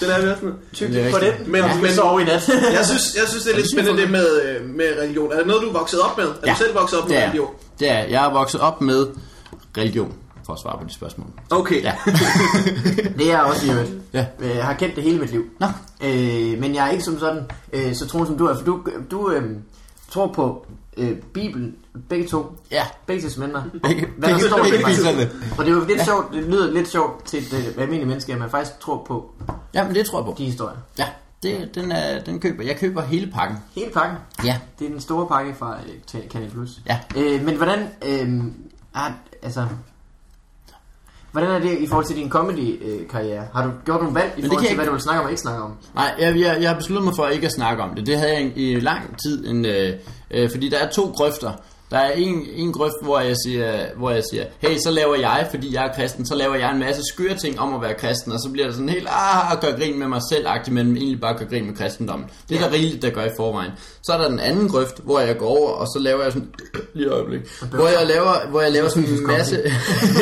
[SPEAKER 3] det lærte vi også noget.
[SPEAKER 1] Det er
[SPEAKER 2] på
[SPEAKER 1] rigtigt.
[SPEAKER 2] den,
[SPEAKER 3] Men-
[SPEAKER 2] men, ja,
[SPEAKER 3] men-
[SPEAKER 2] men sove i nat.
[SPEAKER 3] Jeg synes, jeg synes det er lidt spændende det med, øh, med religion. Er det noget, du er vokset op med? Er du selv vokset op med
[SPEAKER 1] det er,
[SPEAKER 3] religion?
[SPEAKER 1] Det er. Jeg er vokset op med religion, for at svare på de spørgsmål.
[SPEAKER 3] Okay.
[SPEAKER 1] Ja.
[SPEAKER 2] det er jeg også i øvrigt.
[SPEAKER 1] Ja.
[SPEAKER 2] Øh, jeg har kendt det hele mit liv.
[SPEAKER 1] Nå.
[SPEAKER 2] Øh, men jeg er ikke som sådan øh, så troende som du er, for du, du øh, tror på øh, Bibelen, begge to.
[SPEAKER 1] Ja.
[SPEAKER 2] Begge testamenter.
[SPEAKER 1] Begge-
[SPEAKER 2] Hvad der
[SPEAKER 1] begge-
[SPEAKER 2] står i
[SPEAKER 1] begge
[SPEAKER 2] dem.
[SPEAKER 1] Bibelerne.
[SPEAKER 2] Og det er jo lidt sjovt, det lyder lidt sjovt til et øh, almindeligt menneske, at man faktisk tror på
[SPEAKER 1] Jamen, det tror jeg på.
[SPEAKER 2] de historier.
[SPEAKER 1] Ja, det, den, er, den køber. Jeg køber hele pakken.
[SPEAKER 2] Hele pakken.
[SPEAKER 1] Ja.
[SPEAKER 2] Det er den store pakke fra øh, Tal- Canal Plus.
[SPEAKER 1] Ja.
[SPEAKER 2] Øh, men hvordan... Øh, er, altså, hvordan er det i forhold til din comedy-karriere? Har du gjort nogle valg i
[SPEAKER 1] det
[SPEAKER 2] forhold
[SPEAKER 1] kan
[SPEAKER 2] til,
[SPEAKER 1] jeg
[SPEAKER 2] hvad
[SPEAKER 1] ikke-
[SPEAKER 2] du vil snakke om og ikke snakke om?
[SPEAKER 1] Nej, jeg, jeg, jeg har besluttet mig for ikke at snakke om det. Det havde jeg i lang tid, en, øh, øh, fordi der er to grøfter. Der er en, en grøft, hvor jeg, siger, hvor jeg siger, hey, så laver jeg, fordi jeg er kristen, så laver jeg en masse skøre ting om at være kristen, og så bliver det sådan helt, ah, og gør grin med mig selv, agtigt, men egentlig bare gør grin med kristendommen. Det er der rigeligt, der gør i forvejen. Så er der den anden grøft, hvor jeg går over, og så laver jeg sådan, lige et øjeblik, hvor jeg laver, hvor jeg laver sådan en masse,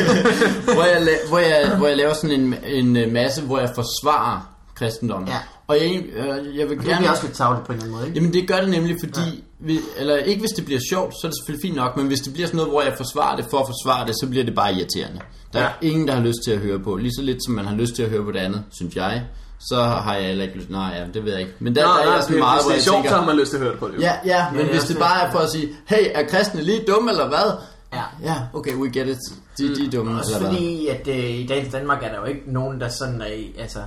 [SPEAKER 1] hvor, jeg, la- hvor, jeg, hvor jeg laver sådan en, en øh, masse, hvor jeg forsvarer kristendommen.
[SPEAKER 2] Ja.
[SPEAKER 1] Og jeg, egentlig- øh, jeg vil
[SPEAKER 2] Det
[SPEAKER 1] gerne...
[SPEAKER 2] bliver også lidt tavlet på en eller anden måde, ikke?
[SPEAKER 1] Jamen det gør det nemlig, fordi... Ja. Vi, eller ikke hvis det bliver sjovt, så er det selvfølgelig fint nok, men hvis det bliver sådan noget, hvor jeg forsvarer det for at forsvare det, så bliver det bare irriterende. Der er
[SPEAKER 2] Ja.
[SPEAKER 1] ingen, der har lyst til at høre på. Lige så lidt som man har lyst til at høre på det andet, synes jeg. Så har jeg heller ikke lyst... Nej, ja, det ved jeg ikke. Men der,
[SPEAKER 3] Nå,
[SPEAKER 1] der er
[SPEAKER 3] nej,
[SPEAKER 1] jeg sådan
[SPEAKER 3] det-
[SPEAKER 1] meget,
[SPEAKER 3] hvis
[SPEAKER 1] hvor
[SPEAKER 3] det
[SPEAKER 1] jeg
[SPEAKER 3] er sjovt, så har
[SPEAKER 1] tænker...
[SPEAKER 3] man lyst til at høre det på livet.
[SPEAKER 1] Ja, ja, men
[SPEAKER 2] det er
[SPEAKER 1] hvis
[SPEAKER 2] også
[SPEAKER 1] det
[SPEAKER 2] det.
[SPEAKER 1] bare er for at sige, hey, er kristne lige dumme eller hvad?
[SPEAKER 2] Ja.
[SPEAKER 1] Ja, okay, we get it. De, de er dumme,
[SPEAKER 2] Også
[SPEAKER 1] eller hvad?
[SPEAKER 2] fordi, at øh, i dagens Danmark er der jo ikke nogen, der sådan er i- altså...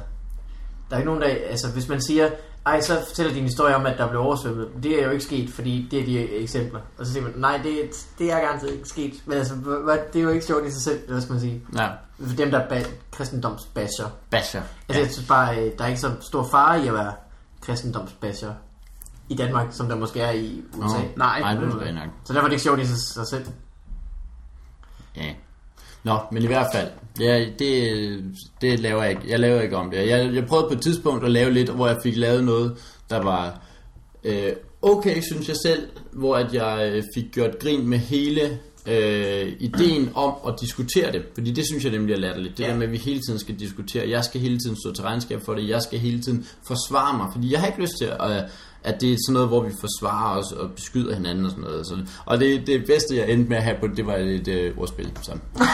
[SPEAKER 2] Der er ikke nogen, der... Altså, hvis man siger, ej, så fortæller din historie om, at der blev oversvømmet. Det er jo ikke sket, fordi det er de eksempler. Og så siger man, nej, det, det er garanteret ikke sket. Men altså, hva- hva- det er jo ikke sjovt i sig selv, eller hvad skal man sige.
[SPEAKER 1] Ja,
[SPEAKER 2] For dem, der er ba- kristendomsbasher.
[SPEAKER 1] basher.
[SPEAKER 2] Altså, jeg synes bare, øh, der er ikke så stor fare i at være kristendomsbasher i Danmark, som der måske er i USA.
[SPEAKER 1] nej. Nej, det er rigtigt nok.
[SPEAKER 2] Så derfor er det ikke sjovt i sig sig selv.
[SPEAKER 1] Ja. Nå, men i hvert fald, det, det, det laver jeg ikke. Jeg laver ikke om det. Jeg, jeg prøvede på et tidspunkt at lave lidt, hvor jeg fik lavet noget, der var øh, okay, synes jeg selv, hvor at jeg øh, fik gjort grin med hele øh, ideen om at diskutere det. Fordi det synes jeg nemlig er latterligt. Det ja. der med, at vi hele tiden skal diskutere. Jeg skal hele tiden stå til regnskab for det. Jeg skal hele tiden forsvare mig. Fordi jeg har ikke lyst til at... Øh, at det er sådan noget, hvor vi forsvarer os og beskyder hinanden og sådan noget. Og, sådan. og det, det bedste, jeg endte med at have på det, det var et øh, ordspil. Så.
[SPEAKER 3] Hvad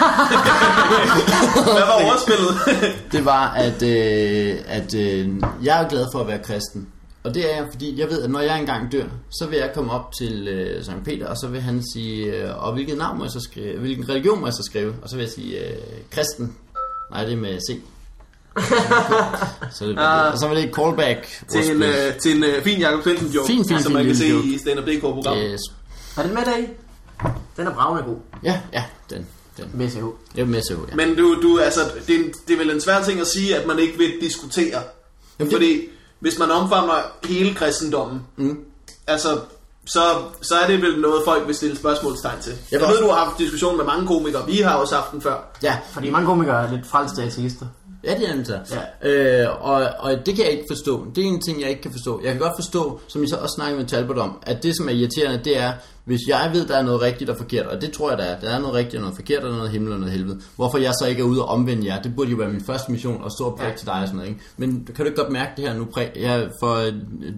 [SPEAKER 3] var ordspillet?
[SPEAKER 1] Det var, at, øh, at øh, jeg er glad for at være kristen. Og det er jeg, fordi jeg ved, at når jeg engang dør, så vil jeg komme op til øh, Sankt Peter, og så vil han sige, øh, og hvilket navn må jeg så skrive, hvilken religion må jeg så skrive? Og så vil jeg sige, øh, kristen. Nej, det er med C. så det, ah, og så var det et callback.
[SPEAKER 3] til, en, øh, til en øh, fin Jacob Svendsen joke,
[SPEAKER 1] Fin, fin,
[SPEAKER 3] som
[SPEAKER 1] fin
[SPEAKER 3] man kan
[SPEAKER 1] lille
[SPEAKER 3] se
[SPEAKER 1] joke. Øh,
[SPEAKER 3] i stand-up.dk-programmet.
[SPEAKER 1] yes.
[SPEAKER 2] Er den med dig? Den er bravende god
[SPEAKER 1] Ja, ja, den. den.
[SPEAKER 2] med CH.
[SPEAKER 1] Jeg er med CH, ja.
[SPEAKER 3] Men du, du altså, det, er en, det er vel en svær ting at sige, at man ikke vil diskutere. Jamen,
[SPEAKER 1] det-
[SPEAKER 3] Fordi hvis man omfavner hele kristendommen, mm. altså, så, så er det vel noget, folk vil stille spørgsmålstegn til. Jeg,
[SPEAKER 1] vil
[SPEAKER 3] jeg ved,
[SPEAKER 1] også-
[SPEAKER 3] du har haft diskussion med mange komikere. Vi har også haft den før.
[SPEAKER 1] Ja,
[SPEAKER 2] Fordi mange komikere er lidt frelste ateister.
[SPEAKER 1] Ja, det er nemlig så. Ja. Øh, og, og det kan jeg ikke forstå. Det er en ting, jeg ikke kan forstå. Jeg kan godt forstå, som I så også snakkede med Talbot om, at det, som er irriterende, det er, hvis jeg ved, der er noget rigtigt og forkert, og det tror jeg, der er. Der er noget rigtigt og noget forkert, og der er noget himmel og noget helvede. Hvorfor jeg så ikke er ude og omvende jer? Det burde jo være min første mission at stå og præge ja. til dig og sådan noget. Ikke? Men kan du ikke godt mærke det her nu? Præ- ja, for øh,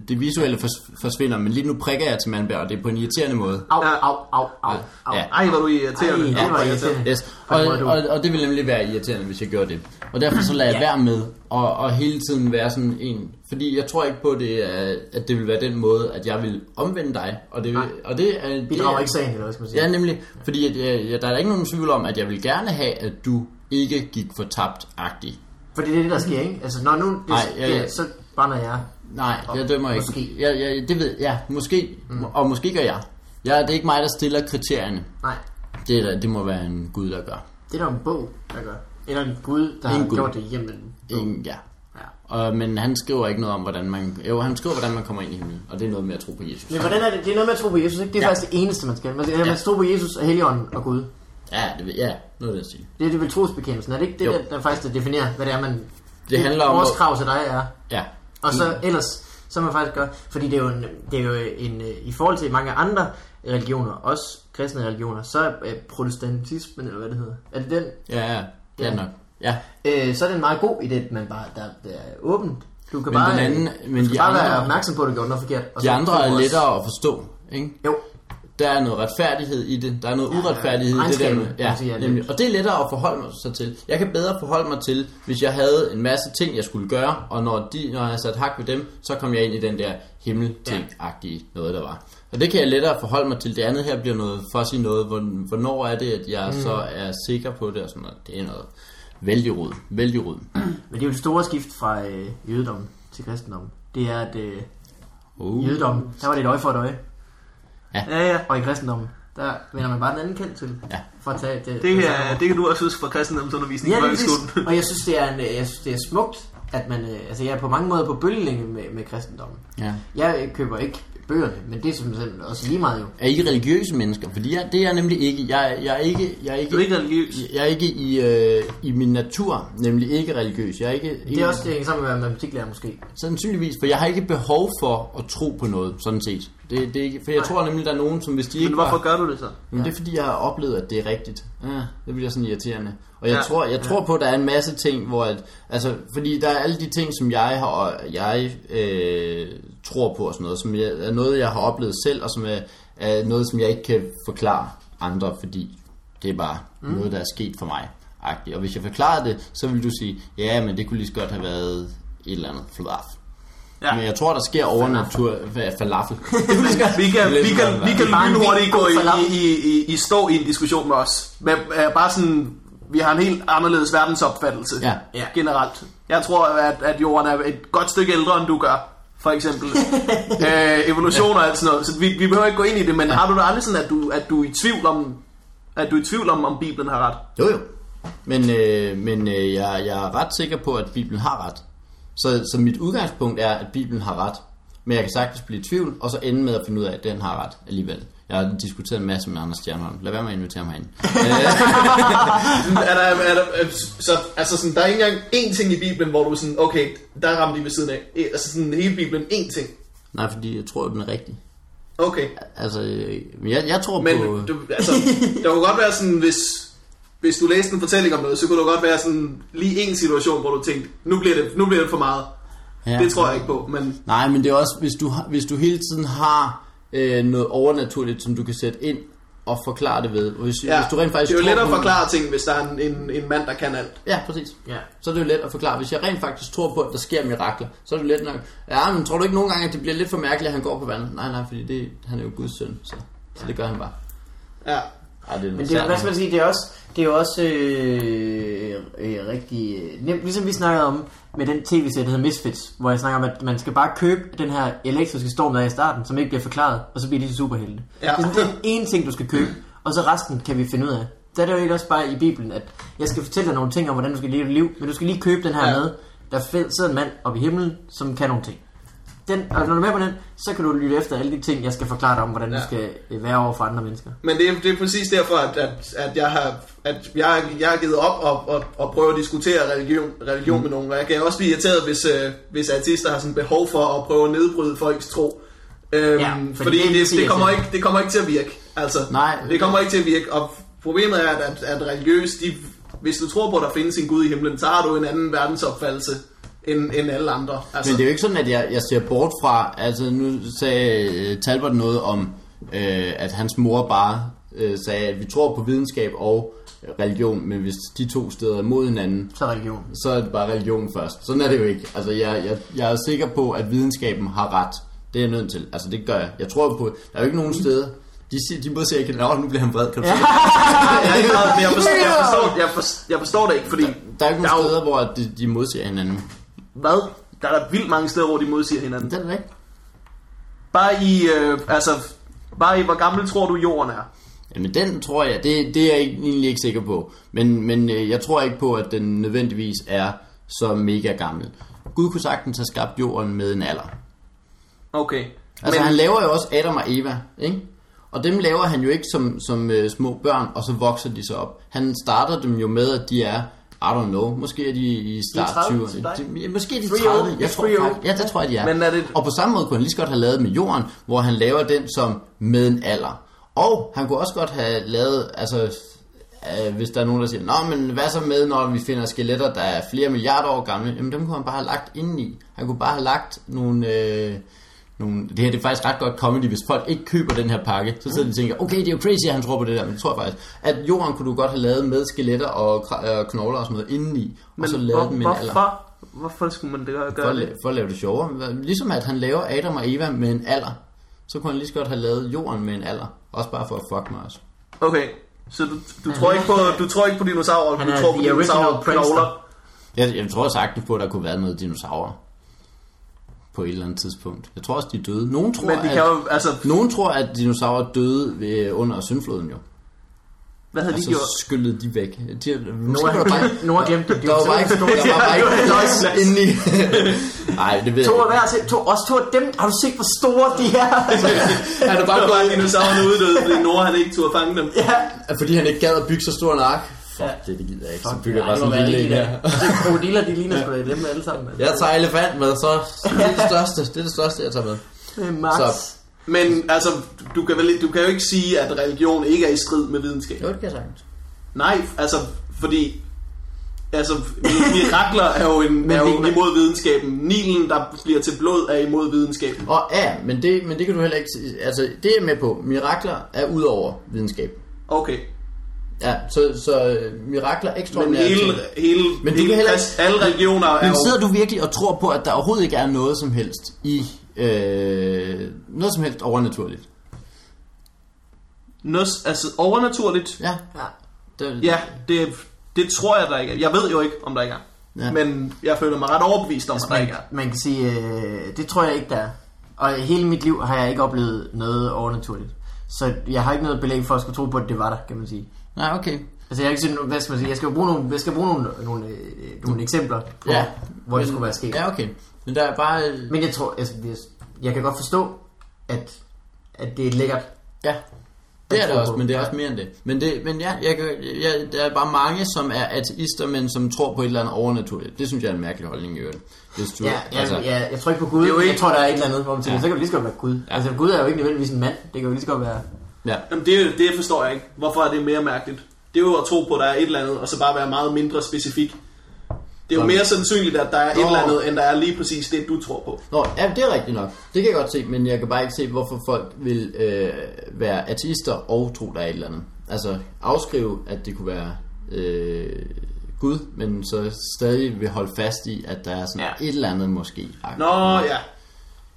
[SPEAKER 1] det visuelle fors- forsvinder, men lige nu prikker jeg til Mandberg, og det er på en irriterende måde.
[SPEAKER 2] Au,
[SPEAKER 3] Ja.
[SPEAKER 2] au, au, au, au.
[SPEAKER 1] Ja.
[SPEAKER 3] Ej, hvor er du irriterende.
[SPEAKER 2] Ej, det var
[SPEAKER 3] Ej,
[SPEAKER 2] irriterende.
[SPEAKER 1] Yes. Og,
[SPEAKER 2] Fuck, Mm. hvor er du-
[SPEAKER 1] og, og det ville nemlig være irriterende, hvis jeg gjorde det. Og derfor så lader jeg være med og, og hele tiden være sådan en... Fordi jeg tror ikke på, det er, at det vil være den måde, at jeg vil omvende dig. Og det, og det er...
[SPEAKER 2] Bidrager
[SPEAKER 1] det er,
[SPEAKER 2] ikke sagen, eller hvad skal man sige?
[SPEAKER 1] Ja, nemlig. Fordi at, øh, ja, der er da ikke nogen tvivl om, at jeg vil gerne have, at du ikke gik for tabt-agtig.
[SPEAKER 2] Fordi det er det, der sker, ikke? Altså, når nu det
[SPEAKER 1] Nej,
[SPEAKER 2] sker,
[SPEAKER 1] ja, ja.
[SPEAKER 2] så brænder jeg.
[SPEAKER 1] Nej, jeg dømmer ikke.
[SPEAKER 2] måske.
[SPEAKER 1] Ja, ja, det ved jeg. Måske. Mm. Og måske gør jeg. Ja, det er ikke mig, der stiller kriterierne.
[SPEAKER 2] Nej,
[SPEAKER 1] Det, er der- det må være en gud, der gør.
[SPEAKER 2] det er der en bog, der gør. Eller en gud, der
[SPEAKER 1] En
[SPEAKER 2] har
[SPEAKER 1] gud.
[SPEAKER 2] gjort det igennem.
[SPEAKER 1] En, ja.
[SPEAKER 2] Ja.
[SPEAKER 1] Og, men han skriver ikke noget om, hvordan man... Jo, han skriver, hvordan man kommer ind i himlen. Og det er noget med at tro på Jesus.
[SPEAKER 2] Men hvordan er det? Det er noget med at tro på Jesus, ikke? Det er
[SPEAKER 1] Ja.
[SPEAKER 2] ja. faktisk det eneste, man skal. Man skal, man
[SPEAKER 1] Ja.
[SPEAKER 2] skal tro på Jesus og Helligånden og Gud.
[SPEAKER 1] Ja, det, ved- ja noget af den stil.
[SPEAKER 2] Det er det vel trosbekendelsen. Er det ikke det,
[SPEAKER 1] Jo.
[SPEAKER 2] der, der faktisk der definerer, hvad det er, man...
[SPEAKER 1] Det handler om-
[SPEAKER 2] Vores krav til dig er.
[SPEAKER 1] Ja.
[SPEAKER 2] Og så
[SPEAKER 1] Mm.
[SPEAKER 2] ellers, så man faktisk gør... Fordi det er jo, en, det er jo en, øh, i forhold til mange andre religioner, også kristne religioner, så er øh, protestantismen, eller hvad det hedder, er det den?
[SPEAKER 1] Ja, ja. Det er
[SPEAKER 2] Ja.
[SPEAKER 1] nok. Ja.
[SPEAKER 2] Øh, så er det en meget god idé, at man bare, der, der er åbent. Du kan
[SPEAKER 1] Men
[SPEAKER 2] bare,
[SPEAKER 1] den anden-
[SPEAKER 2] øh,
[SPEAKER 1] men
[SPEAKER 2] du skal
[SPEAKER 1] de
[SPEAKER 2] bare være
[SPEAKER 1] andre-
[SPEAKER 2] opmærksom på, at du gjorde noget forkert. Og
[SPEAKER 1] De
[SPEAKER 2] så
[SPEAKER 1] andre
[SPEAKER 2] tro
[SPEAKER 1] er
[SPEAKER 2] også-
[SPEAKER 1] lettere at forstå, ikke?
[SPEAKER 2] Jo,
[SPEAKER 1] Der er noget retfærdighed i det. Der er noget uretfærdighed i det der
[SPEAKER 2] regnskabet,
[SPEAKER 1] med.
[SPEAKER 2] kan
[SPEAKER 1] Ja,
[SPEAKER 2] man sige, er lidt-
[SPEAKER 1] nemlig. Og det er lettere at forholde mig sig til. Jeg kan bedre forholde mig til, hvis jeg havde en masse ting, jeg skulle gøre, og når, de, når jeg havde sat hak ved dem, så kom jeg ind i den der himmelting-agtige noget, der var. Og det kan jeg lettere forholde mig til. Det andet her bliver noget fuzzy noget. Hvor- Hvornår er det, at jeg mm. så er sikker på det og sådan noget. Det er noget vældig rod. Vældig rod.
[SPEAKER 2] men det er jo det store skift fra øh, jødedommen til kristendommen. Det er, at øh, i
[SPEAKER 1] Uh.
[SPEAKER 2] jødedommen, der var det et øje for et øje.
[SPEAKER 1] Ja.
[SPEAKER 2] ja, ja. Og i kristendommen, der vender man bare den anden kendt til.
[SPEAKER 1] Ja.
[SPEAKER 2] For at tage det,
[SPEAKER 3] Det,
[SPEAKER 2] samme
[SPEAKER 3] kan,
[SPEAKER 2] ord.
[SPEAKER 3] det kan du også huske fra kristendomsundervisning
[SPEAKER 2] Ja,
[SPEAKER 3] i
[SPEAKER 2] det er
[SPEAKER 3] folkeskolen.
[SPEAKER 2] præcis. Og jeg synes, det er, en, øh, jeg synes, det er smukt, at man... øh, Altså, jeg er på mange måder på bølgelængde med, med kristendommen.
[SPEAKER 1] Ja.
[SPEAKER 2] Jeg øh, køber ikke bøgerne, men det er simpelthen også lige meget jo.
[SPEAKER 1] Er I religiøse mennesker? Fordi jeg, det er jeg nemlig ikke. Jeg, jeg er ikke... Jeg er ikke
[SPEAKER 3] Du er ikke religiøs.
[SPEAKER 1] Jeg er ikke i, øh, i min natur, nemlig ikke religiøs. Jeg er ikke
[SPEAKER 2] Det er også det, hænger sammen med at være matematiklærer måske.
[SPEAKER 1] sandsynligvis, for jeg har ikke behov for at tro på noget, sådan set. Det, det er ikke, for jeg tror nemlig, der er nogen, som hvis de ikke
[SPEAKER 3] Men hvorfor
[SPEAKER 1] var,
[SPEAKER 3] gør du det så?
[SPEAKER 1] men det er fordi, jeg har oplevet, at det er rigtigt. Ja, det bliver sådan irriterende. Og jeg,
[SPEAKER 3] Ja.
[SPEAKER 1] ja, tror, jeg ja. tror på, at der er en masse ting, hvor at, altså, fordi der er alle de ting, som jeg har, og jeg øh, tror på og sådan noget, som jeg, er noget, jeg har oplevet selv, og som er, er noget, som jeg ikke kan forklare andre, fordi det er bare mm. noget, der er sket for mig. -agtigt. Og hvis jeg forklarer det, så vil du sige, ja, men det kunne lige så godt have været et eller andet flaf.
[SPEAKER 3] Ja.
[SPEAKER 1] Ja. Men jeg tror, der sker overnatur... Hvad, falafel.
[SPEAKER 3] Vi kan, vi kan, vi kan
[SPEAKER 2] Bare en
[SPEAKER 3] lynhurtigt
[SPEAKER 2] god
[SPEAKER 3] gå i,
[SPEAKER 2] falafel.
[SPEAKER 3] i, i, i, stå i en diskussion med os. Men uh, bare sådan, vi har en helt anderledes verdensopfattelse
[SPEAKER 1] Ja.
[SPEAKER 2] Ja.
[SPEAKER 3] generelt. Jeg tror, at, at jorden er et godt stykke ældre, end du gør. For eksempel øh, evolution og alt sådan noget. Så vi, vi behøver ikke gå ind i det, men har du da aldrig sådan, at du, at du er i tvivl om, at du er i tvivl om, om Bibelen har ret?
[SPEAKER 1] Jo jo. Men, øh, men øh, jeg, jeg er ret sikker på, at Bibelen har ret. Så, så mit udgangspunkt er, at Bibelen har ret. Men jeg kan sagtens blive i tvivl, og så ende med at finde ud af, at den har ret alligevel. Jeg har diskuteret en masse med Anders Stjernholm. Lad være med at invitere mig ind.
[SPEAKER 3] er der, er der, øh, så, altså sådan, der er ikke engang én ting i Bibelen, hvor du er sådan, okay, der ramte de ved siden af. Øh, Altså sådan hele Bibelen, én ting.
[SPEAKER 1] Nej, fordi jeg tror, at den er rigtig.
[SPEAKER 3] Okay,
[SPEAKER 1] Altså, øh, jeg, jeg tror
[SPEAKER 3] men
[SPEAKER 1] på...
[SPEAKER 3] du, altså, der kunne godt være sådan, hvis, hvis du læste en fortælling om noget, så kunne der godt være sådan lige en situation, hvor du tænkte, nu bliver det, nu bliver det for meget. Ja.
[SPEAKER 1] Ja.
[SPEAKER 3] Det tror jeg ikke på, men
[SPEAKER 1] Nej, men det er også, hvis du, har- hvis du hele tiden har øh, noget overnaturligt, som du kan sætte ind og forklare det ved. Hvis,
[SPEAKER 3] ja,
[SPEAKER 1] hvis du rent faktisk
[SPEAKER 3] det er jo
[SPEAKER 1] tror
[SPEAKER 3] lettere at
[SPEAKER 1] på-
[SPEAKER 3] forklare ting, hvis der er en, en, en mand, der kan alt.
[SPEAKER 1] Ja, præcis.
[SPEAKER 2] Ja.
[SPEAKER 1] Så er det jo let at forklare. Hvis jeg rent faktisk tror på, at der sker mirakler, så er det jo let nok. Ja, men tror du ikke nogle gange, at det bliver lidt for mærkeligt, at han går på vandet? Nej, nej, fordi det, han er jo Guds søn, så, så det gør han bare.
[SPEAKER 3] Ja.
[SPEAKER 1] Ej, det er
[SPEAKER 2] Men
[SPEAKER 1] noget
[SPEAKER 2] det, er- hvad
[SPEAKER 1] særligt.
[SPEAKER 2] skal man sige, det er også, det er jo også øh, øh, rigtig øh, nemt, ligesom vi snakkede om med den tv-serie, der hedder Misfits, hvor jeg snakker om, at man skal bare købe den her elektriske storm, der er i starten, som ikke bliver forklaret, og så bliver de til superhelte.
[SPEAKER 3] Ja.
[SPEAKER 2] Ja. Det er sådan, det er én ting, du skal købe, og så resten kan vi finde ud af. Der er det jo egentlig også bare i Bibelen, at jeg skal fortælle dig nogle ting om, hvordan du skal leve dit liv, men du skal lige købe den her
[SPEAKER 3] Ja.
[SPEAKER 2] ja. med. Der fed- sidder en mand oppe i himlen, som kan nogle ting. den, og når du er med på den, så kan du lytte efter alle de ting, jeg skal forklare dig om, hvordan ja. du
[SPEAKER 3] Ja.
[SPEAKER 2] skal øh, være over for andre mennesker.
[SPEAKER 3] Men det er, det er præcis derfor, at, at, at, jeg, har, at jeg, jeg har givet op og, og, og prøve at diskutere religion, religion mm. med nogen. Og jeg kan også blive irriteret, hvis, øh, hvis artister har sådan behov for at prøve at nedbryde folks tro. Øhm,
[SPEAKER 2] Ja,
[SPEAKER 3] ja,
[SPEAKER 2] fordi det
[SPEAKER 3] fordi
[SPEAKER 2] er
[SPEAKER 3] fordi det,
[SPEAKER 2] irriterende.
[SPEAKER 3] det, kommer ikke, det kommer ikke til at virke. Altså,
[SPEAKER 1] Nej.
[SPEAKER 3] det kommer ikke til at virke. Og problemet er, at, at, at religiøs, de, hvis du tror på, at der findes en Gud i himlen, så har du en anden verdensopfattelse end, end alle andre. Altså,
[SPEAKER 1] Men det er jo ikke sådan, at jeg, jeg ser bort fra, altså nu sagde øh, Talbot noget om, øh, at hans mor bare øh, sagde, at vi tror på videnskab og religion, men hvis de to steder er mod hinanden,
[SPEAKER 2] Så religion.
[SPEAKER 1] så er det bare religion først. Sådan er det jo ikke. Altså, jeg, jeg, jeg er sikker på, at videnskaben har ret. Det er jeg nødt til. Altså, det gør jeg. Jeg tror jo på, der er jo ikke nogen steder, de, siger, de både siger ikke, at nu bliver han vred, kan du se?"
[SPEAKER 3] jeg, jeg, jeg, jeg, forstår, jeg, forstår, jeg, forstår, jeg forstår det ikke, fordi...
[SPEAKER 1] Der er jo ikke
[SPEAKER 3] der er
[SPEAKER 1] nogen
[SPEAKER 3] jo-
[SPEAKER 1] steder, hvor de, de modsiger hinanden.
[SPEAKER 3] Hvad? Der er der vildt mange steder, hvor de modsiger hinanden.
[SPEAKER 1] Det er det ikke.
[SPEAKER 3] Bare i, øh, altså, bare i, hvor gammel tror du jorden er?
[SPEAKER 1] Jamen den tror jeg, det, det er jeg ikke- egentlig ikke sikker på. Men, men øh, jeg tror ikke på, at den nødvendigvis er så mega gammel. Gud kunne sagtens have skabt jorden med en alder.
[SPEAKER 3] Okay.
[SPEAKER 1] Altså
[SPEAKER 3] Men-
[SPEAKER 1] men... han laver jo også Adam og Eva, ikke? Og dem laver han jo ikke som, som øh, små børn, og så vokser de så op. Han starter dem jo med, at de er, I don't know, måske er de i start
[SPEAKER 3] 30
[SPEAKER 1] 20'erne.
[SPEAKER 3] som dig.
[SPEAKER 1] De- ja, Måske er de
[SPEAKER 2] 3-0.
[SPEAKER 1] 30. Jeg tror,
[SPEAKER 2] Det er 3-0.
[SPEAKER 1] faktisk- ja, det tror jeg, de er.
[SPEAKER 3] Men er det-
[SPEAKER 1] Og på samme måde kunne han lige så godt have lavet med jorden, hvor han laver den som med en alder. Og han kunne også godt have lavet, altså øh, hvis der er nogen, der siger, Nå, men hvad så med, når vi finder skeletter, der er flere milliarder år gamle? Jamen, dem kunne han bare have lagt indeni. Han kunne bare have lagt nogle... Øh, nogle det her det er faktisk ret godt comedy, hvis folk ikke køber den her pakke. Så sidder de og tænker, okay, det er jo crazy, at han tror på det der, men det tror jeg faktisk. At jorden kunne du godt have lavet med skeletter og kra- og knogler og sådan noget indeni, og så lavet den med en alder.
[SPEAKER 3] hvorfor? Hvorfor skulle man det gøre?
[SPEAKER 1] For
[SPEAKER 3] gøre
[SPEAKER 1] at, la-
[SPEAKER 3] det?
[SPEAKER 1] for at lave det sjovere. Ligesom at han laver Adam og Eva med en alder, så kunne han lige så godt have lavet jorden med en alder. Også bare for at fuck mig også.
[SPEAKER 3] Okay, så du, du, tror ikke på, du tror ikke på dinosaurer,
[SPEAKER 2] Han
[SPEAKER 3] du
[SPEAKER 2] er
[SPEAKER 3] tror på
[SPEAKER 2] the original
[SPEAKER 3] dinosaurer
[SPEAKER 2] prankster.
[SPEAKER 1] Jeg, jeg tror sagtens på, at der kunne være noget dinosaurer på et eller andet tidspunkt. Jeg tror også, de er døde. Nogen tror,
[SPEAKER 3] Men de
[SPEAKER 1] at,
[SPEAKER 3] kan jo, altså,
[SPEAKER 1] nogen tror at dinosaurer døde ved, under syndfloden jo.
[SPEAKER 3] hvad havde
[SPEAKER 1] Og
[SPEAKER 3] de
[SPEAKER 1] så
[SPEAKER 3] gjort?
[SPEAKER 1] skyllede de væk. De, måske
[SPEAKER 2] Nora-
[SPEAKER 1] var der bare-
[SPEAKER 2] Nora glemte det.
[SPEAKER 1] Der var bare ikke, der var bare ikke plads inde i... Nej, det ved
[SPEAKER 2] To af
[SPEAKER 1] jeg
[SPEAKER 2] hver, til- to, også to af dem. Har du set, hvor store de er?
[SPEAKER 1] ikke. Han er
[SPEAKER 3] Der
[SPEAKER 1] bare
[SPEAKER 3] var
[SPEAKER 1] gået
[SPEAKER 3] dinosaurerne uddøde, fordi Nora han ikke turde fange dem.
[SPEAKER 2] ja.
[SPEAKER 1] Fordi han ikke gad at bygge så stor en ark. Fuck, det, det gider jeg ikke. Så bygger jeg bare
[SPEAKER 2] Ej, hvor
[SPEAKER 1] sådan en
[SPEAKER 2] er
[SPEAKER 1] lille en
[SPEAKER 2] det de
[SPEAKER 1] her.
[SPEAKER 2] der. Og så Krokodiller, de ligner sgu da dem alle sammen. altså.
[SPEAKER 1] Jeg tager elefant med, så det er det største. Det er det største, jeg tager med.
[SPEAKER 2] Det er Max.
[SPEAKER 1] Så.
[SPEAKER 3] Men altså, du kan, vel, du kan jo ikke sige, at religion ikke er i strid med videnskab.
[SPEAKER 1] Jo, det kan jeg sagtens.
[SPEAKER 3] Nej, altså, fordi... Altså, mirakler er jo, en, er jo
[SPEAKER 2] vi-
[SPEAKER 3] imod videnskaben. Nilen, der bliver til blod, er imod videnskaben.
[SPEAKER 1] Og ja, men det, men det kan du heller ikke... s- Altså, det er jeg med på. Mirakler er ud over videnskab.
[SPEAKER 3] Okay.
[SPEAKER 1] Ja, så, så øh, mirakler er
[SPEAKER 3] Men
[SPEAKER 1] ekstraordinære
[SPEAKER 3] hele,
[SPEAKER 1] ting.
[SPEAKER 3] hele,
[SPEAKER 1] Men
[SPEAKER 3] men
[SPEAKER 1] du
[SPEAKER 3] hele
[SPEAKER 1] kan heller
[SPEAKER 3] krist, alle religioner er
[SPEAKER 1] Men
[SPEAKER 3] jo...
[SPEAKER 1] sidder du virkelig og tror på, at der overhovedet ikke er noget som helst i... Øh, noget som helst overnaturligt?
[SPEAKER 3] Noget, altså overnaturligt.
[SPEAKER 1] Ja.
[SPEAKER 2] Ja.
[SPEAKER 1] Det,
[SPEAKER 3] Ja, det, det tror jeg, der ikke er. Jeg ved jo ikke, om der ikke er.
[SPEAKER 1] Ja. Altså,
[SPEAKER 3] Ja. Men jeg føler mig ret overbevist om, at der ikke er.
[SPEAKER 2] Man kan sige, øh, det tror jeg ikke, der er. Og hele mit liv har jeg ikke oplevet noget overnaturligt. Så jeg har ikke noget belæg for at skulle tro på, at det var der, kan man sige.
[SPEAKER 1] Nej, okay.
[SPEAKER 2] Altså jeg har ikke sådan, hvad skal man sige, jeg skal jo bruge nogle, jeg skal bruge nogle, nogle, øh, nogle eksempler på,
[SPEAKER 1] Ja.
[SPEAKER 2] ja. hvor det
[SPEAKER 1] Men-
[SPEAKER 2] skulle være sket.
[SPEAKER 1] Ja, okay. Men der er bare... øh,
[SPEAKER 2] Men jeg tror, altså, jeg, jeg kan godt forstå, at, at det er lækkert.
[SPEAKER 1] Ja, det er det
[SPEAKER 2] tror
[SPEAKER 1] også,
[SPEAKER 2] på.
[SPEAKER 1] men det er også mere end det. Men, det, men ja, jeg, kan- jeg, der er bare mange, som er ateister, men som tror på et eller andet overnaturligt. Det synes jeg er en mærkelig holdning i øvrigt. Hvis du,
[SPEAKER 2] Ja, ja, altså, ja, jeg tror ikke på Gud,
[SPEAKER 3] det er jo
[SPEAKER 2] ikke... jeg
[SPEAKER 3] ikke-
[SPEAKER 2] tror, der er et eller andet, hvor man tænker,
[SPEAKER 1] Ja.
[SPEAKER 2] ja. så kan det lige så godt være Gud. Ja. Altså Gud er jo ikke nødvendigvis en mand, det kan jo lige så godt være...
[SPEAKER 1] ja.
[SPEAKER 3] Jamen, det, det forstår jeg ikke. Hvorfor er det mere mærkeligt? Det er jo at tro på, at der er et eller andet, og så bare være meget mindre specifik. Det er jo
[SPEAKER 1] Sådan.
[SPEAKER 3] mere sandsynligt, at der er et
[SPEAKER 1] Nå.
[SPEAKER 3] eller andet, end der er lige præcis det, du tror på.
[SPEAKER 1] Nå, ja, det er rigtigt nok. Det kan jeg godt se, men jeg kan bare ikke se, hvorfor folk vil øh, være ateister og tro, der er et eller andet. Altså afskrive, at det kunne være øh, Gud, men så stadig vil holde fast i, at der er sådan ja. et
[SPEAKER 2] Ja.
[SPEAKER 1] eller andet måske.
[SPEAKER 3] Nå, ja.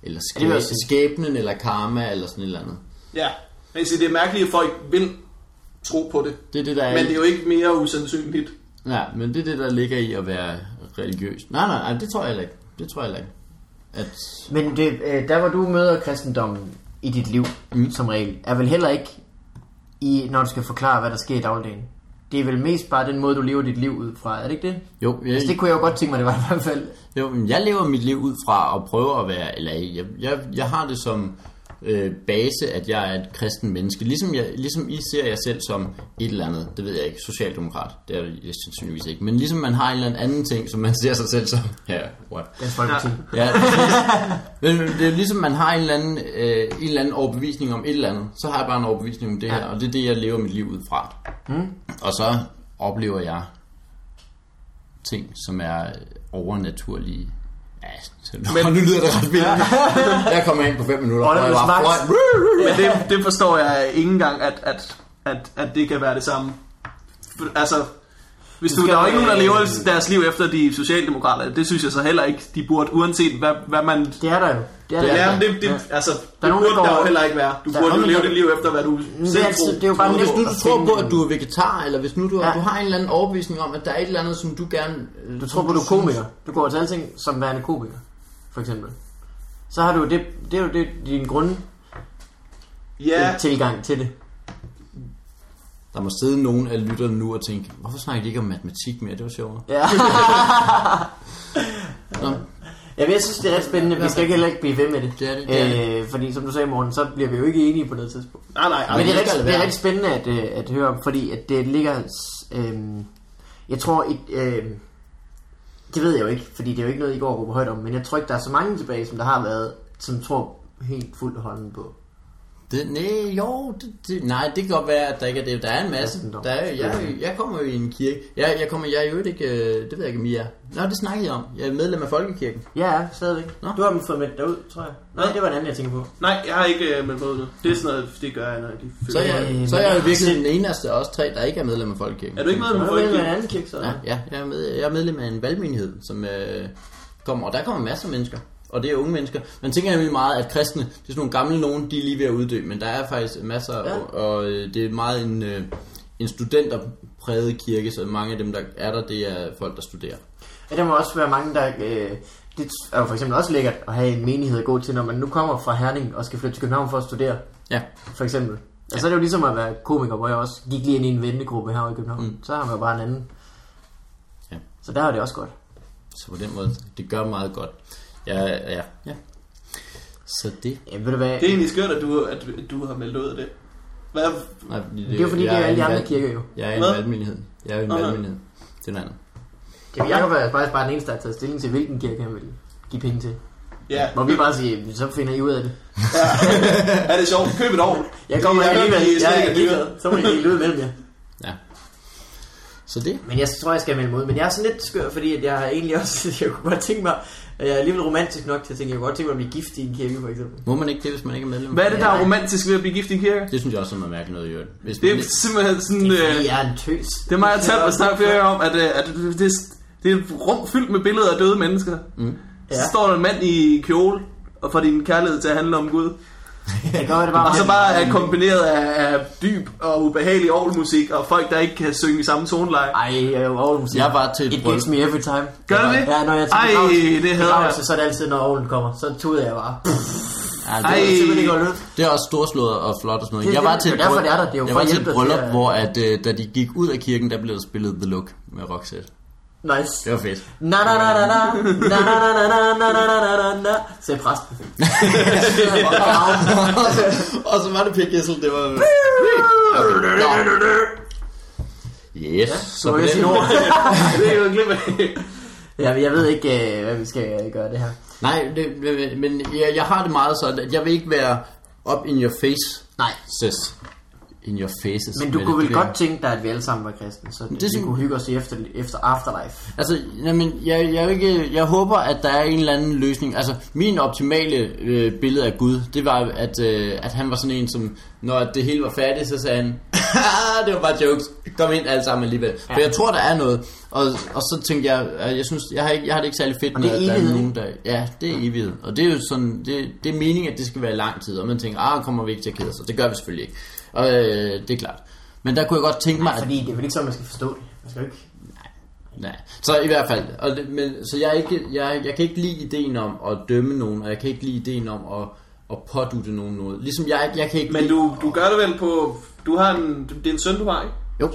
[SPEAKER 1] Eller
[SPEAKER 2] det vil jeg
[SPEAKER 1] skæ- skæbnen, eller karma, eller sådan et eller andet.
[SPEAKER 3] Ja. Man kan sige, det er mærkeligt, at folk vil tro på det.
[SPEAKER 1] Det er det, der er
[SPEAKER 3] Men
[SPEAKER 1] i-
[SPEAKER 3] det er jo ikke mere usandsynligt.
[SPEAKER 1] Ja, men det er det, der ligger i at være religiøs. Nej, nej, nej, det tror jeg heller ikke. Det tror jeg heller ikke. At,
[SPEAKER 2] Men det, øh, der hvor du møder kristendommen i dit liv, mm. som regel, er vel heller ikke, i, når du skal forklare, hvad der sker i dagligdagen. det er vel mest bare den måde, du lever dit liv ud fra, er det ikke det?
[SPEAKER 1] Jo, jeg,
[SPEAKER 2] Altså, det kunne jeg jo godt tænke mig, det var i hvert fald.
[SPEAKER 1] Jo, men jeg lever mit liv ud fra at prøve at være, eller jeg, jeg, jeg har det som øh, base, at jeg er et kristen menneske. Ligesom, jeg, ligesom I ser jeg selv som et eller andet, det ved jeg ikke, socialdemokrat, det er jeg sandsynligvis ikke, men ligesom man har en eller anden ting, som man ser sig selv som, ja, what?
[SPEAKER 2] Dansk Folkeparti. Ja.
[SPEAKER 1] Ja, præcis. Men det er jo ligesom, man har en eller, anden, øh, en eller anden overbevisning om et eller andet. Så har jeg bare en overbevisning om det her, og det er det, jeg lever mit liv ud fra. Mm. Og så oplever jeg ting, som er overnaturlige. Ja, så, men, nu lyder det ret vildt. jeg kommer ind på 5 minutter, og jeg
[SPEAKER 2] Oliver's
[SPEAKER 1] var
[SPEAKER 2] Max.
[SPEAKER 1] foran.
[SPEAKER 3] Men det, det forstår jeg ikke engang, at, at, at, at det kan være det samme. For- Altså, hvis du, der er jo ikke nogen, der lever deres liv efter de socialdemokrater. Det synes jeg så heller ikke, de burde, uanset hvad, hvad man...
[SPEAKER 2] Det er der jo. Det er,
[SPEAKER 1] Det
[SPEAKER 2] der.
[SPEAKER 1] er
[SPEAKER 3] Ja,
[SPEAKER 2] jo.
[SPEAKER 3] men det, det, altså,
[SPEAKER 2] Der er
[SPEAKER 3] det
[SPEAKER 2] nogen, der
[SPEAKER 3] burde der
[SPEAKER 2] går-
[SPEAKER 3] jo heller ikke være. Du
[SPEAKER 2] Der er
[SPEAKER 3] burde jo
[SPEAKER 2] nogen,
[SPEAKER 3] leve
[SPEAKER 2] der-
[SPEAKER 3] dit liv efter, hvad du
[SPEAKER 2] det
[SPEAKER 3] selv
[SPEAKER 2] er, altid,
[SPEAKER 3] tror.
[SPEAKER 2] det er jo bare
[SPEAKER 1] Og hvis nu
[SPEAKER 2] nemt
[SPEAKER 1] du
[SPEAKER 2] at
[SPEAKER 1] tror
[SPEAKER 2] finde-
[SPEAKER 1] på, at du er vegetar, eller hvis nu du,
[SPEAKER 2] Ja.
[SPEAKER 1] ja. du har en eller anden overbevisning om, at der er et eller andet, som du gerne... øh,
[SPEAKER 2] Du
[SPEAKER 1] som
[SPEAKER 2] tror på, du er
[SPEAKER 1] synes-
[SPEAKER 2] komiker. Du går til alting som værende komiker, for eksempel. Så har du det, det er jo det, din grund
[SPEAKER 3] Ja,
[SPEAKER 2] ja. tilgang til det.
[SPEAKER 1] Der må sidde nogen af lytterne nu og tænke, hvorfor snakker de ikke om matematik mere? Det var sjovt.
[SPEAKER 2] Ja.
[SPEAKER 1] Nå.
[SPEAKER 2] Jamen, jeg synes, det er spændende. Vi skal ikke heller ikke blive ved med det.
[SPEAKER 1] Det er det, det er det.
[SPEAKER 2] Øh, fordi som du sagde, morgen, så bliver vi jo ikke enige på noget tidspunkt.
[SPEAKER 3] nej, nej.
[SPEAKER 2] Men det er,
[SPEAKER 1] det skal
[SPEAKER 2] rigtig,
[SPEAKER 1] det
[SPEAKER 2] det er
[SPEAKER 1] være.
[SPEAKER 2] rigtig spændende at, øh, at høre om, fordi at det ligger... Øh, jeg tror... Et, øh, det ved jeg jo ikke, fordi det er jo ikke noget, I går og råber højt om, men jeg tror ikke, der er så mange tilbage, som der har været, som tror helt fuldt hånden på.
[SPEAKER 1] Det, nej, jo, det, det, nej, det kan godt være, at der ikke er det. Der er en masse.
[SPEAKER 2] Kristendom.
[SPEAKER 1] Der er, jo- jeg, jeg kommer jo i en kirke. Jeg, jeg kommer, jeg er jo ikke, øh, det ved jeg ikke, om I er. Nå, det snakkede jeg om. Jeg er medlem af Folkekirken.
[SPEAKER 2] Ja, ja, stadigvæk.
[SPEAKER 1] Nå.
[SPEAKER 2] Du har dem fået med derud, tror jeg. Nej, det var en anden, jeg tænker på.
[SPEAKER 3] Nej, jeg har ikke øh, meldt mig ud nu. Det er sådan noget, det gør jeg, når jeg lige
[SPEAKER 1] Så
[SPEAKER 3] føler.
[SPEAKER 1] er
[SPEAKER 2] Øh,
[SPEAKER 1] jeg, så er jeg jo
[SPEAKER 2] men-
[SPEAKER 1] virkelig den eneste af os tre, der ikke er medlem af Folkekirken.
[SPEAKER 3] Er du ikke med
[SPEAKER 2] Du
[SPEAKER 3] med
[SPEAKER 2] har med en
[SPEAKER 3] folk?
[SPEAKER 2] anden kirke, så.
[SPEAKER 1] Ja, ja jeg, er med, jeg er medlem af en valgmenighed, som øh, kommer, og der kommer masser af mennesker. Og det er unge mennesker. Man tænker nemlig meget, at kristne, det er sådan nogle gamle nogen, de er lige ved at uddø, men der er faktisk masser,
[SPEAKER 2] Ja.
[SPEAKER 1] ja. og, og øh, det er meget en, øh, en studenterpræget kirke, så mange af dem, der er der, det er folk, der studerer.
[SPEAKER 2] Ja, der må også være mange, der... Øh, det er jo for eksempel også lækkert at have en menighed at gå til, når man nu kommer fra Herning og skal flytte til København for at studere,
[SPEAKER 1] Ja,
[SPEAKER 2] for eksempel. Og så er det jo ligesom at være komiker, hvor jeg også gik lige ind i en vennegruppe her i København. Mm. Så har man jo bare en anden.
[SPEAKER 1] Ja.
[SPEAKER 2] Så der er det også godt.
[SPEAKER 1] så på den måde, det gør meget godt. Ja, ja, ja. Så det...
[SPEAKER 2] Ja, ved du hvad?
[SPEAKER 3] Det er egentlig skørt, at du, at, at du har meldt dig ud af det. Hvad?
[SPEAKER 1] Nej, fordi
[SPEAKER 2] Det er jo fordi,
[SPEAKER 1] jeg
[SPEAKER 2] det er jo alle de
[SPEAKER 1] en
[SPEAKER 2] andre
[SPEAKER 1] valg-
[SPEAKER 2] kirker jo.
[SPEAKER 1] Jeg er en
[SPEAKER 3] Hvad?
[SPEAKER 1] valgmenighed. Jeg er jo en
[SPEAKER 3] Nå, nå.
[SPEAKER 1] valgmenighed. Det er noget andet.
[SPEAKER 2] Jamen, Jacob er faktisk bare den eneste, der har taget stilling til, hvilken kirke han vil give penge til.
[SPEAKER 3] Ja.
[SPEAKER 2] Hvor vi bare siger, så finder I ud af det.
[SPEAKER 3] Er det sjovt? Køb et år.
[SPEAKER 2] Jeg kommer
[SPEAKER 3] Det er
[SPEAKER 2] alligevel.
[SPEAKER 3] nok, I er slet
[SPEAKER 2] Jeg er
[SPEAKER 3] ikke
[SPEAKER 2] alligevel. Så må I dele ud mellem jer.
[SPEAKER 1] Ja. Så det...
[SPEAKER 2] Men jeg tror, jeg skal melde mig ud. Men jeg er sådan lidt skør, fordi at jeg har egentlig også... Jeg kunne godt tænke mig... Jeg er alligevel romantisk nok til at tænke, jeg kunne godt tænke mig at blive gift i en kirke, for eksempel.
[SPEAKER 1] Må man ikke det, hvis man ikke er medlem?
[SPEAKER 3] Hvad er det, der er romantisk ved at blive gift i en kirke?
[SPEAKER 1] Det synes jeg også er noget mærkeligt noget i øvrigt. Hvis
[SPEAKER 3] Det
[SPEAKER 1] man
[SPEAKER 3] er
[SPEAKER 1] ikke-
[SPEAKER 3] simpelthen sådan... Øh,
[SPEAKER 2] Fordi jeg er en tøs.
[SPEAKER 3] det er mig, jeg talte og snakke flere gange om, at, øh, at det, det er et rum fyldt med billeder af døde mennesker. Mm. Så
[SPEAKER 2] Ja.
[SPEAKER 3] står der en mand i kjole, og får din kærlighed til at handle om Gud.
[SPEAKER 2] Jeg gør det bare.
[SPEAKER 3] Og så bare er kombineret af, af dyb og ubehagelig orgelmusik, og folk, der ikke kan synge i samme toneleje.
[SPEAKER 2] Ej, øh, jeg er jo ovlenmusik.
[SPEAKER 1] Jeg var til et
[SPEAKER 2] It
[SPEAKER 1] bryllup.
[SPEAKER 2] gets me every time.
[SPEAKER 3] Gør det det?
[SPEAKER 2] Ja, når jeg er til
[SPEAKER 3] Ej,
[SPEAKER 2] begravelse-
[SPEAKER 3] det hader
[SPEAKER 2] begravelse,
[SPEAKER 3] jeg.
[SPEAKER 2] Så er det altid, når ovlen kommer. Så tuder jeg bare.
[SPEAKER 1] Ja,
[SPEAKER 3] Ej.
[SPEAKER 1] det,
[SPEAKER 2] Det er simpelthen ikke godt ud.
[SPEAKER 1] det er også storslået og flot og sådan noget.
[SPEAKER 2] Det er
[SPEAKER 1] jeg var
[SPEAKER 2] det-
[SPEAKER 1] til
[SPEAKER 2] det er derfor, det er der. Det er jo
[SPEAKER 1] jeg
[SPEAKER 2] for
[SPEAKER 1] var
[SPEAKER 2] at
[SPEAKER 1] til
[SPEAKER 2] hjælpe
[SPEAKER 1] et
[SPEAKER 2] dig
[SPEAKER 1] bryllup,
[SPEAKER 2] til at-
[SPEAKER 1] hvor at, øh, da de gik ud af kirken, der blev der spillet The Look med Roxette.
[SPEAKER 2] Nice.
[SPEAKER 1] Det var fedt.
[SPEAKER 2] Na na na na na na na na na na na na na na na Sagde præsten.
[SPEAKER 1] og så var det Pig Gissel, det var... Yes, så
[SPEAKER 2] må
[SPEAKER 1] på
[SPEAKER 2] jeg sige
[SPEAKER 1] den...
[SPEAKER 2] ord.
[SPEAKER 3] det er jo glip af.
[SPEAKER 2] Ja, men jeg ved ikke, øh, hvad vi skal gøre det her.
[SPEAKER 1] Nej, det, men- men jeg, jeg har det meget sådan, at jeg vil ikke være up in your face.
[SPEAKER 2] Nej.
[SPEAKER 1] Sis. In your faces.
[SPEAKER 2] Men du
[SPEAKER 1] med
[SPEAKER 2] kunne
[SPEAKER 1] det,
[SPEAKER 2] vel
[SPEAKER 1] det der.
[SPEAKER 2] godt tænke dig, at vi alle sammen var kristne, så det, vi
[SPEAKER 1] synes-
[SPEAKER 2] kunne hygge os i efter, efter Afterlife.
[SPEAKER 1] Altså, jamen, jeg, jeg, er jo ikke, jeg håber, at der er en eller anden løsning. Altså, min optimale øh, billede af Gud, det var, at, øh, at han var sådan en, som, når det hele var færdigt, så sagde han, "Ah, det var bare jokes, kom ind alle sammen alligevel. Ja. For jeg tror, der er noget. Og, og så tænkte jeg, at jeg, synes, jeg, har ikke, jeg har det ikke særlig fedt,
[SPEAKER 2] Og det er
[SPEAKER 1] med, at der
[SPEAKER 2] evighed,
[SPEAKER 1] er nogen, der... Ja, det er evighed. Og det er jo sådan, det, det er meningen, at det skal være i lang tid. Og man tænker, ah, kommer vi ikke til at kede os? Og det gør vi selvfølgelig ikke. Og øh, det er klart. Men der kunne jeg godt tænke mig, at
[SPEAKER 2] Fordi det er vel ikke sådan, man skal forstå det. Man skal jo ikke...
[SPEAKER 1] Nej. Så i hvert fald, og det, men, så jeg, er ikke, jeg, jeg kan ikke lide ideen om at dømme nogen, og jeg kan ikke lide ideen om at, at pådutte nogen noget. Ligesom jeg, jeg kan ikke
[SPEAKER 3] Men
[SPEAKER 1] lide,
[SPEAKER 3] du, du gør det vel på... Du har en, det er en søn, du har, ikke?
[SPEAKER 1] Jo,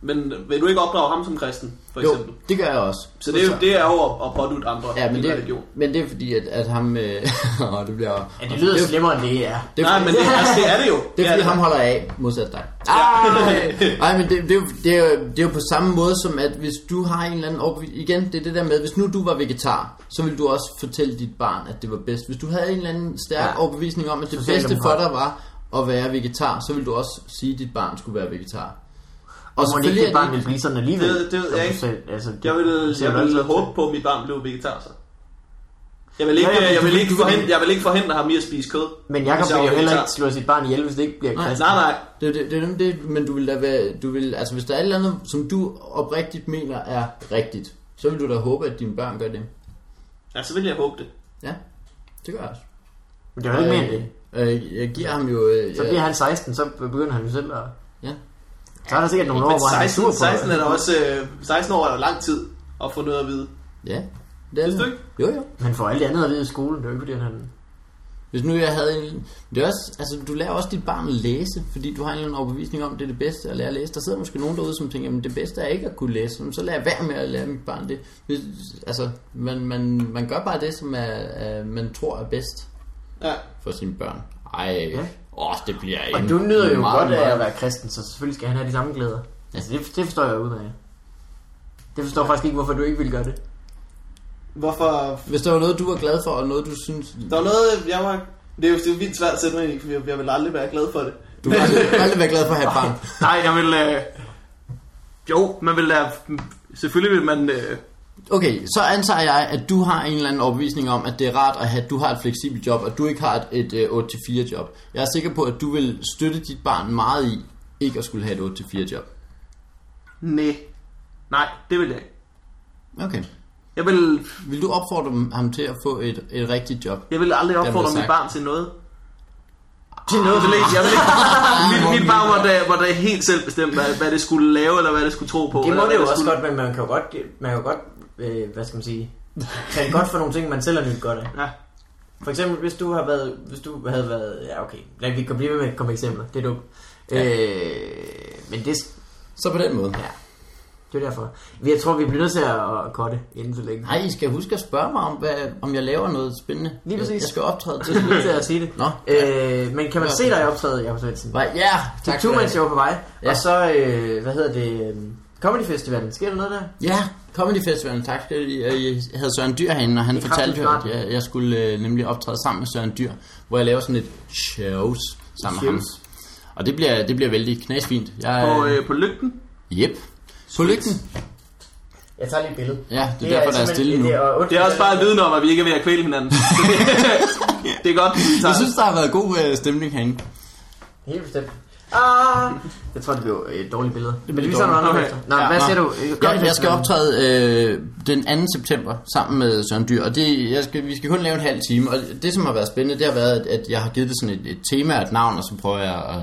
[SPEAKER 3] Men vil du ikke opdrage ham som kristen, for
[SPEAKER 1] Jo,
[SPEAKER 3] eksempel?
[SPEAKER 1] det gør jeg også.
[SPEAKER 3] Så det er jo, det er jo at, at pådute andre
[SPEAKER 1] Ja, men
[SPEAKER 3] en
[SPEAKER 1] det,
[SPEAKER 3] religion.
[SPEAKER 1] men det er fordi, at, at ham... Øh, åh, det bliver...
[SPEAKER 2] Ja, det lyder slemmere end det er.
[SPEAKER 1] Det er,
[SPEAKER 3] Nej, men det, altså, det er det jo.
[SPEAKER 1] Det er fordi,
[SPEAKER 3] det
[SPEAKER 1] ham holder af, modsat dig. Ah, Nej, men det, det, er jo- det, er jo, det er jo på samme måde som, at hvis du har en eller anden overbevisning... Igen, det er det der med, hvis nu du var vegetar, så ville du også fortælle dit barn, at det var bedst. Hvis du havde en eller anden stærk
[SPEAKER 2] Ja.
[SPEAKER 1] ja. overbevisning om, at det bedste for
[SPEAKER 2] Socialdemokrat.
[SPEAKER 1] dig var at være vegetar, så ville du også sige, at dit barn skulle være vegetar. Og,
[SPEAKER 2] Og må det
[SPEAKER 1] selvfølgelig
[SPEAKER 2] ikke
[SPEAKER 1] er
[SPEAKER 2] det barn vil blive sådan alligevel?
[SPEAKER 3] Det- det ved
[SPEAKER 2] som
[SPEAKER 3] jeg
[SPEAKER 2] du
[SPEAKER 3] ikke.
[SPEAKER 2] selv- altså, det
[SPEAKER 3] Jeg vil,
[SPEAKER 2] ser
[SPEAKER 3] jeg
[SPEAKER 2] du altid
[SPEAKER 3] vil
[SPEAKER 2] til.
[SPEAKER 3] håbe på, at mit barn blev vegetar, så. Jeg vil ikke,
[SPEAKER 2] Ja, ja, men
[SPEAKER 3] jeg
[SPEAKER 2] du
[SPEAKER 3] vil
[SPEAKER 2] vil-
[SPEAKER 3] ikke,
[SPEAKER 2] du vil-
[SPEAKER 3] forhindre, jeg vil ikke forhindre ham i at spise kød.
[SPEAKER 2] Men Jacob
[SPEAKER 3] hvis jeg
[SPEAKER 2] vil
[SPEAKER 3] var
[SPEAKER 2] jo heller
[SPEAKER 3] vegetar.
[SPEAKER 2] ikke slå sit barn ihjel, hvis det ikke bliver kristen.
[SPEAKER 3] Nej, nej.
[SPEAKER 1] Det, det, det, er nemlig det, men du vil da være, du vil, altså hvis der er et eller andet, som du oprigtigt mener er rigtigt, så vil du da håbe, at dine børn gør det.
[SPEAKER 3] Ja, så vil jeg håbe det.
[SPEAKER 1] Ja, det gør jeg også.
[SPEAKER 2] Men det er jo ikke mere end det.
[SPEAKER 1] øh, jeg giver ham jo... Øh,
[SPEAKER 2] Så
[SPEAKER 1] jeg-
[SPEAKER 2] bliver han 16, så begynder han jo selv at...
[SPEAKER 1] Ja.
[SPEAKER 2] Så er der sikkert nogle år,
[SPEAKER 3] Men
[SPEAKER 2] hvor han er sur
[SPEAKER 3] 16,
[SPEAKER 2] på
[SPEAKER 3] 16 er der også, øh, 16 år er der lang tid at få noget at vide.
[SPEAKER 1] Ja. Det er
[SPEAKER 3] Synes du
[SPEAKER 1] det.
[SPEAKER 3] ikke?
[SPEAKER 1] Jo, jo.
[SPEAKER 2] Han får alt det andet at vide i skolen, det er jo ikke fordi, han...
[SPEAKER 1] Hvis nu jeg havde en... Det er også, altså, du lærer også dit barn at læse, fordi du har en eller anden overbevisning om, det er det bedste at lære at læse. Der sidder måske nogen derude, som tænker, at det bedste er ikke at kunne læse, Jamen, så lader jeg være med at lære mit barn det. Hvis, altså, man, man, man gør bare det, som er, er, man tror er bedst
[SPEAKER 3] Ja.
[SPEAKER 1] for sine børn. Ej,
[SPEAKER 2] Ja.
[SPEAKER 1] ja. åh, det bliver
[SPEAKER 2] Og
[SPEAKER 1] en
[SPEAKER 2] du nyder jo
[SPEAKER 1] meget,
[SPEAKER 2] godt af at
[SPEAKER 1] meget-
[SPEAKER 2] være kristen, så selvfølgelig skal han have de samme glæder. Altså, det, det forstår jeg udmærket. Det forstår jeg faktisk ikke, hvorfor du ikke vil gøre det.
[SPEAKER 3] Hvorfor?
[SPEAKER 1] Hvis der var noget, du var glad for, og noget, du synes...
[SPEAKER 3] Der var noget, jeg var... Det er jo det er vildt svært at sætte mig ind i, for jeg, jeg vil aldrig være glad for det.
[SPEAKER 1] Du vil aldrig, aldrig være glad for at have et barn.
[SPEAKER 3] Nej, jeg vil... Øh... Jo, man vil da... Selvfølgelig vil man... Øh...
[SPEAKER 1] Okay, så antager jeg, at du har en eller anden overbevisning om, at det er rart at have, at du har et fleksibelt job, og du ikke har et, et øh, 8-4 job. Jeg er sikker på, at du vil støtte dit barn meget i, ikke at skulle have et 8-4 job.
[SPEAKER 3] Nej. Nej, det vil jeg ikke.
[SPEAKER 1] Okay.
[SPEAKER 3] Jeg vil,
[SPEAKER 1] Vil du opfordre dem- ham til at få et, et rigtigt job?
[SPEAKER 3] jeg vil aldrig opfordre
[SPEAKER 1] sagt.
[SPEAKER 3] mit barn til noget. Til noget? Jeg vil ikke, jeg vil ikke. mit, mit barn var da, var da helt selv bestemt, hvad, hvad det skulle lave, eller hvad det skulle tro på.
[SPEAKER 2] Det
[SPEAKER 3] eller
[SPEAKER 2] må
[SPEAKER 3] hvad
[SPEAKER 2] det jo også
[SPEAKER 3] skulle...
[SPEAKER 2] godt, men man kan jo godt, man kan jo godt øh, hvad skal man sige, kan godt for nogle ting, man selv har nyt godt af.
[SPEAKER 3] Ja.
[SPEAKER 2] For eksempel, hvis du har været, hvis du havde været, ja okay, lad vi kan blive ved med at komme eksempler, det er dumt. Ja. Øh, men det,
[SPEAKER 1] Så på den måde.
[SPEAKER 2] ja, det er derfor. Jeg tror, vi bliver nødt til at korte inden så længe.
[SPEAKER 1] Nej, I skal huske at spørge mig om, hvad, om jeg laver noget spændende.
[SPEAKER 2] Lige præcis.
[SPEAKER 1] Jeg, jeg skal optræde til.
[SPEAKER 2] Jeg skulle lige til at sige det.
[SPEAKER 1] Nå.
[SPEAKER 2] Øh, men kan man se dig i optaget, Jacob Svendsen?
[SPEAKER 1] Hva- Ja,
[SPEAKER 2] Tak
[SPEAKER 1] tak
[SPEAKER 2] Two
[SPEAKER 1] for
[SPEAKER 2] Man
[SPEAKER 1] det.
[SPEAKER 2] Show på vej. Ja.
[SPEAKER 1] Ja.
[SPEAKER 2] Og så, øh, hvad hedder det, øh, Comedy Festivalen. Sker der noget der?
[SPEAKER 1] Ja, Comedy Festivalen, tak skal I. Og Jeg havde Søren Dyr herinde, og han
[SPEAKER 2] Det er
[SPEAKER 1] fortalte jo, at
[SPEAKER 2] kraftigt
[SPEAKER 1] jeg, jeg skulle øh, nemlig optræde sammen med Søren Dyr, hvor jeg laver sådan et shows sammen med ham.
[SPEAKER 2] Shows.
[SPEAKER 1] Og det bliver, det bliver vældig knasfint. Jeg,
[SPEAKER 3] På,
[SPEAKER 1] øh,
[SPEAKER 3] øh, på lygten.
[SPEAKER 1] yep. På lygten.
[SPEAKER 2] Jeg tager lige et billede.
[SPEAKER 1] Ja, det er derfor, der er
[SPEAKER 2] simpelthen-
[SPEAKER 1] stille nu.
[SPEAKER 2] det er- og
[SPEAKER 3] Det er også bare et viden om, at vi ikke er ved at kvæle hinanden. det er godt, vi tager.
[SPEAKER 1] Jeg synes, der har været god øh, stemning herinde.
[SPEAKER 2] Helt bestemt. Ah, jeg tror, det blev et dårligt billede. Men vi
[SPEAKER 1] dårligt.
[SPEAKER 2] tager noget andet
[SPEAKER 3] Okay.
[SPEAKER 2] efter. Nå, hvad siger du? Øh,
[SPEAKER 1] Jeg, jeg skal
[SPEAKER 2] Festivalen.
[SPEAKER 1] optræde øh, den 2. september sammen med Søren Dyr, og det, jeg skal, vi skal kun lave en halv time. Og det, som har været spændende, det har været, at, at jeg har givet det sådan et, et tema og et navn, og så prøver jeg at,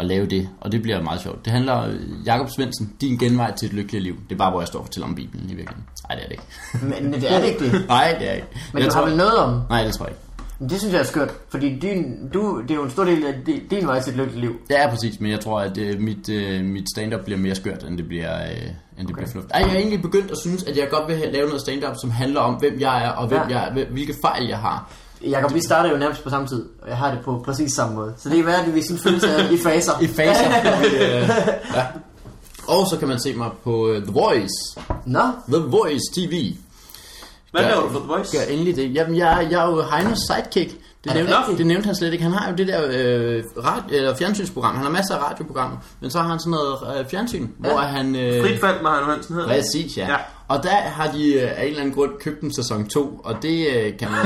[SPEAKER 1] at lave det, og det bliver meget sjovt. Det handler øh, Jakob Svendsen, din genvej til et lykkeligt liv. Det er bare, hvor jeg står og fortæller om Bibelen i virkeligheden. Nej, det er det ikke.
[SPEAKER 2] Men, men det er det ikke det.
[SPEAKER 1] Nej, det er ikke.
[SPEAKER 2] Men jeg du har vel noget om.
[SPEAKER 1] Nej, det tror jeg ikke.
[SPEAKER 2] Men det synes jeg er skørt. Fordi din, du, det er jo en stor del af di- din vej til et lykkeligt liv.
[SPEAKER 1] Ja, præcis, men jeg tror, at øh, mit, øh, mit stand-up bliver mere skørt, end det bliver, øh, end det okay. bliver fornuftigt. Ej, jeg har egentlig begyndt at synes, at jeg godt vil have, lave noget stand-up, som handler om, hvem jeg er, og hvem
[SPEAKER 2] Ja.
[SPEAKER 1] ja. jeg, hvil- hvilke fejl jeg har.
[SPEAKER 2] Jakob, vi starter jo nærmest på samme tid, og jeg har det på præcis samme måde. Så det kan være, at vi sådan føles ad i faser.
[SPEAKER 1] I faser. øh, ja. Og så kan man se mig på øh, The Voice.
[SPEAKER 2] Nå,
[SPEAKER 1] The Voice TV.
[SPEAKER 3] Hvad
[SPEAKER 1] Ja.
[SPEAKER 3] laver du for The Voice?
[SPEAKER 1] Gør endelig det. Jamen, jeg, jeg er jo Heinos sidekick. Det
[SPEAKER 2] det
[SPEAKER 1] nævnte,
[SPEAKER 2] rigtigt?
[SPEAKER 1] det nævnte han slet ikke. Han har jo det der øh, rad, eller fjernsynsprogram. Han har masser af radioprogrammer, men så har han sådan noget øh, fjernsyn, ja. hvor han... Øh,
[SPEAKER 3] Frit fald med Heino Hansen hedder. det.
[SPEAKER 1] Præcis, ja.
[SPEAKER 3] Ja.
[SPEAKER 1] ja. Og der har de øh, af en eller anden grund købt en sæson 2, og det øh, kan man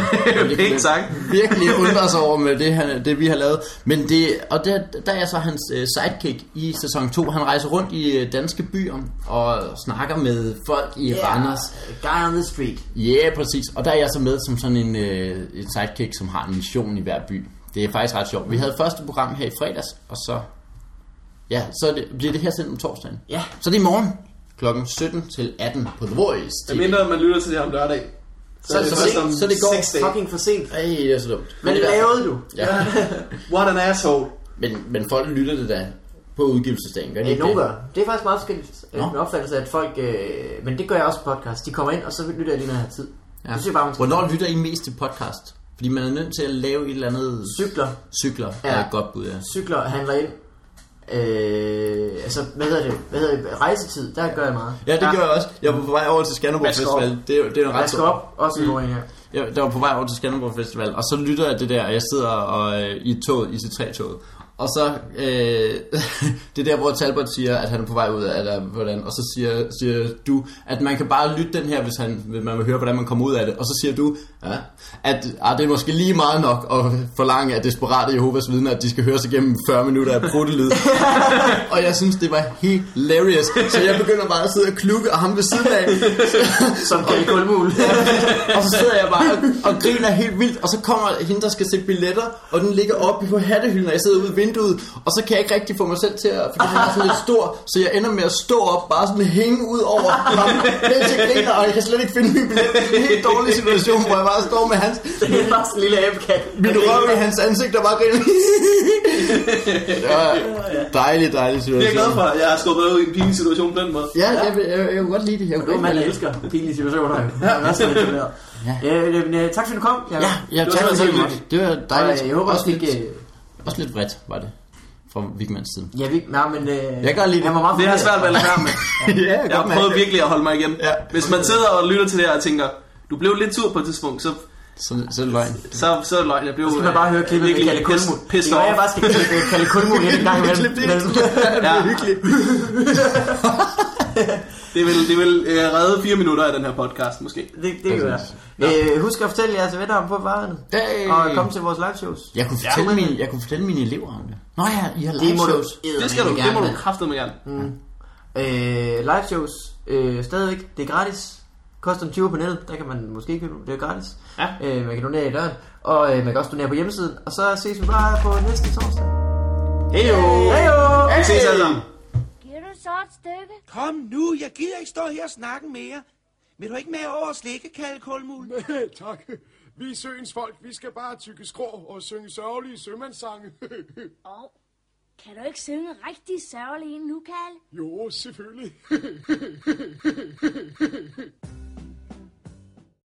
[SPEAKER 3] Pænt sagt.
[SPEAKER 1] virkelig undre sig over med det, han, det, vi har lavet. Men det, og der, der er så hans øh, sidekick i sæson 2. Han rejser rundt i øh, danske byer og snakker med folk i yeah. Randers.
[SPEAKER 2] Guy on the street.
[SPEAKER 1] Ja, yeah, præcis. Og der er jeg så med som sådan en, øh, en sidekick, som har en mission i hver by. Det er faktisk ret sjovt. Vi havde første program her i fredags, og så, ja, så er det, bliver det her sendt om torsdagen.
[SPEAKER 2] Ja.
[SPEAKER 1] Så det er i morgen klokken 17 til 18 på The Voice.
[SPEAKER 3] Jeg mindre, man lytter til det om lørdag. Så,
[SPEAKER 1] så, så,
[SPEAKER 3] først om
[SPEAKER 1] så, så det går.
[SPEAKER 3] seks dage.
[SPEAKER 2] Fucking for sent.
[SPEAKER 1] Ej, det er så dumt.
[SPEAKER 2] Hvad
[SPEAKER 1] i hvert fald-
[SPEAKER 2] lavede du?
[SPEAKER 1] Ja.
[SPEAKER 3] What an asshole.
[SPEAKER 1] men, men folk lytter det da på udgivelsesdagen, gør de
[SPEAKER 2] Øh,
[SPEAKER 1] ikke
[SPEAKER 2] nogen
[SPEAKER 1] det?
[SPEAKER 2] gør. Det er faktisk meget forskelligt. Øh,
[SPEAKER 1] Nå.
[SPEAKER 2] Min opfattelse er, at folk... Øh, men det gør jeg også på podcast. De kommer ind, og så lytter jeg lige, når jeg har tid. Ja. Det synes jeg bare, man skal
[SPEAKER 1] Hvornår lytter I mest til podcast? Fordi man er nødt til at lave et eller andet...
[SPEAKER 2] cykler.
[SPEAKER 1] Cykler ja. er
[SPEAKER 2] Ja.
[SPEAKER 1] et godt bud, ja.
[SPEAKER 2] Cykler handler ind. Øh, altså, hvad hedder det? Hvad hedder det? Rejsetid, der gør jeg meget.
[SPEAKER 1] Ja, det gjorde jeg også. Jeg var på vej over til Skanderborg
[SPEAKER 2] Vask op.
[SPEAKER 1] Festival. Det er, jo- det er jo en ret
[SPEAKER 2] Vask op, også en god en her.
[SPEAKER 1] Jeg, der var på vej over til Skanderborg Festival, og så lytter jeg det der, og jeg sidder og, øh, i toget, i C3-toget. Og så, øh, det er der, hvor Talbot siger, at han er på vej ud af det, hvordan, og så siger, siger du, at man kan bare lytte den her, hvis, han, hvis man vil høre, hvordan man kommer ud af det. Og så siger du, ja, at ah, det er måske lige meget nok at forlange af desperate Jehovas vidner, at de skal høre sig igennem 40 minutter af pruttelyd. og jeg synes, det var hilarious. Så jeg begynder bare at sidde og klukke, og ham ved siden af,
[SPEAKER 2] Som kan kulmul.
[SPEAKER 1] og så sidder jeg bare og, og griner helt vildt, og så kommer hende, der skal se billetter, og den ligger oppe på hattehylden, og jeg sidder ude i vinduet, og så kan jeg ikke rigtig få mig selv til at, fordi den er sådan lidt stor, så jeg ender med at stå op, bare sådan hænge ud over ham, mens jeg griner, og jeg kan slet ikke finde min billet. Det er en helt dårlig situation, hvor jeg bare står med hans,
[SPEAKER 2] det er bare sådan en lille æbkat.
[SPEAKER 1] min røv i hans ansigt, og bare griner. Det var dejlig, dejlig
[SPEAKER 3] Det er jeg glad
[SPEAKER 1] situation.
[SPEAKER 3] for. Jeg har skubbet ud i en pinlig situation på den måde.
[SPEAKER 1] Ja, jeg, vil- jeg, jeg kunne godt lide det. Jeg kunne
[SPEAKER 2] Det er
[SPEAKER 1] godt
[SPEAKER 2] man
[SPEAKER 1] lide det.
[SPEAKER 2] elsker pinlige situationer. Ja, resten er
[SPEAKER 1] Ja.
[SPEAKER 2] ja. øh, men, øh, tak fordi du kom. Jacob.
[SPEAKER 1] Ja, ja
[SPEAKER 3] Det var
[SPEAKER 1] tak for
[SPEAKER 3] så
[SPEAKER 1] det.
[SPEAKER 3] hyggeligt.
[SPEAKER 1] Det var dejligt.
[SPEAKER 2] Og, øh, jeg håber også, vi
[SPEAKER 1] lidt-
[SPEAKER 2] ikke... øh,
[SPEAKER 1] Også lidt vredt var det fra Vigmans side.
[SPEAKER 2] Ja, vi, nej, men... Øh,
[SPEAKER 1] Jeg kan godt lide det.
[SPEAKER 2] han var meget
[SPEAKER 3] Det har
[SPEAKER 2] forvirret.
[SPEAKER 3] svært ved at lade være med.
[SPEAKER 1] ja, jeg
[SPEAKER 3] Jeg har prøvet virkelig at holde mig igen.
[SPEAKER 1] Ja.
[SPEAKER 3] Hvis man sidder og lytter til det her og tænker, du blev lidt sur på et tidspunkt, så,
[SPEAKER 1] Så, så er det løgn.
[SPEAKER 3] så, så er det løgn. Jeg blev øh,
[SPEAKER 2] Så skal man bare høre klippet med Kalle Kulmul.
[SPEAKER 3] pisse
[SPEAKER 2] Det er jo, jeg
[SPEAKER 3] over.
[SPEAKER 2] bare skal klippe øh, Kalle Kulmul ind en gang imellem.
[SPEAKER 3] Ja. Det vil, det vil øh, redde fire minutter af den her podcast, måske.
[SPEAKER 2] Det, det kan være.
[SPEAKER 1] Nå.
[SPEAKER 2] Øh, husk at fortælle jeres venner om på varen.
[SPEAKER 1] Hey.
[SPEAKER 2] Og kom til vores live shows.
[SPEAKER 1] Jeg kunne, fortælle mine, jeg kunne fortælle mine elever om det. Nå ja, I har
[SPEAKER 2] Det
[SPEAKER 1] live
[SPEAKER 2] må du
[SPEAKER 1] shows.
[SPEAKER 3] Det skal du, det må du kraftedeme gerne.
[SPEAKER 2] Øh, live shows. Øh, stadigvæk. Det er gratis. Koster en 20 på nettet. Der kan man måske købe. dem. Det er gratis.
[SPEAKER 3] Ja.
[SPEAKER 2] Øh, man kan donere i døren. Og øh, man kan også donere på hjemmesiden. Og så ses vi bare på næste torsdag.
[SPEAKER 3] Heyo!
[SPEAKER 2] Hejo!
[SPEAKER 3] Vi ses alle sammen.
[SPEAKER 4] Giver du så et stykke?
[SPEAKER 5] Kom nu, jeg gider ikke stå her og snakke mere. Vil du ikke med over og slikke, Kalle Kulmul?
[SPEAKER 6] tak. Vi er søens folk. Vi skal bare tykke skrå og synge sørgelige sømandssange.
[SPEAKER 4] Og kan du ikke synge rigtig sørgelig en nu, Kalle?
[SPEAKER 6] jo, selvfølgelig.